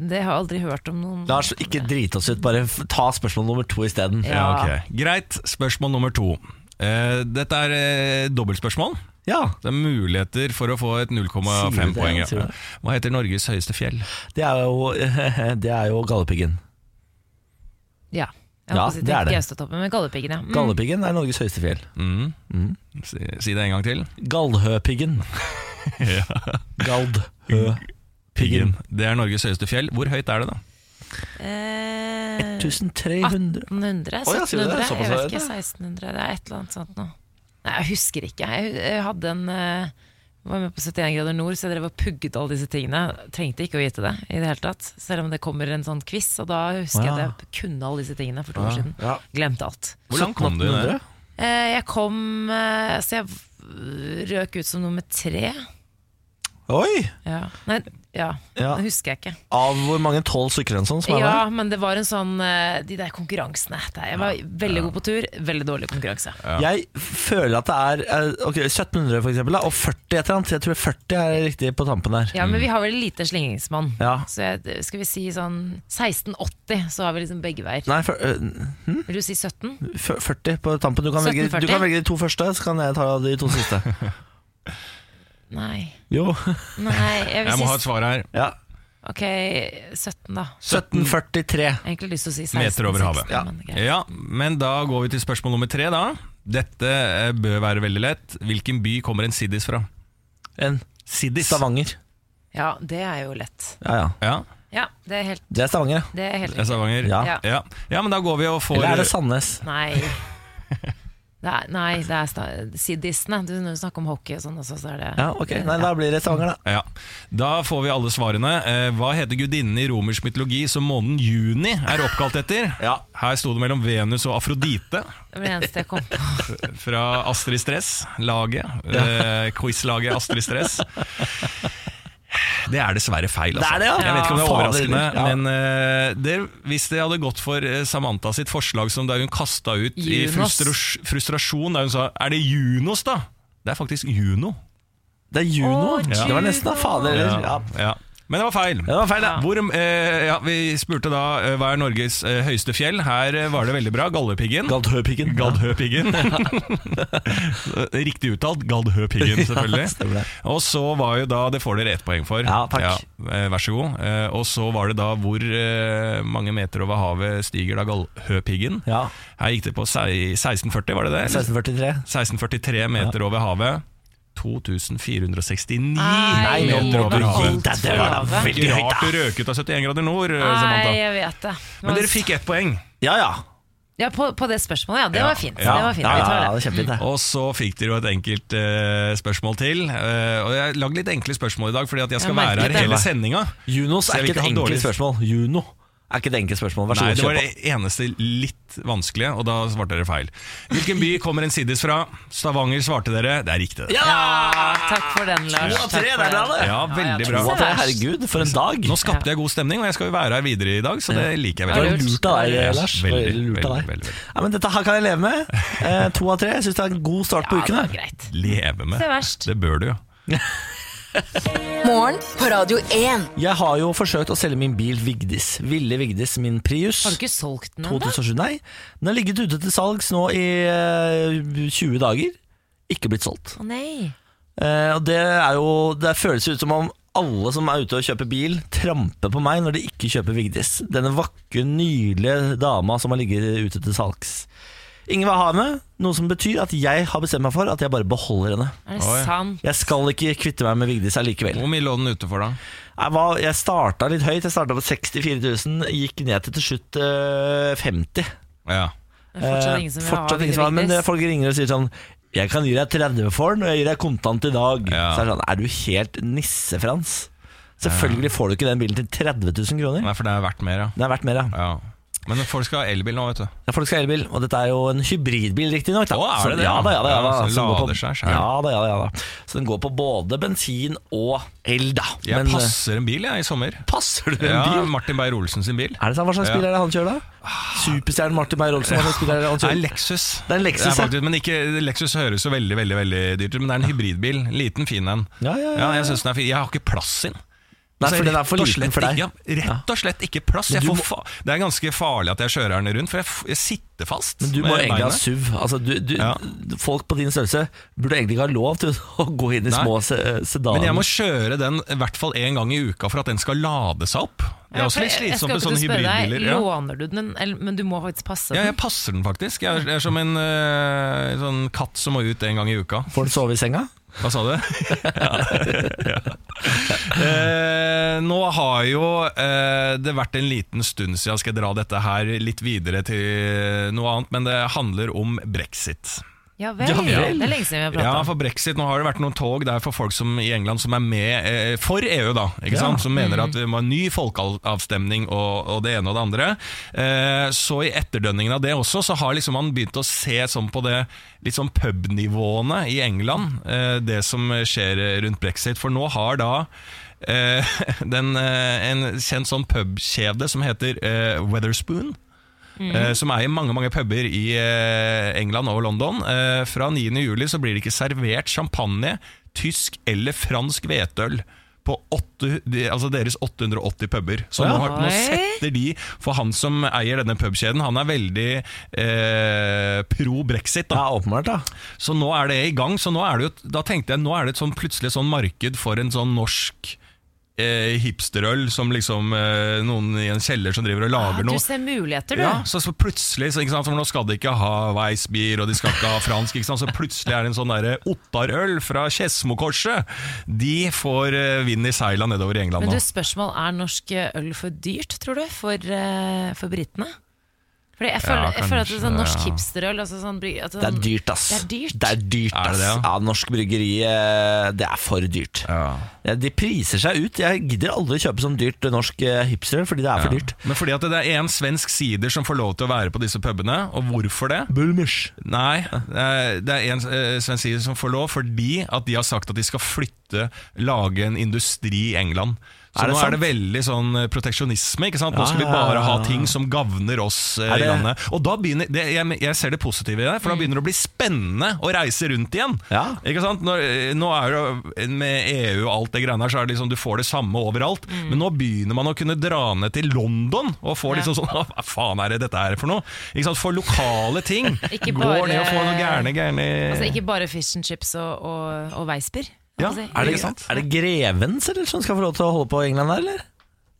[SPEAKER 2] Det har jeg aldri hørt om noen
[SPEAKER 1] Lars, ikke drite oss ut. Bare f- ta spørsmål nummer to isteden.
[SPEAKER 2] Ja.
[SPEAKER 3] Ja, ok. Greit. Spørsmål nummer to. Eh, dette er eh, dobbeltspørsmål.
[SPEAKER 1] Ja,
[SPEAKER 3] Det er muligheter for å få et 0,5
[SPEAKER 1] det,
[SPEAKER 3] poeng. ja.
[SPEAKER 1] sier du det.
[SPEAKER 3] Hva heter Norges høyeste fjell?
[SPEAKER 1] det er jo, [laughs] det er jo Galdhøpiggen.
[SPEAKER 3] Mm.
[SPEAKER 2] Ja,
[SPEAKER 1] Ja, det er det.
[SPEAKER 2] Gaustatoppen med Galdhøpiggen, ja. Mm.
[SPEAKER 1] Galdhøpiggen er Norges høyeste fjell.
[SPEAKER 3] Si, si det en gang til.
[SPEAKER 1] Galdhøpiggen.
[SPEAKER 3] [laughs]
[SPEAKER 1] Galdhøpiggen.
[SPEAKER 3] Piggen. Det er Norges høyeste fjell. Hvor høyt er det, da?
[SPEAKER 2] Mm. Eh,
[SPEAKER 1] 1300
[SPEAKER 2] 1800?
[SPEAKER 1] Å, ja, sier du det?
[SPEAKER 2] 1700?
[SPEAKER 1] Såpass
[SPEAKER 2] Jeg
[SPEAKER 1] er
[SPEAKER 2] vet
[SPEAKER 1] det.
[SPEAKER 2] ikke. 1600? Det er et eller annet sånt noe. Nei, jeg husker ikke. Jeg jeg hadde en eh, var med på 71 grader nord, så jeg drev og pugget alle disse tingene. Trengte ikke å vite det i det hele tatt. Selv om det kommer en sånn quiz, og da husker jeg at jeg kunne alle disse tingene for to år siden.
[SPEAKER 1] Ja.
[SPEAKER 2] Glemte alt.
[SPEAKER 3] Hvor langt kom du? i det?
[SPEAKER 1] 1700?
[SPEAKER 2] Eh, Jeg kom eh, Så jeg v- røk ut som nummer tre.
[SPEAKER 1] Oi!
[SPEAKER 2] Ja. Nei, ja.
[SPEAKER 1] Ja.
[SPEAKER 2] Det husker jeg ikke.
[SPEAKER 1] Av hvor mange tolv stykker en sånn som er der?
[SPEAKER 2] Ja, men det var en sånn eh, De der konkurransene. Der. Jeg var veldig god på tur, veldig dårlig konkurranse.
[SPEAKER 1] Jeg føler at det er eh, Ok, 1700 for eksempel, da, og 40 et eller annet. Jeg tror 40 er riktig på tampen der.
[SPEAKER 2] Ja,
[SPEAKER 3] Mm.
[SPEAKER 2] men vi har vel lite slingringsmonn.
[SPEAKER 1] Ja.
[SPEAKER 2] Så jeg, skal vi si sånn 1680, så har vi liksom begge veier.
[SPEAKER 1] Nei, for, eh,
[SPEAKER 3] Mm.
[SPEAKER 2] Vil du si 17?
[SPEAKER 1] f- 40 på tampen. Du kan, velge, du
[SPEAKER 2] 1740.
[SPEAKER 1] kan velge de to første, så kan jeg ta de to siste.
[SPEAKER 2] Nei.
[SPEAKER 1] Jo.
[SPEAKER 2] Nei, jeg
[SPEAKER 3] Jeg
[SPEAKER 2] vil
[SPEAKER 3] må ha
[SPEAKER 2] si
[SPEAKER 3] et svar her.
[SPEAKER 1] Ja.
[SPEAKER 2] Ok, 17, da.
[SPEAKER 1] 1743.
[SPEAKER 2] Jeg har egentlig lyst til å si 1660.
[SPEAKER 3] Meter over havet.
[SPEAKER 2] Ja.
[SPEAKER 3] Ja.
[SPEAKER 2] Men, greit.
[SPEAKER 3] ja, men da går vi til spørsmål nummer tre, da. Dette eh, bør være veldig lett. Hvilken by kommer en siddis fra?
[SPEAKER 1] En
[SPEAKER 3] Siddis.
[SPEAKER 1] Stavanger.
[SPEAKER 2] ja, det er jo lett.
[SPEAKER 1] Ja, ja.
[SPEAKER 3] Ja,
[SPEAKER 2] Ja, det er helt,
[SPEAKER 1] Det er Stavanger, ja.
[SPEAKER 2] det er helt
[SPEAKER 3] det er Stavanger.
[SPEAKER 1] Ja.
[SPEAKER 2] Ja.
[SPEAKER 3] Ja. ja, men da går vi og får [laughs]
[SPEAKER 1] Eller er det Sandnes?
[SPEAKER 2] Nei. Det er, nei, det er sta- siddisene. Du, når du snakker om hockey og sånn også, så er det
[SPEAKER 1] Ja, ok, Nei, Da blir det Stavanger, da.
[SPEAKER 3] Ja. Da får vi alle svarene. Eh, hva heter gudinnen i romersk mytologi som måneden juni er oppkalt etter?
[SPEAKER 1] Ja.
[SPEAKER 3] Her sto det mellom Venus og Afrodite
[SPEAKER 2] Det var det eneste
[SPEAKER 3] [laughs]
[SPEAKER 2] jeg kom på.
[SPEAKER 3] fra Astrid Stress, laget. Eh, Quizlaget Astrid Stress. Det er dessverre feil. Altså.
[SPEAKER 1] Det er det, ja.
[SPEAKER 3] Jeg vet ikke om det er
[SPEAKER 1] Ja, fader,
[SPEAKER 3] overraskende,
[SPEAKER 1] ja.
[SPEAKER 3] men eh, det, hvis det hadde gått for eh, Samantha sitt forslag som da hun kasta ut i
[SPEAKER 2] Junos.
[SPEAKER 3] frustras frustrasjon, da hun sa 'er det Junos', da? Det er faktisk Juno.
[SPEAKER 1] Det er Juno.
[SPEAKER 2] Å,
[SPEAKER 1] Det var nesten da, fader. eller? Ja.
[SPEAKER 3] Ja. Men det var feil.
[SPEAKER 1] Ja, det var feil, det.
[SPEAKER 3] Hvor, eh, ja, vi spurte da eh, hva er Norges eh, høyeste fjell. Her eh, var det veldig bra. Galdhøpiggen.
[SPEAKER 1] Galdhøpiggen. [laughs]
[SPEAKER 3] Galdhøpiggen. [laughs] Riktig uttalt Galdhøpiggen, selvfølgelig.
[SPEAKER 1] Ja, stemmer det.
[SPEAKER 3] og så var jo da Det får dere ett poeng for.
[SPEAKER 1] Ja, takk.
[SPEAKER 3] eh, vær så god. Eh, og så var det da hvor eh, mange meter over havet stiger da Galdhøpiggen.
[SPEAKER 1] Ja.
[SPEAKER 3] Her gikk det på sei- 1640, var det det?
[SPEAKER 1] 1643.
[SPEAKER 3] 1643 meter over havet. 2469
[SPEAKER 2] Nei,
[SPEAKER 3] meter over
[SPEAKER 2] men
[SPEAKER 3] havet.
[SPEAKER 2] alt
[SPEAKER 1] Det var
[SPEAKER 2] for havet.
[SPEAKER 1] veldig høyt,
[SPEAKER 3] Rart
[SPEAKER 1] da.
[SPEAKER 3] du røk ut av 71 grader nord, eh,
[SPEAKER 2] Nei,
[SPEAKER 3] Samantha.
[SPEAKER 2] jeg vet det.
[SPEAKER 3] Men dere fikk ett poeng,
[SPEAKER 1] Ja, ja.
[SPEAKER 2] Ja, på, på det spørsmålet, ja. Det
[SPEAKER 3] Ja.
[SPEAKER 2] var fint.
[SPEAKER 3] Ja.
[SPEAKER 2] Det var fint.
[SPEAKER 1] Ja,
[SPEAKER 2] Vi
[SPEAKER 1] ja,
[SPEAKER 2] tar
[SPEAKER 1] ja,
[SPEAKER 2] det.
[SPEAKER 1] det er kjempefint, det.
[SPEAKER 3] og så fikk dere jo et enkelt eh, spørsmål til. Eh, og Jeg har lagd litt enkle spørsmål i dag, fordi at jeg skal
[SPEAKER 2] Jeg merket
[SPEAKER 3] være her
[SPEAKER 2] det.
[SPEAKER 3] hele sendinga.
[SPEAKER 1] Junos
[SPEAKER 3] Så jeg
[SPEAKER 1] er
[SPEAKER 3] vil ikke
[SPEAKER 1] ikke et
[SPEAKER 3] ha
[SPEAKER 1] enkelt
[SPEAKER 3] dårlig-
[SPEAKER 1] spørsmål. Juno er ikke et enkelt spørsmål. Vær så
[SPEAKER 3] Nei,
[SPEAKER 1] god,
[SPEAKER 3] det var
[SPEAKER 1] kjør
[SPEAKER 3] det
[SPEAKER 1] på.
[SPEAKER 3] eneste litt vanskelige, og da svarte dere feil. Hvilken by kommer Ensidis fra? Stavanger svarte dere. Det er riktig. det.
[SPEAKER 2] Ja, takk for den, Lars.
[SPEAKER 1] To av
[SPEAKER 2] Takk
[SPEAKER 1] tre,
[SPEAKER 2] for
[SPEAKER 1] der,
[SPEAKER 2] den.
[SPEAKER 1] Lane.
[SPEAKER 3] Ja, veldig
[SPEAKER 2] ja,
[SPEAKER 3] bra.
[SPEAKER 1] To av tre, Herregud, for en dag.
[SPEAKER 3] Nå skapte jeg god stemning, og jeg skal jo være her videre i dag, så det liker jeg
[SPEAKER 1] Det var
[SPEAKER 3] veldig
[SPEAKER 2] lurt.
[SPEAKER 1] lurt av deg,
[SPEAKER 3] Ja,
[SPEAKER 1] Lars.
[SPEAKER 3] veldig,
[SPEAKER 1] Veldig lurt av
[SPEAKER 3] veldig,
[SPEAKER 1] deg.
[SPEAKER 3] veldig, veldig.
[SPEAKER 1] Ja, men dette her kan jeg leve med. Eh, to av tre. Jeg syns det er en god start
[SPEAKER 2] Ja,
[SPEAKER 1] på
[SPEAKER 2] det
[SPEAKER 1] uken.
[SPEAKER 2] var
[SPEAKER 1] her.
[SPEAKER 2] greit.
[SPEAKER 3] Leve
[SPEAKER 2] Det er
[SPEAKER 3] med.
[SPEAKER 2] verst.
[SPEAKER 3] Det bør du jo.
[SPEAKER 4] Morgen på Radio 1.
[SPEAKER 1] Jeg har jo forsøkt å selge min bil Vigdis. Ville Vigdis, min Prius.
[SPEAKER 2] Har du ikke solgt den ennå?
[SPEAKER 1] 2007, nei. Den har ligget ute til salgs nå i eh, 20 dager. Ikke blitt solgt.
[SPEAKER 2] Å nei.
[SPEAKER 1] Eh, og det er jo Det føles jo ut som om alle som er ute og kjøper bil, tramper på meg når de ikke kjøper Vigdis. Denne vakre, nydelige dama som har ligget ute til salgs. Ingen vil ha henne, noe som betyr at jeg har bestemt meg for at jeg bare beholder henne.
[SPEAKER 2] Er det
[SPEAKER 3] Oi.
[SPEAKER 2] sant?
[SPEAKER 1] Jeg skal ikke kvitte meg med Vigdis allikevel.
[SPEAKER 3] Hvor mye lå den ute for, da?
[SPEAKER 1] Jeg, var, jeg starta litt høyt, jeg starta på 64 000, gikk ned til til slutt eh, 50
[SPEAKER 3] Ja.
[SPEAKER 2] Det er fortsatt
[SPEAKER 1] Eh,
[SPEAKER 2] ingen som vil ha
[SPEAKER 1] Fortsatt ingen som har, men
[SPEAKER 2] Vigdis.
[SPEAKER 1] eh, folk ringer og sier sånn Jeg kan gi deg 30 for den, og jeg gir deg kontant i dag.
[SPEAKER 3] Ja.
[SPEAKER 1] Så er det sånn, er du helt nisse, Frans? Selvfølgelig får du ikke den bilen til 30 000 kroner.
[SPEAKER 3] Nei, for det er verdt mer, ja.
[SPEAKER 1] Den er verdt mer, ja.
[SPEAKER 3] ja. Men folk skal ha elbil nå, vet du.
[SPEAKER 1] ja. Folk skal ha elbil, og dette er jo en hybridbil, riktignok. da.
[SPEAKER 3] Å, er
[SPEAKER 1] Så-
[SPEAKER 3] det det,
[SPEAKER 1] Ja
[SPEAKER 3] ja?
[SPEAKER 1] da, ja da. Ja, da.
[SPEAKER 3] Ja, så
[SPEAKER 1] Som går på-
[SPEAKER 3] lader seg selv.
[SPEAKER 1] ja, da, ja, da, ja da. Så den går på både bensin og el, da.
[SPEAKER 3] Jeg
[SPEAKER 1] eh,
[SPEAKER 3] passer en bil, jeg, i sommer.
[SPEAKER 1] passer du en
[SPEAKER 3] Ja,
[SPEAKER 1] bil?
[SPEAKER 3] Martin Beyer-Olsen sin bil.
[SPEAKER 1] Er det sånn, Hva slags
[SPEAKER 3] Ja.
[SPEAKER 1] bil er det han kjører, da? Superstjernen Martin Beyer-Olsen? hva slags bil er det han
[SPEAKER 3] Det er
[SPEAKER 1] kjører?
[SPEAKER 3] Lexus.
[SPEAKER 1] Det er en Lexus, ja.
[SPEAKER 3] faktisk, men ikke, Lexus høres jo veldig veldig, veldig dyrt ut, men det er en hybridbil. Liten, fin en.
[SPEAKER 1] Ja, ja, ja,
[SPEAKER 3] jeg synes den er fin. Jeg har ikke plass i den.
[SPEAKER 1] Nei,
[SPEAKER 3] Altså,
[SPEAKER 1] for den er
[SPEAKER 3] rett
[SPEAKER 1] for
[SPEAKER 3] og
[SPEAKER 1] liten
[SPEAKER 3] slett
[SPEAKER 1] for deg.
[SPEAKER 3] ikke- Ja, rett og slett ikke plass. Jeg
[SPEAKER 1] du
[SPEAKER 3] får
[SPEAKER 1] må-
[SPEAKER 3] fa det er ganske farlig at jeg kjører den rundt, for jeg, f jeg sitter fast.
[SPEAKER 1] Men du må
[SPEAKER 3] med
[SPEAKER 1] egentlig ha
[SPEAKER 3] beina.
[SPEAKER 1] SUV. Altså, du, du,
[SPEAKER 3] Ja.
[SPEAKER 1] Folk på din størrelse burde egentlig ikke ha lov til [laughs] å gå inn i
[SPEAKER 3] Nei.
[SPEAKER 1] små se-
[SPEAKER 3] Men
[SPEAKER 1] eh,
[SPEAKER 3] jeg
[SPEAKER 1] sedaner.
[SPEAKER 3] må kjøre den i hvert fall én gang i uka for at den skal lade seg opp. Det er også litt
[SPEAKER 2] Jeg
[SPEAKER 3] slitsomt
[SPEAKER 2] skal
[SPEAKER 3] med
[SPEAKER 2] ikke
[SPEAKER 3] sånne
[SPEAKER 2] spørre deg,
[SPEAKER 3] hybridbiler. Ja.
[SPEAKER 2] Låner du den, eller- men du må faktisk passe
[SPEAKER 3] Ja,
[SPEAKER 2] den?
[SPEAKER 3] jeg passer den faktisk. Jeg er, jeg er som en eh, sånn katt som må ut en gang i uka.
[SPEAKER 1] Får den sove i senga?
[SPEAKER 3] Hva sa du? [laughs] Ja. Eh, nå har jo eh, det vært en liten stund siden jeg skal dra dette her litt videre til noe annet, men det handler om brexit.
[SPEAKER 2] Ja vel.
[SPEAKER 1] Ja vel.
[SPEAKER 2] Det er lenge siden vi har prata.
[SPEAKER 3] Ja, for brexit, nå har det vært noen tog der for folk som, i England som er med eh, for EU, da, ikke sant? som mener at vi må ha en ny folkeavstemning og, og det ene og det andre. Eh, så i etterdønningen av det også, så har liksom man begynt å se sånn på det litt sånn pubnivåene i England, eh, det som skjer rundt brexit. For nå har da eh, [laughs] den, eh, en kjent sånn pubkjede som heter eh, Weatherspoon.
[SPEAKER 2] Mm.
[SPEAKER 3] Eh, som er i mange mange puber i eh, England og London. Eh, fra 9. juli så blir det ikke servert champagne, tysk eller fransk hvetøl på åtte, de, altså deres 880 puber. Så nå, har, nå
[SPEAKER 2] Oi.
[SPEAKER 3] setter de For han som eier denne pubkjeden, han er veldig eh, pro brexit. da
[SPEAKER 1] Ja, åpenbart, da.
[SPEAKER 3] så nå er det i gang. Så nå er det jo, da tenkte jeg nå er det et sånn, plutselig et sånn marked for en sånn norsk eh, hipsterøl som liksom eh, noen i en kjeller som driver og lager
[SPEAKER 2] Ah, Du
[SPEAKER 3] noe.
[SPEAKER 2] ser muligheter, du.
[SPEAKER 3] Ja, så, så plutselig så, ikke sant, så Nå skal de ikke ha Weissbier, og de skal ikke ha fransk. Ikke sant, så plutselig er det en sånn derre Ottarøl fra Skedsmokorset. De får eh, vind i seila nedover i England
[SPEAKER 2] Men
[SPEAKER 3] nå.
[SPEAKER 2] du, spørsmål er norsk øl for dyrt, tror du, for, eh, for eh, britene? Fordi jeg føler,
[SPEAKER 3] Ja,
[SPEAKER 2] jeg føler at
[SPEAKER 3] kanskje,
[SPEAKER 2] det er sånn norsk
[SPEAKER 3] ja.
[SPEAKER 2] hipsterøl altså sånn, bry- at
[SPEAKER 1] Det er
[SPEAKER 2] sånn-
[SPEAKER 1] dyrt, ass.
[SPEAKER 2] Det er dyrt.
[SPEAKER 1] Det er dyrt,
[SPEAKER 3] Er det
[SPEAKER 1] ass.
[SPEAKER 3] det, ja?
[SPEAKER 1] ja? norsk bryggeri, eh, det er for dyrt.
[SPEAKER 3] Ja.
[SPEAKER 1] Ja, De priser seg ut. Jeg gidder aldri kjøpe sånn dyrt eh, norsk eh, hipster, fordi det er for dyrt.
[SPEAKER 3] Men fordi at det er en svensk sider som får lov til å være på disse pubene, og hvorfor det?
[SPEAKER 1] Bulmish.
[SPEAKER 3] Nei, eh, det er en eh, svensk sider som får lov fordi at de har sagt at de skal flytte, lage en industri i England. Så
[SPEAKER 1] Er det
[SPEAKER 3] nå
[SPEAKER 1] sant?
[SPEAKER 3] er det veldig sånn eh, proteksjonisme. ikke sant?
[SPEAKER 1] Ja,
[SPEAKER 3] Nå skal vi
[SPEAKER 1] ja, ja,
[SPEAKER 3] bare ha
[SPEAKER 1] ja.
[SPEAKER 3] ting som gavner oss eh,
[SPEAKER 1] Er det-
[SPEAKER 3] i landet. [laughs] Og da begynner, det, jeg, jeg ser det positive i det, for da begynner det å bli spennende å reise rundt igjen.
[SPEAKER 1] Ja.
[SPEAKER 3] Ikke sant? Når, eh, nå er det jo Med EU og alt det greiene her, så er det liksom du får det samme overalt. Men nå begynner man å kunne dra ned til London og få liksom sånn [laughs] Hva faen er det dette her for noe? Ikke sant? For lokale ting
[SPEAKER 2] Ikke bare-
[SPEAKER 3] går ned og får noe gærne, gærne
[SPEAKER 2] Altså ikke bare fish and chips og, og, og veisper. jeg
[SPEAKER 3] Ja,
[SPEAKER 2] må si.
[SPEAKER 1] Er det,
[SPEAKER 3] Ikke sant?
[SPEAKER 1] er det Grevens eller, som skal få lov til å holde på i England der, eller?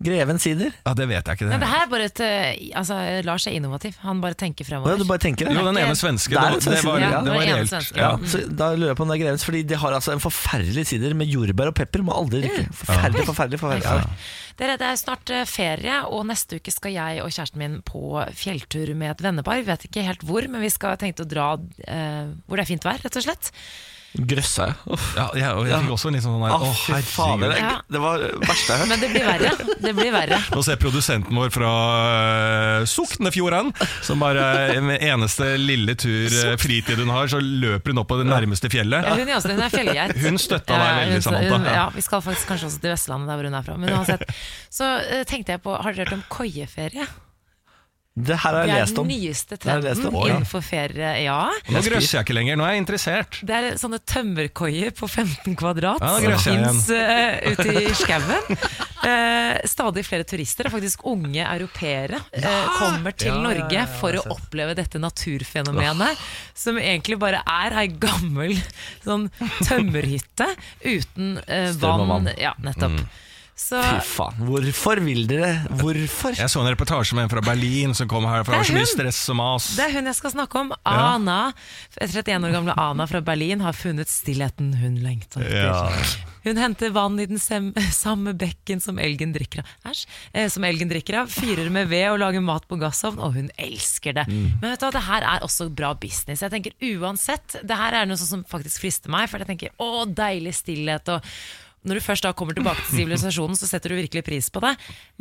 [SPEAKER 1] Grevens sider?
[SPEAKER 3] Ja, det vet jeg ikke.
[SPEAKER 2] Nei, det
[SPEAKER 3] Det.
[SPEAKER 2] her er bare et eh, altså, Lars er innovativ. Han bare tenker
[SPEAKER 1] Å
[SPEAKER 2] fremover.
[SPEAKER 1] Ja, du bare tenker det?
[SPEAKER 3] Jo, den ene
[SPEAKER 2] Det-
[SPEAKER 3] svenske.
[SPEAKER 1] Det er en
[SPEAKER 3] Det, det
[SPEAKER 1] svenske,
[SPEAKER 3] var,
[SPEAKER 1] ja.
[SPEAKER 3] det
[SPEAKER 2] Det var
[SPEAKER 3] var
[SPEAKER 2] en
[SPEAKER 3] reelt.
[SPEAKER 2] svenske.
[SPEAKER 3] Ja.
[SPEAKER 1] Så da lurer jeg på om det er Grevens, fordi de har altså en forferdelig sider med jordbær og pepper. Må aldri drikke. Forferdelig, forferdelig, forferdelig.
[SPEAKER 2] Dere, det er snart eh, ferie, og neste uke skal jeg og kjæresten min på fjelltur med et vennepar. Vi vet ikke helt hvor, men vi skal tenke å dra eh, hvor det er fint vær, rett og slett.
[SPEAKER 1] Grøssa, ja. Uff.
[SPEAKER 3] Ja, jeg, og jeg fikk også en litt sånn der,
[SPEAKER 1] Å,
[SPEAKER 3] Å,
[SPEAKER 1] fy fader.
[SPEAKER 3] herregud.
[SPEAKER 1] Det,
[SPEAKER 2] Ja.
[SPEAKER 1] det var det verste jeg har hørt.
[SPEAKER 2] Men det blir verre. Det blir verre.
[SPEAKER 3] Nå ser produsenten vår fra eh, Soknefjorden, som bare eh, med eneste lille tur eh, fritid hun har, så løper hun opp på det nærmeste
[SPEAKER 2] Ja,
[SPEAKER 3] fjellet.
[SPEAKER 2] hun, er også, hun er fjellgeit.
[SPEAKER 3] Hun støtta deg
[SPEAKER 2] Ja,
[SPEAKER 3] veldig,
[SPEAKER 2] hun-
[SPEAKER 3] Samantha.
[SPEAKER 2] hun- Ja, Vi skal faktisk kanskje også til Vestlandet, der hvor hun er fra. Men uansett. Så eh, tenkte jeg på, har dere hørt om koieferie?
[SPEAKER 1] Det her har
[SPEAKER 2] Det
[SPEAKER 1] jeg
[SPEAKER 2] er
[SPEAKER 1] lest
[SPEAKER 2] den
[SPEAKER 1] om.
[SPEAKER 2] nyeste
[SPEAKER 1] Det har jeg lest
[SPEAKER 2] trenden
[SPEAKER 1] om, ja.
[SPEAKER 2] innenfor ferie. Ja.
[SPEAKER 3] Nå grøsser jeg ikke lenger, nå er jeg interessert.
[SPEAKER 2] Det er sånne tømmerkoier på 15 kvadrat
[SPEAKER 3] Ja, det er
[SPEAKER 2] som
[SPEAKER 3] greit,
[SPEAKER 2] fins ute i skauen. Eh, stadig flere turister, og faktisk unge europeere, eh, kommer til Norge for å oppleve dette naturfenomenet, som egentlig bare er ei gammel sånn tømmerhytte uten eh,
[SPEAKER 1] Strøm og
[SPEAKER 2] vann.
[SPEAKER 1] vann.
[SPEAKER 2] Ja, nettopp.
[SPEAKER 3] Mm.
[SPEAKER 2] Så
[SPEAKER 1] Fy faen, hvorfor vil dere Hvorfor?
[SPEAKER 3] Jeg så en reportasje med en fra Berlin som kom her, for det var så
[SPEAKER 2] Det er
[SPEAKER 3] mye
[SPEAKER 2] hun.
[SPEAKER 3] stress og mas.
[SPEAKER 2] det er hun jeg skal snakke om. Ana. 31 år gamle Ana fra Berlin har funnet stillheten hun lengter etter.
[SPEAKER 3] Ja.
[SPEAKER 2] Hun henter vann i den sem [laughs] samme bekken som elgen drikker av. Æsj. Eh, som elgen drikker av. Fyrer med ved og lager mat på gassovn, og hun elsker det. Men vet du hva, det her er også bra business. Jeg tenker uansett, det her er noe sånn som faktisk frister meg, for jeg tenker å, deilig stillhet og når du først da kommer tilbake til sivilisasjonen, så setter du virkelig pris på det.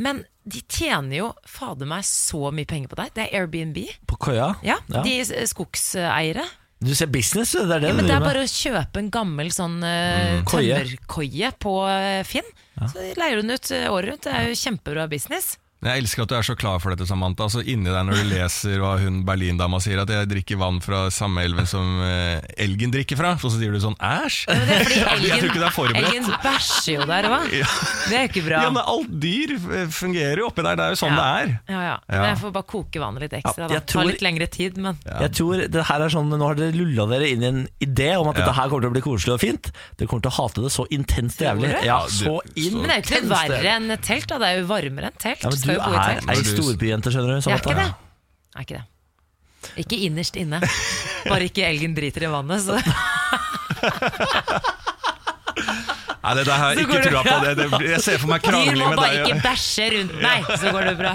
[SPEAKER 2] Men de tjener jo fader meg så mye penger på deg. Det er Airbnb.
[SPEAKER 1] På køya?
[SPEAKER 2] Ja, De eh, skogseiere.
[SPEAKER 1] Du ser business, det er det
[SPEAKER 2] Ja, men
[SPEAKER 1] du
[SPEAKER 2] det er
[SPEAKER 1] driver med. Mm,
[SPEAKER 2] bare å kjøpe en gammel sånn eh,
[SPEAKER 1] Koie.
[SPEAKER 2] tømmerkoie på eh, Finn. Så leier hun ut eh, året rundt. Det er jo kjempebra
[SPEAKER 1] [laughs]
[SPEAKER 2] business.
[SPEAKER 3] Jeg elsker at du er så klar for dette, Samantha. Altså, inni deg når du leser hva hun Berlin-dama sier, at jeg drikker vann fra samme elven som eh, elgen drikker fra, og så sier du sånn æsj.
[SPEAKER 2] Det er fordi
[SPEAKER 3] Jeg tror ikke det er
[SPEAKER 2] elgen,
[SPEAKER 3] forberedt.
[SPEAKER 2] elgen bæsjer jo der, hva? Det er jo ikke bra.
[SPEAKER 3] Ja, men alt dyr eh, fungerer jo oppi der, det er jo sånn
[SPEAKER 2] Ja.
[SPEAKER 3] det er.
[SPEAKER 2] Ja, ja.
[SPEAKER 3] Ja.
[SPEAKER 2] Men jeg får bare koke vannet litt ekstra.
[SPEAKER 1] Ja,
[SPEAKER 2] da.
[SPEAKER 1] jeg
[SPEAKER 2] Tar
[SPEAKER 1] tror-
[SPEAKER 2] litt lengre tid, men
[SPEAKER 1] Jeg tror det her er sånn Nå har dere lulla dere inn i en idé om at dette her kommer til å bli koselig og fint. Dere kommer til å hate det så intenst jævlig.
[SPEAKER 2] Tror du?
[SPEAKER 3] Ja,
[SPEAKER 1] Ja,
[SPEAKER 3] du-
[SPEAKER 1] så inn
[SPEAKER 2] Men det er jo ikke noe verre enn et telt, da. Det er jo varmere enn telt.
[SPEAKER 1] ja, men Du
[SPEAKER 2] Skal jo bo i
[SPEAKER 1] er
[SPEAKER 2] telt.
[SPEAKER 1] ei
[SPEAKER 3] Når du-
[SPEAKER 1] storbyjente, skjønner du.
[SPEAKER 2] Jeg
[SPEAKER 1] sånn
[SPEAKER 2] er ikke
[SPEAKER 1] at-
[SPEAKER 2] det. Jeg er ikke det. Ikke innerst
[SPEAKER 1] [laughs]
[SPEAKER 2] inne. Bare ikke elgen driter i vannet, så
[SPEAKER 3] Nei, det, det her,
[SPEAKER 2] Så går
[SPEAKER 3] ikke
[SPEAKER 2] det
[SPEAKER 3] trua på
[SPEAKER 2] bra.
[SPEAKER 3] det. det blir- jeg ser for meg
[SPEAKER 2] [laughs] dyr
[SPEAKER 3] krangling
[SPEAKER 2] må
[SPEAKER 3] med
[SPEAKER 2] bare ikke
[SPEAKER 3] deg.
[SPEAKER 2] bæsje rundt meg, så går det bra.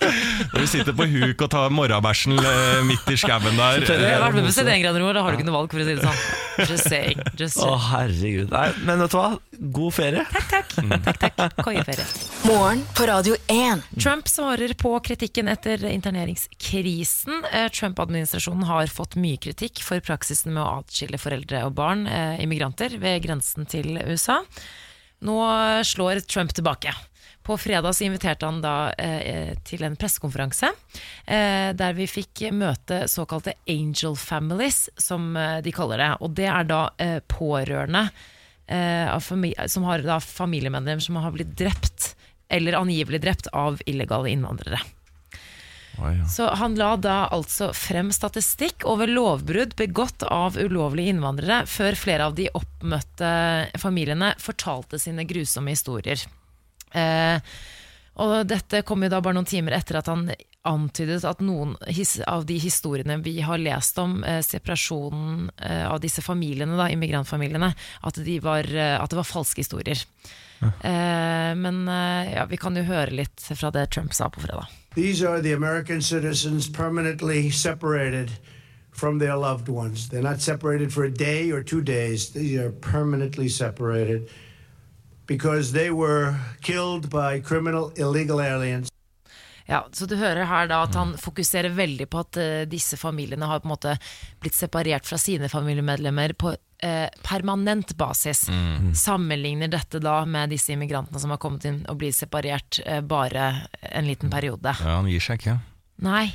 [SPEAKER 3] Når vi sitter på huk og tar morrabæsjen eh, midt i skauen der.
[SPEAKER 2] Du har
[SPEAKER 3] eh,
[SPEAKER 2] vært med på 71 grader nord, da har du ikke noe valg, for å si det sånn. Just saying. Just
[SPEAKER 1] Å,
[SPEAKER 2] saying.
[SPEAKER 1] herregud. Nei, men vet du hva? God ferie.
[SPEAKER 2] Takk, takk. Koieferie.
[SPEAKER 4] Morgen på Radio 1.
[SPEAKER 2] Trump svarer på kritikken etter interneringskrisen. Eh, Trump-administrasjonen har fått mye kritikk for praksisen med å atskille foreldre og barn, eh, immigranter, ved grensen til USA. Nå slår Trump tilbake. På fredag så inviterte han da eh, til en pressekonferanse eh, der vi fikk møte såkalte angel families, som eh, de kaller det. Og det er da eh, pårørende eh, av fami som har da familiemedlemmer som har blitt drept, eller angivelig drept, av illegale innvandrere.
[SPEAKER 3] Oi, ja.
[SPEAKER 2] Så han la da altså frem statistikk over lovbrudd begått av ulovlige innvandrere, før flere av de oppmøtte familiene fortalte sine grusomme historier. Eh, Og dette kom jo da bare noen timer etter at han antydet at noen his av de historiene vi har lest om eh, separasjonen eh, av disse familiene, da, immigrantfamiliene, at, de var, eh, at det var falske historier. Eh, men eh, ja, vi kan jo høre litt fra det Trump sa på fredag.
[SPEAKER 8] These are the American citizens permanently separated from their loved ones. They're not separated for a day or two days. These are permanently separated because they were killed by criminal illegal aliens.
[SPEAKER 2] Ja, så du hører her da at han fokuserer veldig på at eh, disse familiene har på en måte blitt separert fra sine familiemedlemmer på eh, permanent basis. Sammenligner dette da med disse immigrantene som har kommet inn og blir separert eh, bare en liten periode.
[SPEAKER 3] Ja, Han gir seg ikke.
[SPEAKER 2] Nei,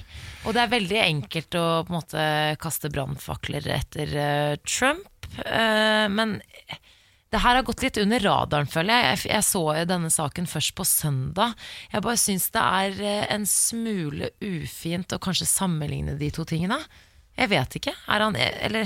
[SPEAKER 2] og det er veldig enkelt å på en måte kaste brannfakler etter eh, Trump, eh, men det her har gått litt under radaren, føler jeg. jeg. Jeg så jo denne saken først på søndag. Jeg bare syns det er eh, en smule ufint å kanskje sammenligne de to tingene. Jeg vet ikke. Er han eh, Eller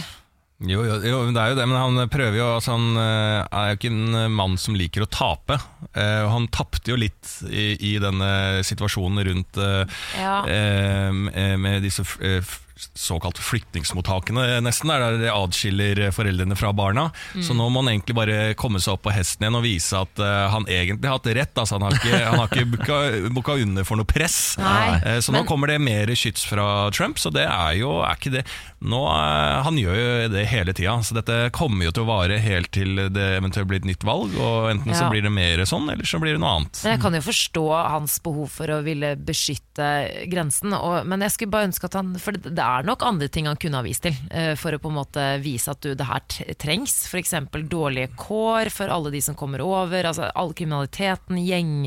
[SPEAKER 3] Jo, jo, jo, men det er jo det, men han prøver jo altså Han eh, er jo ikke en mann som liker å tape. Eh, og han tapte jo litt i, i denne situasjonen rundt eh,
[SPEAKER 2] Ja.
[SPEAKER 3] eh, med disse f- eh, f- såkalte flyktningsmottakene, eh, nesten, der det adskiller eh, foreldrene fra barna.
[SPEAKER 2] Mm.
[SPEAKER 3] Så nå må han egentlig bare komme seg opp på hesten igjen og vise at eh, han egentlig har hatt rett. Altså, han har ikke, han har ikke [laughs] booka, booka under for noe press.
[SPEAKER 2] Nei,
[SPEAKER 3] Eh, Så nå
[SPEAKER 2] men-
[SPEAKER 3] kommer det mer skyts fra Trump, så det er jo er ikke det nå, eh, Han gjør jo det hele tida, så dette kommer jo til å vare helt til det eventuelt blir et nytt valg. Og Enten så
[SPEAKER 2] Ja.
[SPEAKER 3] blir det mer sånn, eller så blir det noe annet.
[SPEAKER 2] Men jeg kan jo forstå hans behov for å ville beskytte grensen. Og, men jeg skulle bare ønske at han For det det er nok andre ting han kunne ha vist til. eh, For å på en måte vise at du, det her t- trengs. F.eks. dårlige kår for alle de som kommer over. Altså all kriminaliteten,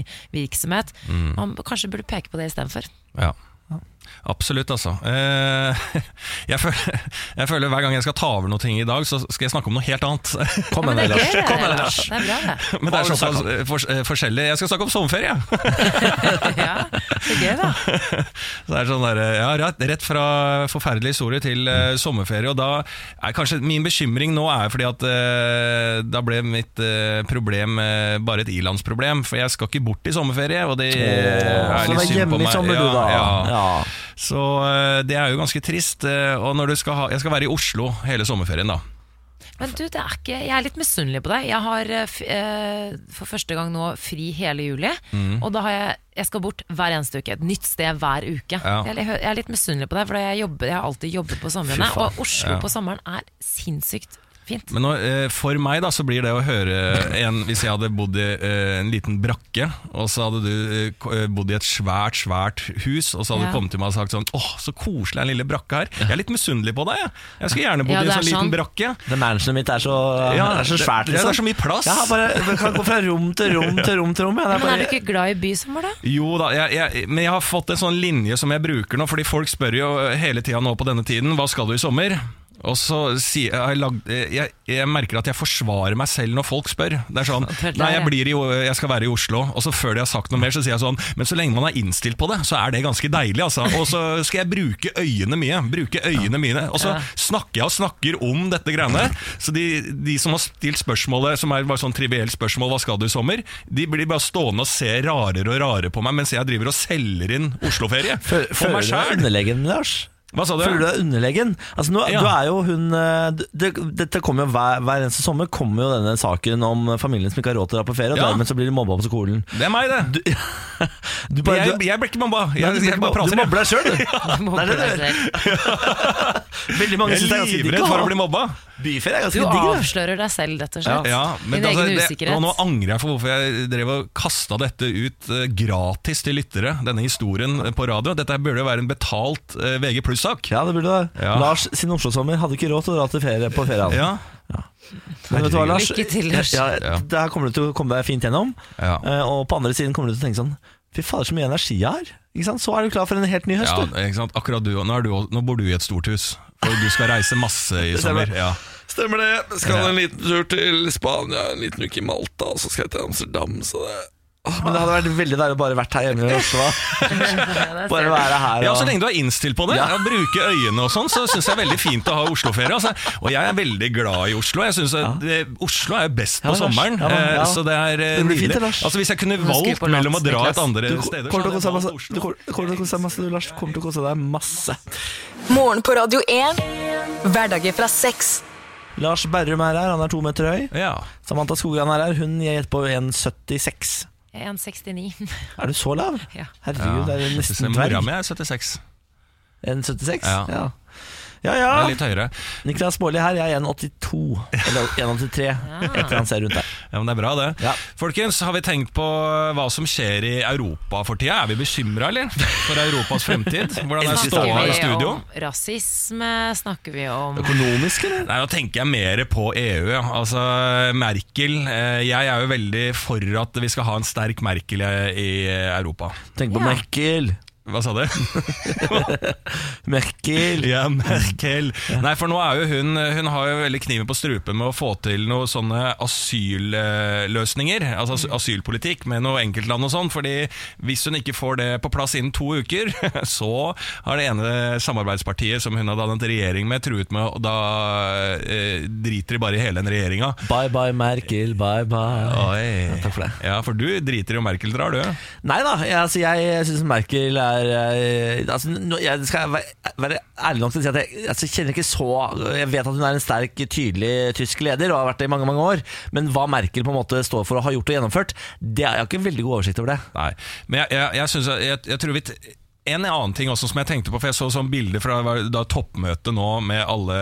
[SPEAKER 2] gjengvirksomhet.
[SPEAKER 1] Mm.
[SPEAKER 2] Han kanskje burde peke på det istedenfor.
[SPEAKER 3] Ja. Absolutt, altså. Eh, [laughs] Jeg føler, jeg føler hver gang jeg skal ta over noe ting i dag, så skal jeg snakke om noe helt annet.
[SPEAKER 1] Kom med
[SPEAKER 2] Det
[SPEAKER 1] deg,
[SPEAKER 2] er
[SPEAKER 1] Lars.
[SPEAKER 2] gøy,
[SPEAKER 1] Kom med
[SPEAKER 2] det,
[SPEAKER 1] deg,
[SPEAKER 2] Lars.
[SPEAKER 1] Lars.
[SPEAKER 2] Det er bra, det.
[SPEAKER 3] Men det er såpass eh, fors- eh, forskjellig. Jeg skal snakke om sommerferie! jeg.
[SPEAKER 2] Ja, det er gøy, da.
[SPEAKER 3] Så det er sånn der, ja, rett, rett fra forferdelig historie til eh, sommerferie. Og da er kanskje min bekymring nå er fordi at eh, da ble mitt eh, problem eh, bare et ilandsproblem. For jeg skal ikke bort i sommerferie, og det eh,
[SPEAKER 1] Så
[SPEAKER 3] er
[SPEAKER 1] du
[SPEAKER 3] litt
[SPEAKER 1] var
[SPEAKER 3] synd på
[SPEAKER 1] hjemme i
[SPEAKER 3] meg.
[SPEAKER 1] sommer, du, da.
[SPEAKER 3] Ja, ja.
[SPEAKER 1] Ja.
[SPEAKER 3] Så eh, det er jo ganske trist. eh, Og når du skal ha, jeg skal være i Oslo hele sommerferien, da.
[SPEAKER 2] Men du, det er ikke, jeg er litt misunnelig på deg. Jeg har eh, f eh, for første gang nå fri hele juli.
[SPEAKER 1] Mm.
[SPEAKER 2] Og da har jeg, jeg skal bort hver eneste uke. Et nytt sted hver uke.
[SPEAKER 3] Ja.
[SPEAKER 2] Jeg, er li- jeg er litt misunnelig på deg, for jeg, jobber, jeg har alltid jobbet på somrene.
[SPEAKER 1] Fy faen.
[SPEAKER 2] Og Oslo på sommeren er sinnssykt fint.
[SPEAKER 3] Men nå, eh, for meg da, så blir det å høre en, Hvis jeg hadde bodd i eh, en liten brakke, og så hadde du eh, ko- eh, bodd i et svært, svært hus, og så hadde
[SPEAKER 2] Ja.
[SPEAKER 3] du kommet til meg og sagt sånn Åh, så koselig er den lille brakka her. Jeg er litt misunnelig på deg, jeg. Jeg skulle gjerne bodd i en
[SPEAKER 2] Ja, det
[SPEAKER 3] sånn
[SPEAKER 2] er sant.
[SPEAKER 3] liten brakke.
[SPEAKER 1] Det managementet mitt er så,
[SPEAKER 3] Ja,
[SPEAKER 1] er så
[SPEAKER 3] det-
[SPEAKER 1] svært,
[SPEAKER 3] ja, det er
[SPEAKER 1] liksom.
[SPEAKER 3] så mye plass.
[SPEAKER 1] Jeg har bare, jeg kan gå fra rom til rom til rom til rom. Jeg. Det
[SPEAKER 2] Men
[SPEAKER 1] er
[SPEAKER 2] er du
[SPEAKER 1] bare,
[SPEAKER 2] ikke glad i bysommer,
[SPEAKER 1] [laughs]
[SPEAKER 2] da?
[SPEAKER 3] Jo da, jeg, jeg, men jeg har fått en sånn linje som jeg bruker nå, fordi folk spør jo eh, hele tida nå på denne tiden hva skal du i sommer? Og så sier jeg, har lagd- eh, jeg, jeg merker at jeg forsvarer meg selv når folk spør. Det er sånn
[SPEAKER 2] Det er der,
[SPEAKER 3] Nei, jeg,
[SPEAKER 2] ja.
[SPEAKER 3] blir i, jeg skal være i Oslo. Og så før de har sagt noe mer, så sier jeg sånn Men så lenge man er innstilt på det, så er det ganske deilig, altså. Og så skal jeg bruke øyene mye. Bruke øyene mine. Og så snakker jeg og snakker om dette greiene. Så de, de som har stilt spørsmålet, som er bare sånn trivielt spørsmål, hva skal du i sommer? De blir bare stående og se rarere og rarere på meg mens jeg driver og selger inn Osloferie.
[SPEAKER 1] Fø-
[SPEAKER 3] For
[SPEAKER 1] føler
[SPEAKER 3] meg
[SPEAKER 1] du deg
[SPEAKER 3] sjæl.
[SPEAKER 1] underlegen, Lars?
[SPEAKER 3] Hva sa du?
[SPEAKER 1] Føler du deg underlegen? Altså, nå,
[SPEAKER 3] Ja.
[SPEAKER 1] Du er jo hun eh, det, Dette kommer jo hver, hver eneste sommer Kommer jo denne saken om familien som ikke har råd til å dra på ferie, og
[SPEAKER 3] Ja.
[SPEAKER 1] dermed så blir de mobba på skolen.
[SPEAKER 3] Det er meg, det.
[SPEAKER 1] Du, du bare,
[SPEAKER 3] jeg,
[SPEAKER 1] du,
[SPEAKER 3] jeg blir ikke mobba. Jeg,
[SPEAKER 1] Nei,
[SPEAKER 3] jeg,
[SPEAKER 1] du blir ikke
[SPEAKER 3] bare
[SPEAKER 1] mobba.
[SPEAKER 3] prater.
[SPEAKER 1] Du mobber deg
[SPEAKER 3] [laughs]
[SPEAKER 1] sjøl, du.
[SPEAKER 2] Mobber
[SPEAKER 1] det er
[SPEAKER 2] deg selv.
[SPEAKER 1] Veldig mange
[SPEAKER 3] Jeg
[SPEAKER 1] synes det
[SPEAKER 3] er
[SPEAKER 1] er ganske digg
[SPEAKER 3] livredd
[SPEAKER 1] å
[SPEAKER 3] for
[SPEAKER 1] ha.
[SPEAKER 3] å bli mobba.
[SPEAKER 1] Byferie er
[SPEAKER 2] Du
[SPEAKER 1] ganske digg. det.
[SPEAKER 2] avslører deg selv, rett og slett.
[SPEAKER 3] Ja, men
[SPEAKER 2] Din
[SPEAKER 3] altså, det,
[SPEAKER 2] egen
[SPEAKER 3] og
[SPEAKER 2] usikkerhet.
[SPEAKER 3] nå
[SPEAKER 2] [laughs]
[SPEAKER 3] angrer jeg for hvorfor jeg drev og kasta dette ut eh, gratis til lyttere, denne historien eh, på radio. Dette her burde jo være en betalt eh, VG pluss-sak.
[SPEAKER 1] Ja, det burde det.
[SPEAKER 3] Ja.
[SPEAKER 1] Lars sin Oslo-sommer hadde ikke råd til å dra til ferie på ferie.
[SPEAKER 3] Ja.
[SPEAKER 1] Men vet du hva, Lars?
[SPEAKER 2] Lykke til, Lars.
[SPEAKER 1] Ja,
[SPEAKER 3] Ja.
[SPEAKER 1] det her kommer du til å komme deg fint gjennom.
[SPEAKER 3] Ja.
[SPEAKER 1] Eh, Og på andre siden kommer du til å tenke sånn Fy fader, så mye energi jeg har. Ikke sant? Så er du klar for en helt ny høst.
[SPEAKER 3] Ja,
[SPEAKER 1] du.
[SPEAKER 3] ikke sant? Akkurat du, nå, er du, nå bor du i et stort hus, for du skal reise masse
[SPEAKER 1] [laughs]
[SPEAKER 3] i
[SPEAKER 1] Stemmer.
[SPEAKER 3] sommer. Ja.
[SPEAKER 9] Stemmer det. Skal en liten tur til Spania, en liten uke i Malta, og så skal jeg til Amsterdam. Så det
[SPEAKER 1] Men det hadde vært veldig deilig å bare vært her hjemme i
[SPEAKER 2] [laughs]
[SPEAKER 1] Oslo. Bare være her.
[SPEAKER 3] Ja,
[SPEAKER 1] og-
[SPEAKER 3] Så lenge du er innstilt på det, ja. bruke øyene og sånn, så syns jeg det er veldig fint å ha Oslo-ferie. Altså. Og jeg er veldig glad i Oslo. Jeg synes at, eh, Oslo er best på
[SPEAKER 1] Ja, Lars.
[SPEAKER 3] sommeren,
[SPEAKER 1] Ja, men,
[SPEAKER 3] eh,
[SPEAKER 1] ja.
[SPEAKER 3] så det er eh,
[SPEAKER 1] Det blir fint,
[SPEAKER 3] nydelig.
[SPEAKER 1] det, Lars.
[SPEAKER 3] Altså, hvis jeg kunne
[SPEAKER 2] skal vi
[SPEAKER 3] valgt
[SPEAKER 2] på lands,
[SPEAKER 3] mellom å dra
[SPEAKER 2] Niklas.
[SPEAKER 3] et andre
[SPEAKER 1] Du
[SPEAKER 3] steder, så
[SPEAKER 1] kommer til å
[SPEAKER 3] hadde
[SPEAKER 1] kose
[SPEAKER 3] jeg
[SPEAKER 1] deg masse.
[SPEAKER 3] valgt
[SPEAKER 1] Du
[SPEAKER 3] Oslo.
[SPEAKER 1] kommer kommer til å kose deg masse, du, Lars. Kommer til å kose deg masse.
[SPEAKER 4] Morgen på Radio 1. Hverdager fra seks.
[SPEAKER 1] Lars Berrum er her, han er to meter høy.
[SPEAKER 3] Ja.
[SPEAKER 1] Samantha Skogran er her, hun jeg gjetter på 1,76.
[SPEAKER 2] Jeg er 1,69.
[SPEAKER 1] Er du så lav?
[SPEAKER 2] Ja.
[SPEAKER 1] Herregud, det er
[SPEAKER 3] Jeg synes
[SPEAKER 1] nesten
[SPEAKER 3] Mora
[SPEAKER 1] dverg.
[SPEAKER 3] mi er 76.
[SPEAKER 1] 1,76?
[SPEAKER 3] Ja.
[SPEAKER 1] Ja. ja
[SPEAKER 3] Det
[SPEAKER 1] ja.
[SPEAKER 3] er litt høyere.
[SPEAKER 1] Niklas Baarli her, jeg er 1,82. Eller 1,83, etter han ser rundt der.
[SPEAKER 3] Ja, men Det er bra, det.
[SPEAKER 1] Ja.
[SPEAKER 3] Folkens, har vi tenkt på hva som skjer i Europa for tida? Er vi bekymra, eller? For Europas fremtid? Hvordan er
[SPEAKER 2] Snakker
[SPEAKER 3] ståa i
[SPEAKER 2] vi
[SPEAKER 3] studio?
[SPEAKER 2] om rasisme? Snakker vi om
[SPEAKER 1] Økonomisk, eller?
[SPEAKER 3] Nei, Da tenker jeg mer på EU. ja. Altså, Merkel eh, Jeg er jo veldig for at vi skal ha en sterk Merkel i i Europa.
[SPEAKER 1] Tenk på
[SPEAKER 2] Ja.
[SPEAKER 1] Merkel.
[SPEAKER 3] Hva sa du?
[SPEAKER 1] Merkel.
[SPEAKER 3] [laughs] Ja, Merkel. Nei, for nå er jo hun Hun har jo veldig kniven på strupen med å få til noen sånne asylløsninger. Altså as- asylpolitikk med noe enkeltland og sånn. Fordi hvis hun ikke får det på plass innen to uker, [laughs] så har det ene samarbeidspartiet som hun har dannet regjering med, truet med Og da eh, driter de bare i hele den regjeringa.
[SPEAKER 1] Bye bye, Merkel. Bye bye.
[SPEAKER 3] Oi.
[SPEAKER 1] Ja, takk for det.
[SPEAKER 3] Ja, for du driter i om Merkel drar, du.
[SPEAKER 1] Nei da, jeg, altså, jeg syns Merkel er eh, altså, nå- Jeg skal være være ærlig nok til å si at jeg altså, kjenner ikke så Jeg vet at hun er en sterk, tydelig tysk leder og har vært det i mange mange år, men hva Merkel på en måte står for og har gjort og gjennomført, det har jeg har ikke veldig god oversikt over. det
[SPEAKER 3] Nei. Men jeg, jeg, jeg, synes, jeg, jeg, jeg tror vi t- en annen ting også som jeg tenkte på, for jeg så sånn bilder fra da toppmøtet nå med alle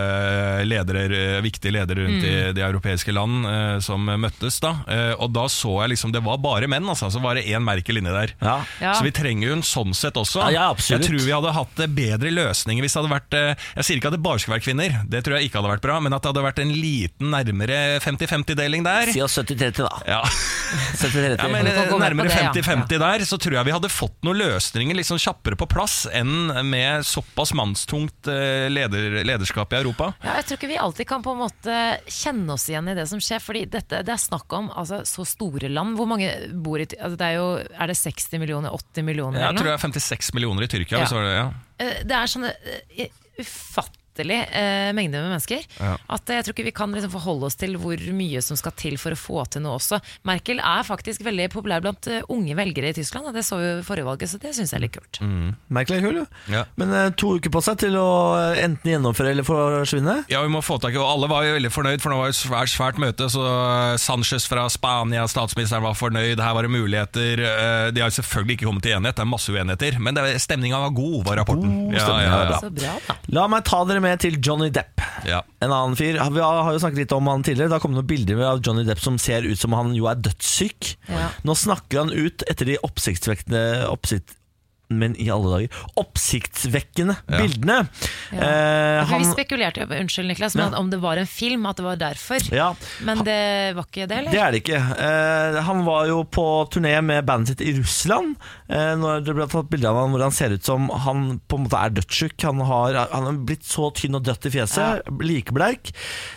[SPEAKER 3] ledere, eh, viktige ledere rundt i
[SPEAKER 1] Mm.
[SPEAKER 3] de europeiske land eh, som møttes. da, eh, Og da så jeg liksom Det var bare menn, altså. Så var det én Merkel inni der.
[SPEAKER 1] Ja.
[SPEAKER 2] Ja.
[SPEAKER 3] Så vi trenger jo en sånn sett også.
[SPEAKER 1] Ja, ja, absolutt.
[SPEAKER 3] jeg tror vi hadde hatt eh, bedre løsninger hvis det hadde vært eh, Jeg sier ikke at det bare skulle være kvinner, det tror jeg ikke hadde vært bra, men at det hadde vært en liten nærmere 50-50-deling der.
[SPEAKER 1] Si oss 70-30, da.
[SPEAKER 2] [laughs]
[SPEAKER 3] Ja
[SPEAKER 1] 70-30.
[SPEAKER 3] ja, men eh,
[SPEAKER 2] Vi får gå med på
[SPEAKER 3] Nærmere
[SPEAKER 2] det, ja.
[SPEAKER 3] 50-50 der, så tror jeg vi hadde fått noen løsninger liksom kjappere på plass enn med såpass mannstungt eh, leder, lederskap i Europa.
[SPEAKER 2] Ja, jeg tror ikke vi alltid kan på en måte kjenne oss igjen i det som skjer. Fordi dette, det er snakk om altså, så store land. Hvor mange bor i Ty- altså, det er, jo, er det 60 millioner? 80 millioner?
[SPEAKER 3] Jeg
[SPEAKER 2] eller
[SPEAKER 3] tror
[SPEAKER 2] noe?
[SPEAKER 3] jeg er 56 millioner i Tyrkia.
[SPEAKER 2] Ja.
[SPEAKER 3] Hvis det var det, ja.
[SPEAKER 2] Eh, Det er sånne eh, ufattelig eh, mengde med mennesker. At eh, jeg tror ikke vi kan liksom forholde oss til hvor mye som skal til for å få til noe også. Merkel er faktisk veldig populær blant eh, unge velgere i Tyskland, og det så vi jo i forrige valget, så det syns jeg er litt kult.
[SPEAKER 3] Mm.
[SPEAKER 1] Merkel er kul, jo.
[SPEAKER 3] Ja.
[SPEAKER 1] Men eh, to uker på seg til å eh, enten gjennomføre eller forsvinne.
[SPEAKER 3] Ja, vi må få tak i, og Alle var jo veldig fornøyd, for det var jo svært, svært møte. så eh, Sanchez fra Spania, statsministeren var fornøyd, her var det muligheter. eh, De har jo selvfølgelig ikke kommet til enighet, det er masse uenigheter. Men stemninga var god, var rapporten.
[SPEAKER 1] God
[SPEAKER 3] Ja,
[SPEAKER 1] stemning,
[SPEAKER 3] ja,
[SPEAKER 1] ja,
[SPEAKER 3] ja,
[SPEAKER 2] Så bra, da.
[SPEAKER 1] La meg ta dere med til Johnny Depp.
[SPEAKER 3] ja.
[SPEAKER 1] En annen fyr, Vi har har jo snakket litt om han tidligere. Da kom det noen bilder av Johnny Depp som ser ut som han jo er dødssyk.
[SPEAKER 2] Ja.
[SPEAKER 1] Nå snakker han ut etter de oppsiktsvekkende oppsikt, Men i alle dager Oppsiktsvekkende bildene. Eh,
[SPEAKER 2] For vi spekulerte jo unnskyld Niklas, men om det var en film, at det var derfor.
[SPEAKER 1] ja,
[SPEAKER 2] Men det var ikke det, eller?
[SPEAKER 1] Det er det ikke. Eh, han var jo på turné med bandet sitt i Russland. eh, når det ble tatt bilde av han hvor han ser ut som han på en måte er dødssjuk. Han, har, han er blitt så tynn og dødt i fjeset. Likebleik.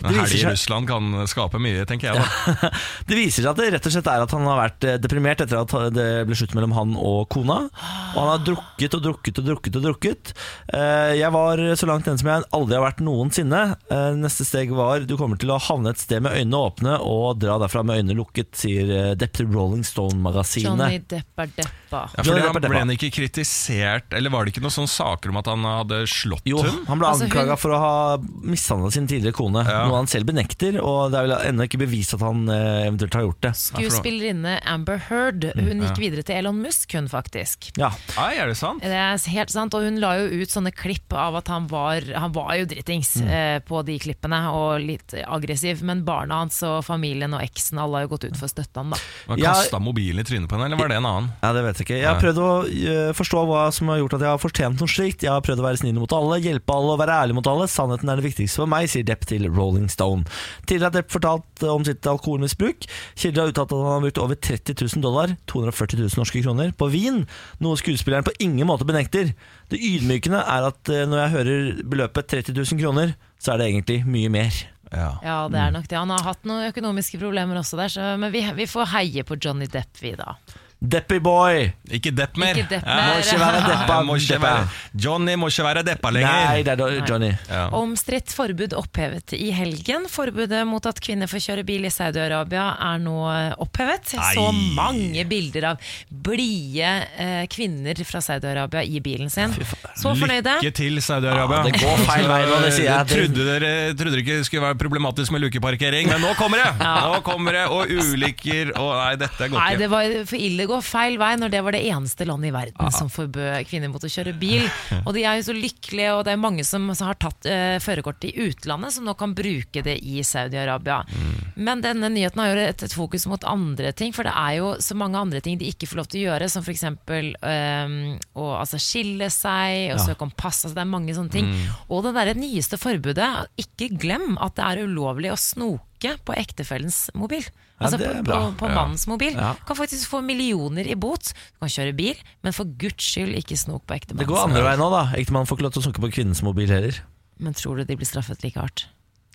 [SPEAKER 3] En
[SPEAKER 1] Det
[SPEAKER 3] helg i
[SPEAKER 1] viser, seg,
[SPEAKER 3] Russland kan skape mye, tenker jeg. da
[SPEAKER 1] det viser seg at det rett og slett er at han har vært eh, deprimert etter at det ble slutt mellom han og kona. Og han har drukket og drukket og drukket. og drukket Eh, Jeg var så langt den som jeg aldri har vært noensinne. Eh, Neste steg var du kommer til å havne et sted med øynene åpne og dra derfra med øynene lukket, sier eh, Depp til Rolling
[SPEAKER 2] Johnny
[SPEAKER 1] Stone-magasinet.
[SPEAKER 2] Depp er deppa.
[SPEAKER 3] Ja, fordi
[SPEAKER 1] Johnny
[SPEAKER 3] han
[SPEAKER 1] Depp er
[SPEAKER 3] ble
[SPEAKER 1] deppa.
[SPEAKER 3] han ikke kritisert Eller var det ikke noen sånne saker om at han hadde slått
[SPEAKER 1] Jo,
[SPEAKER 3] hun?
[SPEAKER 1] han ble
[SPEAKER 2] Altså, hun-
[SPEAKER 1] anklaga for å ha mishandla sin tidligere kone,
[SPEAKER 3] Ja.
[SPEAKER 1] noe han selv benekter. Og det er vel ennå ikke bevist at han eh, eventuelt har gjort det.
[SPEAKER 2] Skuespillerinne Amber Heard Hun gikk videre til Elon Musk, hun faktisk.
[SPEAKER 1] Ja,
[SPEAKER 3] Nei, er det sant?
[SPEAKER 2] Det er helt sant, og Hun la jo ut sånne klipp av at han var Han var jo dritings eh, på de klippene og litt aggressiv, men barna hans og familien og eksen alle har jo gått ut for å støtte han da.
[SPEAKER 3] Han
[SPEAKER 1] Ja.
[SPEAKER 3] kastet mobilen i trynet på henne, eller var det en annen?
[SPEAKER 1] ja, det vet jeg ikke. Jeg har prøvd å eh, forstå hva som har gjort at jeg har fortjent noe slikt. Jeg har prøvd å være snill mot alle, hjelpe alle og være ærlig mot alle. Sannheten er det viktigste for meg, sier Depp til Rolling Stone. Tidligere har Depp fortalt om sitt alkoholmisbruk. Kilder har uttalt at han har brukt over 30 000 dollar, 240 000 norske kroner, på vin, noe skuespilleren på ingen måte benekter. Det ydmykende er at eh, når jeg hører beløpet 30 000 kroner, så er det egentlig mye mer.
[SPEAKER 3] Ja.
[SPEAKER 2] Ja, det er nok det. Han har hatt noen økonomiske problemer også der, så, men vi, vi får heie på Johnny Depp, vi da.
[SPEAKER 1] Deppy boy!
[SPEAKER 3] Ikke depp mer.
[SPEAKER 2] Ikke depp
[SPEAKER 3] Ja.
[SPEAKER 2] mer.
[SPEAKER 1] Må ikke være deppa.
[SPEAKER 3] Må ikke
[SPEAKER 1] deppa.
[SPEAKER 3] være, Johnny må ikke være deppa lenger.
[SPEAKER 1] Nei, det er da- Johnny.
[SPEAKER 3] Ja.
[SPEAKER 2] Omstridt forbud opphevet i helgen. Forbudet mot at kvinner får kjøre bil i Saudi-Arabia er nå eh, opphevet. Jeg så
[SPEAKER 3] Nei.
[SPEAKER 2] mange bilder av blide eh, kvinner fra Saudi-Arabia i bilen sin. Så fornøyde.
[SPEAKER 3] Lykke til, Saudi-Arabia.
[SPEAKER 1] Ja, det går feil vei nå, det sier jeg.
[SPEAKER 3] [laughs] Trodde dere trodde dere ikke det skulle være problematisk med lukeparkering, men nå kommer
[SPEAKER 2] [laughs]
[SPEAKER 3] det! Nå kommer det, Og ulykker og Nei, dette går
[SPEAKER 2] Nei, det
[SPEAKER 3] ikke.
[SPEAKER 2] var for ille å gå feil vei når det var det eneste landet i verden
[SPEAKER 1] Ah.
[SPEAKER 2] som forbød kvinner mot å kjøre bil. Og de er jo så lykkelige, og det er mange som har tatt eh, førerkort i utlandet, som nå kan bruke det i Saudi-Arabia.
[SPEAKER 1] Mm.
[SPEAKER 2] Men denne nyheten har jo et, et fokus mot andre ting, for det er jo så mange andre ting de ikke får lov til å gjøre, som f.eks. Um, å altså, skille seg, å søke om pass. Altså, det er mange sånne ting.
[SPEAKER 1] Mm.
[SPEAKER 2] Og det derre nyeste forbudet, ikke glem at det er ulovlig å snoke på ektefellens mobil.
[SPEAKER 1] Ja,
[SPEAKER 2] Altså
[SPEAKER 1] det er
[SPEAKER 2] på, på,
[SPEAKER 1] bra.
[SPEAKER 2] på mannens mobil.
[SPEAKER 1] Ja.
[SPEAKER 2] Kan faktisk få millioner i bot. Du kan kjøre bil, men for guds skyld ikke snok på
[SPEAKER 1] Det går
[SPEAKER 2] ektemannen.
[SPEAKER 1] andre veien nå, da. Ektemann får ikke lov til å snakke på kvinnens mobil heller.
[SPEAKER 2] Men tror du de blir straffet like hardt?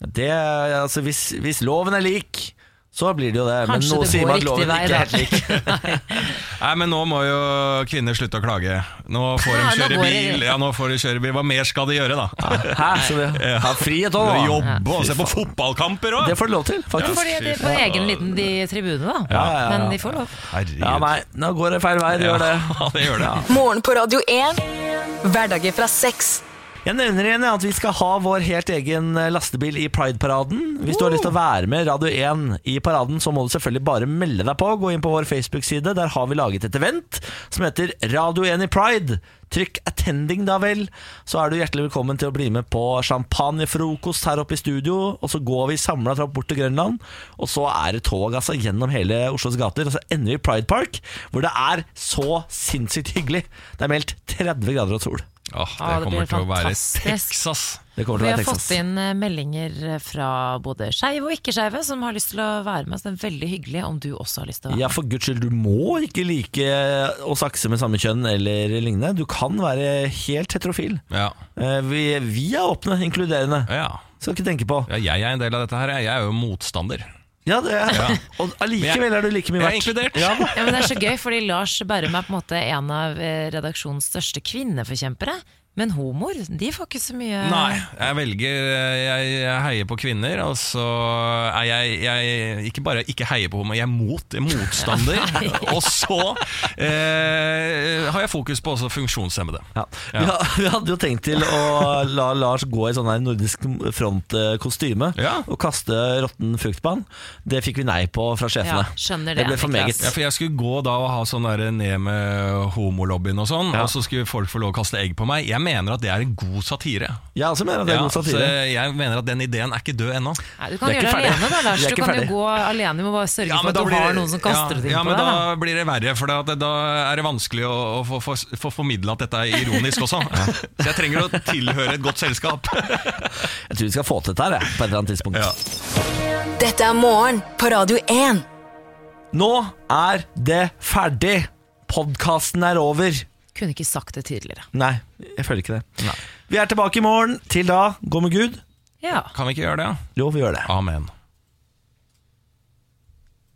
[SPEAKER 1] Det, altså, hvis, hvis loven er lik, så blir det jo det.
[SPEAKER 2] Kanskje
[SPEAKER 1] Men nå
[SPEAKER 2] det
[SPEAKER 1] sier
[SPEAKER 2] går
[SPEAKER 1] man at
[SPEAKER 2] riktig
[SPEAKER 1] loven
[SPEAKER 2] vei,
[SPEAKER 1] ikke
[SPEAKER 2] da. [laughs]
[SPEAKER 1] er helt lik.
[SPEAKER 3] Nei, men nå må jo kvinner slutte å klage. Nå får de
[SPEAKER 2] Ja, [laughs] nå
[SPEAKER 3] kjøre
[SPEAKER 2] går det.
[SPEAKER 3] bil. Ja, nå får de kjøre bil. Hva mer skal de gjøre, da?
[SPEAKER 1] Hæ? Så det, ha frihet òg,
[SPEAKER 3] Å
[SPEAKER 1] da.
[SPEAKER 3] Jobbe og se på fotballkamper òg!
[SPEAKER 1] Det får du lov til, faktisk.
[SPEAKER 2] [laughs] Fordi de er på egen liten de tribune, da.
[SPEAKER 1] ja, ja.
[SPEAKER 2] Men de får lov.
[SPEAKER 3] Herregud.
[SPEAKER 1] Ja, nei, nå går det feil vei. Det gjør det.
[SPEAKER 3] [laughs] Ja, det gjør det.
[SPEAKER 4] Morgen på Radio 1. Hverdager fra seks.
[SPEAKER 1] Jeg nevner igjen ja, at vi skal ha vår helt egen eh, lastebil i Pride-paraden. Hvis du har lyst til å være med Radio 1 i paraden, så må du selvfølgelig bare melde deg på. Gå inn på vår Facebook-side. Der har vi laget et event som heter Radio 1 i Pride. Trykk 'attending', da vel. Så er du hjertelig velkommen til å bli med på champagnefrokost her oppe i studio. Og så går vi samla fra bort til Grønland, og så er det tog altså, gjennom hele Oslos gater. Og så ender vi i Pride Park, hvor det er så sinnssykt hyggelig. Det er meldt 30 grader og sol.
[SPEAKER 3] Åh, det,
[SPEAKER 2] Ja, det blir
[SPEAKER 3] kommer til å være
[SPEAKER 2] fantastisk.
[SPEAKER 3] Texas.
[SPEAKER 1] Det kommer
[SPEAKER 2] Vi
[SPEAKER 1] til å
[SPEAKER 2] har
[SPEAKER 1] være Texas.
[SPEAKER 2] fått inn eh, meldinger fra både skeive og ikke-skeive som har lyst til å være med. Så det er veldig hyggelig om du også har lyst til å være med.
[SPEAKER 1] Ja, for guds skyld, du må ikke like eh, å sakse med samme kjønn eller lignende. Du kan være helt heterofil.
[SPEAKER 3] Ja.
[SPEAKER 1] Eh, Vi, vi er åpne, inkluderende.
[SPEAKER 3] Ja.
[SPEAKER 1] Skal ikke tenke på.
[SPEAKER 3] ja, jeg er en del av dette her. jeg. Jeg er jo motstander.
[SPEAKER 1] Ja, det er. [laughs] Og allikevel er du like mye
[SPEAKER 3] Jeg er
[SPEAKER 1] verdt.
[SPEAKER 3] inkludert.
[SPEAKER 1] Ja, da.
[SPEAKER 2] Ja, men Det er så gøy, fordi Lars Berrum er på en måte en av eh, redaksjonens største kvinneforkjempere. Men homoer, de får ikke så mye
[SPEAKER 3] Nei, jeg velger jeg, jeg heier på kvinner, og så er jeg, jeg ikke bare ikke heier på homo, jeg er mot, jeg er
[SPEAKER 1] [laughs]
[SPEAKER 3] motstander. og så eh, har jeg fokus på også funksjonshemmede.
[SPEAKER 1] Ja. Vi, ha- vi hadde jo tenkt til å la Lars gå i sånn her nordisk front-kostyme
[SPEAKER 3] Ja.
[SPEAKER 1] og kaste råtten frukt på han. Det fikk vi nei på fra sjefene.
[SPEAKER 2] Ja, skjønner
[SPEAKER 1] det
[SPEAKER 2] det,
[SPEAKER 1] ble for meget.
[SPEAKER 2] Niklas.
[SPEAKER 3] Ja, for Jeg skulle gå da og ha sånn der ned med homolobbyen og sånn, og så skulle folk få lov å kaste egg på meg. Jeg mener at det er en god satire.
[SPEAKER 1] Jeg også mener at altså, det er
[SPEAKER 3] Ja, Så
[SPEAKER 1] god satire.
[SPEAKER 3] jeg jeg mener at den ideen er ikke død ennå.
[SPEAKER 2] Nei, Du kan
[SPEAKER 1] Vi er
[SPEAKER 2] gjøre det
[SPEAKER 1] ikke ferdig.
[SPEAKER 2] alene, da, Lars.
[SPEAKER 1] Vi er
[SPEAKER 2] Du
[SPEAKER 1] ikke
[SPEAKER 2] kan
[SPEAKER 1] ferdig.
[SPEAKER 2] jo gå alene. Du må bare sørge for at du
[SPEAKER 3] blir
[SPEAKER 2] har noen som kaster
[SPEAKER 3] ja,
[SPEAKER 2] det ting
[SPEAKER 3] ja,
[SPEAKER 2] på
[SPEAKER 3] men
[SPEAKER 2] deg.
[SPEAKER 3] da blir det verre, for da, da er det vanskelig å, å få, få, få formidla at dette er ironisk også. Så jeg trenger å tilhøre et godt selskap.
[SPEAKER 1] Jeg tror vi skal få til dette her, jeg, på et eller annet tidspunkt.
[SPEAKER 3] Ja.
[SPEAKER 4] Dette er morgen på Radio 1.
[SPEAKER 1] Nå er det ferdig! Podkasten er over.
[SPEAKER 2] da. Kunne ikke sagt det tydeligere.
[SPEAKER 1] Nei, jeg føler ikke det. Vi er tilbake i morgen. Til da, gå med Gud.
[SPEAKER 2] Ja.
[SPEAKER 3] Kan vi ikke gjøre det?
[SPEAKER 1] Jo, vi gjør det.
[SPEAKER 3] Amen.